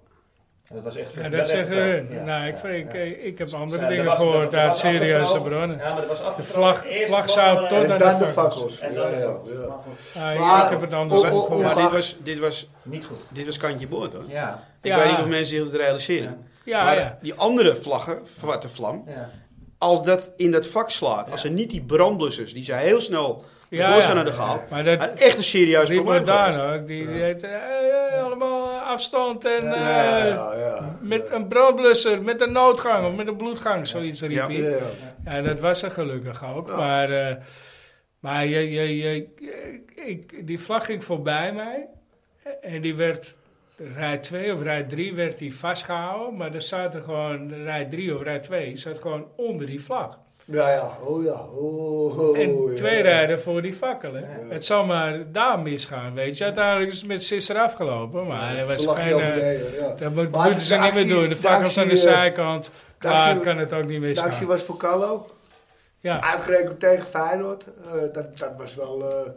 B: En dat was echt
A: Ja,
B: werd
A: dat
B: echt
A: zeggen
B: verteld.
A: hun.
B: Ja,
A: nou, ik,
B: ja,
A: ik,
B: ja.
A: ik, heb andere
B: Ja, er
A: dingen
B: was- er-
A: gehoord
B: er
A: uit
B: was afgesproken-
A: serieuze bronnen.
B: Ja, maar er was
A: De
B: afgesproken.
A: vlag,
B: Eerst
A: vlag
B: de
A: zou
B: maar-
A: tot
C: en
A: aan
C: dan
A: de
C: de
A: fakkels.
C: fakkels.
B: En
C: Ja,
B: dan
C: ja,
B: de fakkels.
C: ja.
B: Maar goed,
A: Ah,
C: Maar-
A: ik heb het anders
C: Oh, oh, oh,
A: gehoord.
D: Maar
C: wacht.
D: dit was, dit was,
B: Niet goed.
D: dit was kantje boord hoor.
B: Ja.
D: Ik
A: Ja.
D: weet niet of mensen zich dat realiseren.
A: Ja,
D: maar
A: ja.
D: die andere vlaggen, zwarte vlam,
B: ja.
D: als dat in dat vak slaat, als er niet die brandblussers, die ze heel snel tevoorschijn
A: ja.
D: hadden gehaald,
A: Maar dat
D: had echt een serieus
A: die
D: probleem geweest.
A: Modaan ook, die, die heet eh, eh, allemaal afstand en
C: Ja,
A: eh,
C: ja, ja.
A: met een brandblusser, met een noodgang of met een bloedgang, zoiets riep
D: Ja.
A: hij.
C: Ja, ja.
A: Ja, dat was er gelukkig ook. Maar, eh, maar je, je, je, ik, die vlag ging voorbij mij. En die werd, rij 2 of rij 3 werd die vastgehouden. Maar er zaten gewoon, rij 3 of rij 2 zat gewoon onder die vlag.
C: Ja, ja. Oh ja. Oh, oh,
A: en
C: ja.
A: twee rijden voor die fakkelen. Het zou maar daar misgaan, weet je. Uiteindelijk is het met Sisser afgelopen. Maar er was
C: Toen lag je
A: geen...
C: op
A: eh,
C: beneden, ja.
A: dat moet-
C: Maar
A: moeten
C: de
A: ze niet meer
C: actie-
A: doen. De
C: de
A: fakkels aan de
C: actie, eh,
A: zijkant. Daar
C: actie-
A: kan het ook niet
C: De actie
A: misgaan.
C: was voor Carlo.
A: Ja,
C: Uitgerekend tegen Feyenoord. Eh, dat, dat was wel, eh, wel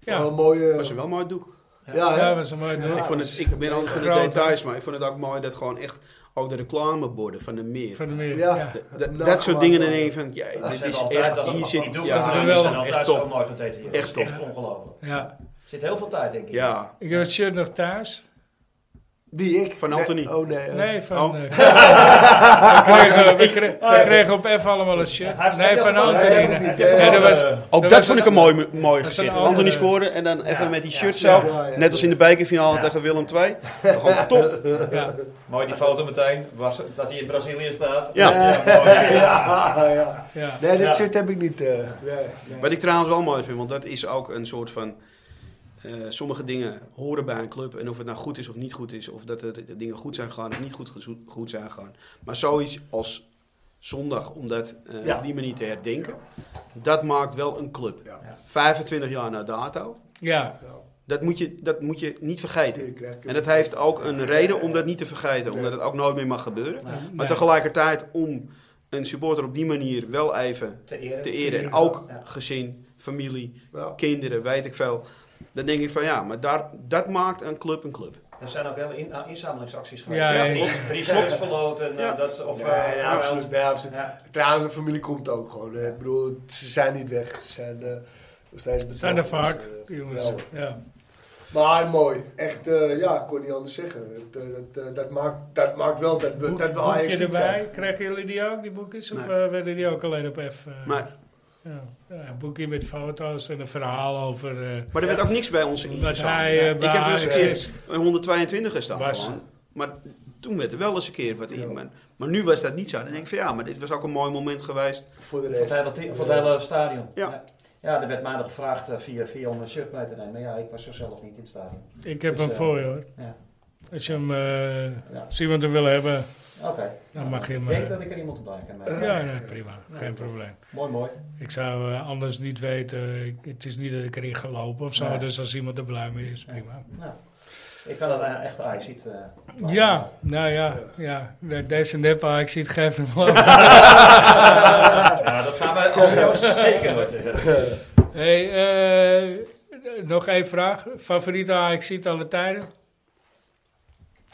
A: ja.
C: een mooie...
D: Dat was wel een mooi doek.
C: ja,
A: Ja,
C: hè?
A: was een mooi doel.
D: ik, vond het, ik ben altijd van de
A: groot, hè?
D: details, maar ik vond het ook mooi dat gewoon echt ook de reclameborden van de meer.
A: Van de meer.
C: Ja.
A: ja.
D: Dat- dat soort dingen in één van, ja, dit is echt, hier
B: Die
D: zit,
B: doelpunten
D: ja,
A: er
B: die
A: wel.
B: zijn altijd
D: echt
B: zo
D: top.
B: mooi gedetailleerd.
D: Echt top.
B: Echt ongelooflijk.
A: Ja,
B: Er zit heel veel tijd, denk ik.
D: Ja,
A: ik heb het shirt nog thuis.
C: Die ik.
D: Van
C: Nee,
D: Anthony.
C: Oh nee. eh.
A: Nee, van...
D: Oh.
A: eh, we, kregen, we, kre- we kregen op F allemaal een
B: Hij
A: shirt.
B: heeft
A: Nee,
B: het
A: van
B: ook nog
A: Anthony.
C: gedaan.
A: nee.
C: Hij heeft
A: En dat
B: het ook,
A: was...
B: eh,
D: ook
A: dat
D: Oh, dat,
A: was
D: vond
A: een-
D: ik een mooi, mooi
A: was
D: gezicht.
A: een andere-
D: Anthony scoorde en dan even met die shirt
C: ja,
D: zo,
C: ja, ja.
D: net als in de bekerfinale
B: Ja.
D: tegen Willem II. Gewoon top.
A: Ja,
B: Mooi die foto meteen, was dat hij in Brazilië staat.
D: Ja.
B: mooi, ja.
C: Ja, ja.
A: ja.
C: Nee, dat
B: Ja.
C: shirt heb ik niet. eh. nee, nee.
D: Wat ik trouwens wel mooi vind, want dat is ook een soort van. eh, sommige dingen horen bij een club. En of het nou goed is of niet goed is. Of dat er de dingen goed zijn gegaan of niet goed, gezo- goed zijn gegaan. Maar zoiets als zondag, om dat eh,
B: Ja.
D: op die manier te herdenken. Dat maakt wel een club.
C: Ja.
D: 25 jaar na dato.
A: ja.
D: Dat moet je, dat moet je niet vergeten.
C: Die krijg ik.
D: En dat heeft ook een reden om dat niet te vergeten. Omdat het ook nooit meer mag gebeuren. Maar
A: Nee.
D: tegelijkertijd om een supporter op die manier wel even
B: Te eren.
D: te eren. En ook
B: Ja.
D: gezin, familie,
C: Ja.
D: kinderen, weet ik veel. Dan denk ik van ja, maar daar, dat maakt een club een club.
B: Er zijn ook hele in, nou, inzamelingsacties geweest.
A: Ja, ja,
B: drie,
A: ja.
B: drie slots verloten. en, eh,
D: Ja.
B: dat, of,
C: Nee,
B: eh,
C: ja, absoluut. nee, absoluut.
B: Ja.
C: Trouwens, de familie komt ook gewoon. eh. Ik bedoel, ze zijn niet weg. Ze zijn eh, nog steeds betrokken.
A: Zijn er vaak,
C: Dus, eh,
A: jongens.
C: wel.
A: Ja.
C: Maar mooi. Echt, eh, ja, ik kon niet anders zeggen. Het, eh, dat, eh, dat, maakt, dat maakt wel dat we, dat we Ajax
A: Boekje
C: zijn.
A: erbij. Krijgen jullie die ook, die boekjes? Of
D: Nee.
A: eh, werden die ook alleen op F? eh?
D: Maar,
A: ja. Ja, een boekje met foto's en een verhaal over... eh,
D: maar er werd ook niks bij ons
A: wat
D: ingezameld.
A: hij eh,
D: Ik
A: bij
D: heb wel eens een
A: Ajax
D: keer
A: is.
D: een 122 gestaan.
A: Was.
D: gewoon. Maar toen werd er wel eens een keer wat in. Maar, maar nu was dat niet zo. Dan denk ik van ja, maar dit was ook een mooi moment geweest.
C: Voor de
B: Voor het
C: rest.
B: hele, te- voor het hele stadion.
D: Ja.
B: ja, er werd mij nog gevraagd eh, via, via om een shirt mee te nemen. Maar ja, ik was er zelf niet in het stadion.
A: Ik heb
B: Dus,
A: hem
B: eh,
A: voor je, hoor.
B: Ja.
A: Als je hem... eh,
B: Ja.
A: Als iemand hem wil hebben,
B: Oké.
A: dan mag je hem...
B: Ik denk
A: eh,
B: dat ik er iemand bij kan maken.
A: Ja, nee, prima. Geen probleem.
B: Mooi, mooi.
A: Ik zou eh, anders niet weten. Ik- het is niet dat ik erin ga lopen of zo.
B: Nee.
A: Dus als iemand er blij mee is, prima.
B: Nou, ik kan het eh, echt Ajax ziet.
A: Ja, nou ja. ja. De- Deze neppa, ik zie het, geef hem wel.
B: ja, dat gaan wij over jou zeker nooit zeggen.
A: hey, eh, nog één vraag. Favoriete Ajaxiet alle tijden?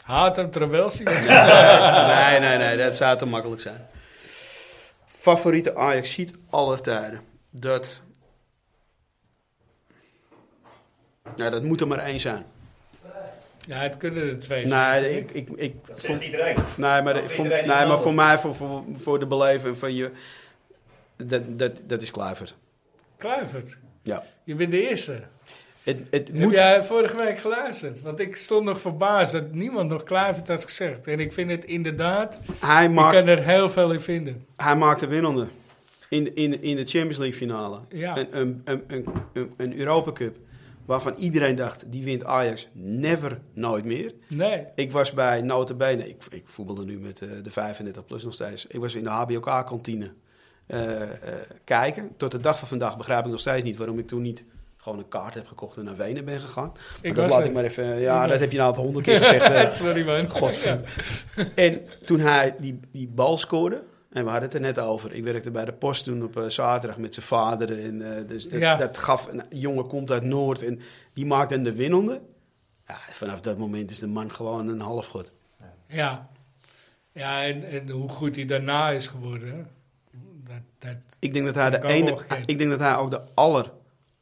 A: Haat hem Trabelsi?
D: Nee, nee, nee, dat zou te makkelijk zijn. Favoriete Ajax-sheet aller tijden. Dat. Nou, dat moet er maar één zijn.
A: ja, het kunnen er twee zijn.
D: Nee, ik, ik, ik,
B: Dat
D: voor-
B: zegt iedereen.
D: nee, maar,
B: Dat
D: voor,
B: vindt iedereen
D: nee,
B: niet
D: maar
B: nodig.
D: voor mij, voor, voor, voor de beleving van je. Dat, dat, dat is Kluivert.
A: Kluivert,
D: Ja.
A: je bent de eerste.
D: Het, het
A: Heb
D: moet.
A: jij vorige week geluisterd? Want ik stond nog verbaasd dat niemand nog Kluivert had gezegd. En ik vind het inderdaad,
D: Hij
A: je
D: maakt
A: kan er heel veel in vinden.
D: Hij maakte winnende in, in, in de Champions League finale.
A: Ja.
D: Een, een, een, een, een- een Europa Cup waarvan iedereen dacht, die wint Ajax never, nooit meer.
A: Nee,
D: Ik was bij Notabene, ik, ik voetbalde nu met eh, de 35 plus nog steeds. Ik was in de HBOK-kantine eh, eh, kijken. Tot de dag van vandaag begrijp ik nog steeds niet waarom ik toen niet gewoon een kaart heb gekocht en naar Wenen ben gegaan. Maar
A: Ik
D: dat
A: was
D: laat
A: er.
D: ik maar even... Ja,
A: was
D: dat heb je nou al honderd keer gezegd. eh.
A: sorry man.
D: Godverdomme. En toen hij die, die bal scoorde, en we hadden het er net over. Ik werkte bij de post toen op eh, zaterdag met zijn vader. En, eh, dus dat,
A: Ja.
D: dat gaf, een jongen komt uit Noord en die maakt dan de winnende. Ja, vanaf dat moment is de man gewoon een halfgod.
A: Ja, ja en, en hoe goed hij daarna is geworden. hè. Dat, dat,
D: Ik denk dat hij, de
A: kan wel
D: ene,
A: gekend.
D: ik denk dat hij ook de aller,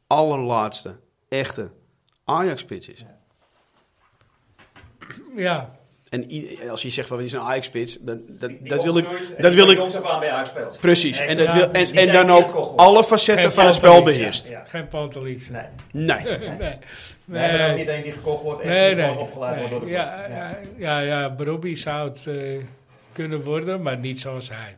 D: allerlaatste echte Ajax-spits is.
A: ja,
D: En i- als je zegt, van, wat is een Ajax-spits? dan- Dat,
B: Die
D: dat
B: komt
D: wil ik...
B: nooit en
D: Dat
B: die
D: wil
B: wordt
D: ik
B: jongs af aan bij Ajax speelt.
D: precies.
B: Nee,
D: En, dat
A: ja,
D: wil, en,
A: precies.
D: en dan
B: Geen
D: ook
B: kochel.
D: alle facetten
A: Geen
D: van het
A: kochel,
D: spel
A: iets, ja.
D: beheerst.
B: Ja.
A: geen pantelits.
B: Nee.
D: Nee.
A: nee. nee.
B: We hebben ook niet één die gekocht wordt en
A: Nee,
B: die
A: nee.
B: gewoon opgeleid wordt door de
A: Nee,
B: club.
A: ja, ja, ja, ja, Brobby zou het eh, kunnen worden, maar niet zoals hij.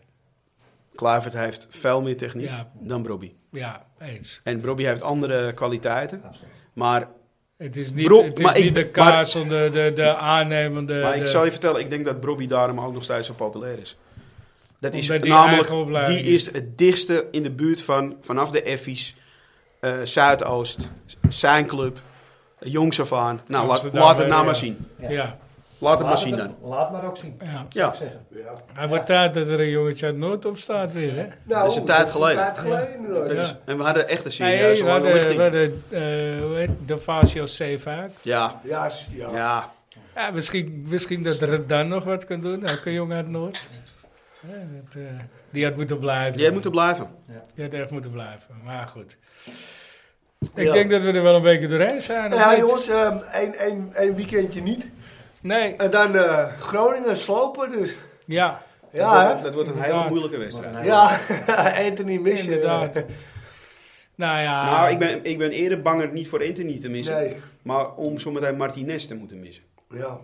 D: Kluivert heeft veel meer techniek
A: Ja.
D: dan Brobby.
A: Ja, eens.
D: En Brobby heeft andere kwaliteiten.
B: Absoluut.
D: Maar,
A: Het is niet,
D: Bro-
A: het is
D: maar ik-
A: niet de kaas, maar, de, de, de aannemende.
D: maar ik
A: Eh, de-
D: zal je vertellen, ik denk dat Brobby daarom ook nog steeds zo populair is. Dat is
A: Omdat die eigen
D: namelijk,
A: opleiding
D: die is het dichtste in de buurt van, vanaf de Effies, eh, Zuidoost, zijn club, jongs af aan. Nou, laat,
A: Amsterdam,
D: laat het
A: eh,
D: nou
A: ja.
D: maar zien.
A: ja. Ja,
D: Laat het maar
B: Laat
D: zien
B: het,
D: dan.
B: laat maar ook zien.
A: ja.
D: Ja,
B: Ik zeggen.
C: Ja.
A: Hij wordt tijd dat er een jongetje uit Noord op staat weer, hè?
C: Nou,
D: Dat is een tijd geleden.
C: Een tijd geleden. inderdaad.
D: dat is,
A: Ja.
D: en we hadden echt een
A: Nee,
D: serieuze
A: we
D: lange
A: hadden, we
D: lichting.
A: hadden eh, hoe heet- de Fasio C vaak.
D: Ja,
C: Ja, s- ja.
D: ja.
A: Ja, misschien, misschien dat er dan nog wat kan doen. Ook een jongen uit Noord. Ja, dat, eh, die had moeten blijven.
D: Jij moet er blijven.
A: Je had echt moeten blijven, maar goed. Ik
B: Ja.
A: denk dat we er wel een beetje doorheen zijn. of
C: Ja,
A: niet?
C: jongens, ehm, één één- één weekendje niet.
A: Nee,
C: En dan eh, Groningen slopen dus.
A: ja,
D: dat, wordt,
C: Ja,
D: dat wordt een hele
A: Inderdaad.
D: moeilijke wedstrijd.
C: hè? Ja, Anthony Missen.
A: inderdaad. Nou ja,
D: Nou, ik ben, ik ben eerder banger niet voor Anthony te missen,
C: Nee.
D: maar om zometeen Martinez te moeten missen.
C: Ja.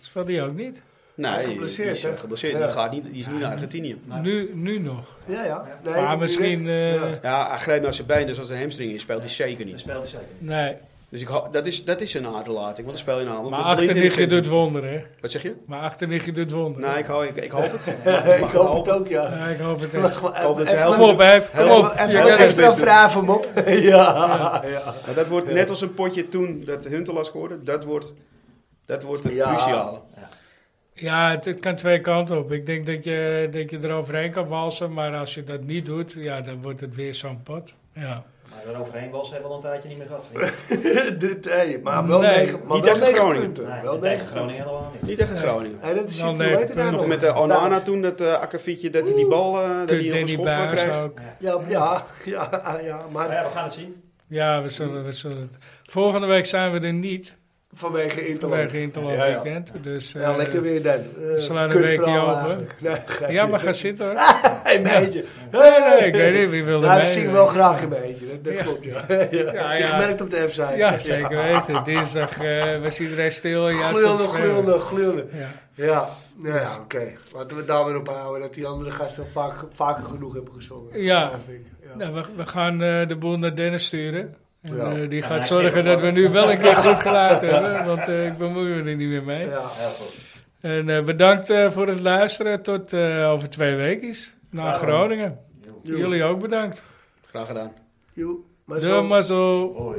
A: speelt die ook niet.
D: Nee,
C: Hij is
D: die
C: geblesseerd,
D: is eh,
C: hè?
D: geblesseerd.
C: Ja.
D: Die, gaat niet, die is niet naar Argentinië.
A: Nu, nu nog.
C: Ja, ja. Nee,
A: maar
C: direct.
A: misschien... eh,
C: Ja.
D: Ja, hij grijpt naar zijn been, dus als een hamstring in speelt, hij zeker
B: Dat
D: niet.
B: speelt hij zeker.
A: Nee,
D: Dus ik, ho- dat, is, dat is een aderlating, want dan speel je nou allemaal.
A: maar
D: met blind in de
A: achternichtje doet
D: vingers.
A: wonderen, hè?
D: Wat zeg je?
A: Maar achternichtje doet wonderen.
D: Nou, ik, hou, ik, ik hoop het.
A: eh,
C: ik hoop het ook, ja.
A: Ja, ik hoop het
C: Mag
A: echt.
C: wel
D: hoop dat ze
C: even-
D: helpen.
A: Kom op, Hef, kom
C: even-
A: op.
C: even
A: Je kan het.
C: extra
D: best doen.
C: vraag hem op. Ja, ja.
D: Maar dat wordt net als een potje toen dat Huntelaar scoorde, dat wordt, dat wordt het
C: Ja.
D: cruciale.
A: Ja, het, het kan twee kanten op. Ik denk dat je, dat je eroverheen kan walsen, maar als je dat niet doet, ja, dan wordt het weer zo'n pot. Ja.
B: Maar daaroverheen was hij wel een tijdje niet meer gehad. vriend.
C: Dit, hey, maar wel
A: Nee,
C: negen, maar
D: niet
C: wel
D: tegen
C: negen
D: Groningen.
C: punten.
B: Nee,
C: wel
B: tegen
C: negen
B: Groningen helemaal niet.
D: Niet tegen Groningen.
C: Hey, dat is
A: Wel
C: hoe
A: negen
C: heet het nou
A: punten.
D: Nog met de Onana
C: Nou,
D: toen, dat eh akkefietje, dat hij die bal, eh, dat hij
A: Kut
D: nog een
A: Danny
D: schop van
A: Buijs
D: kreeg.
A: ook.
C: Ja, ja, ja, ja,
B: Maar ja,
C: maar
B: we gaan het zien.
A: Ja, we zullen, we zullen het. Volgende week zijn we er niet,
C: vanwege Interland.
A: vanwege Interland
C: Ja, ja.
A: Weekend. Dus,
C: Ja,
A: eh,
C: lekker weer dan. Uh,
A: slaan een weekje open. Ja, maar ga zitten hoor.
C: Ah. Een beetje.
A: Nee, ik weet niet, wie wil er
C: Nou, ik
A: mee?
C: zing wel graag een beetje. Dat, dat
A: Ja.
C: klopt, ja. ja.
A: Ja,
C: Je
A: ja.
C: merkt op de website.
A: Ja, zeker weten. Dinsdag eh, was iedereen stil en jij stond
C: Glullen,
A: te schreeuwen.
C: glullen, glullen.
A: Ja.
C: Ja, nou ja,
A: Dus-
C: oké. Laten we het daar weer op houden dat die andere gasten vaak, vaker genoeg hebben gezongen.
A: Ja.
C: vind ik. Ja.
A: Nou, we, we gaan eh, de boel naar Dennis sturen. En,
C: Ja.
A: eh, die
B: Ja,
A: gaat
B: ik
A: zorgen
B: denk
A: dat
B: dat
A: we nu wel een keer goed geluid hebben, want eh, ik bemoei me er niet meer mee.
C: Ja.
B: Heel goed.
A: En eh, bedankt eh, voor het luisteren tot eh, over twee weken naar
B: Graag gedaan.
A: Groningen. Jullie ook bedankt.
D: Graag gedaan.
C: Joe, maar
A: Doei,
C: zo.
A: maar zo.
B: Hoi.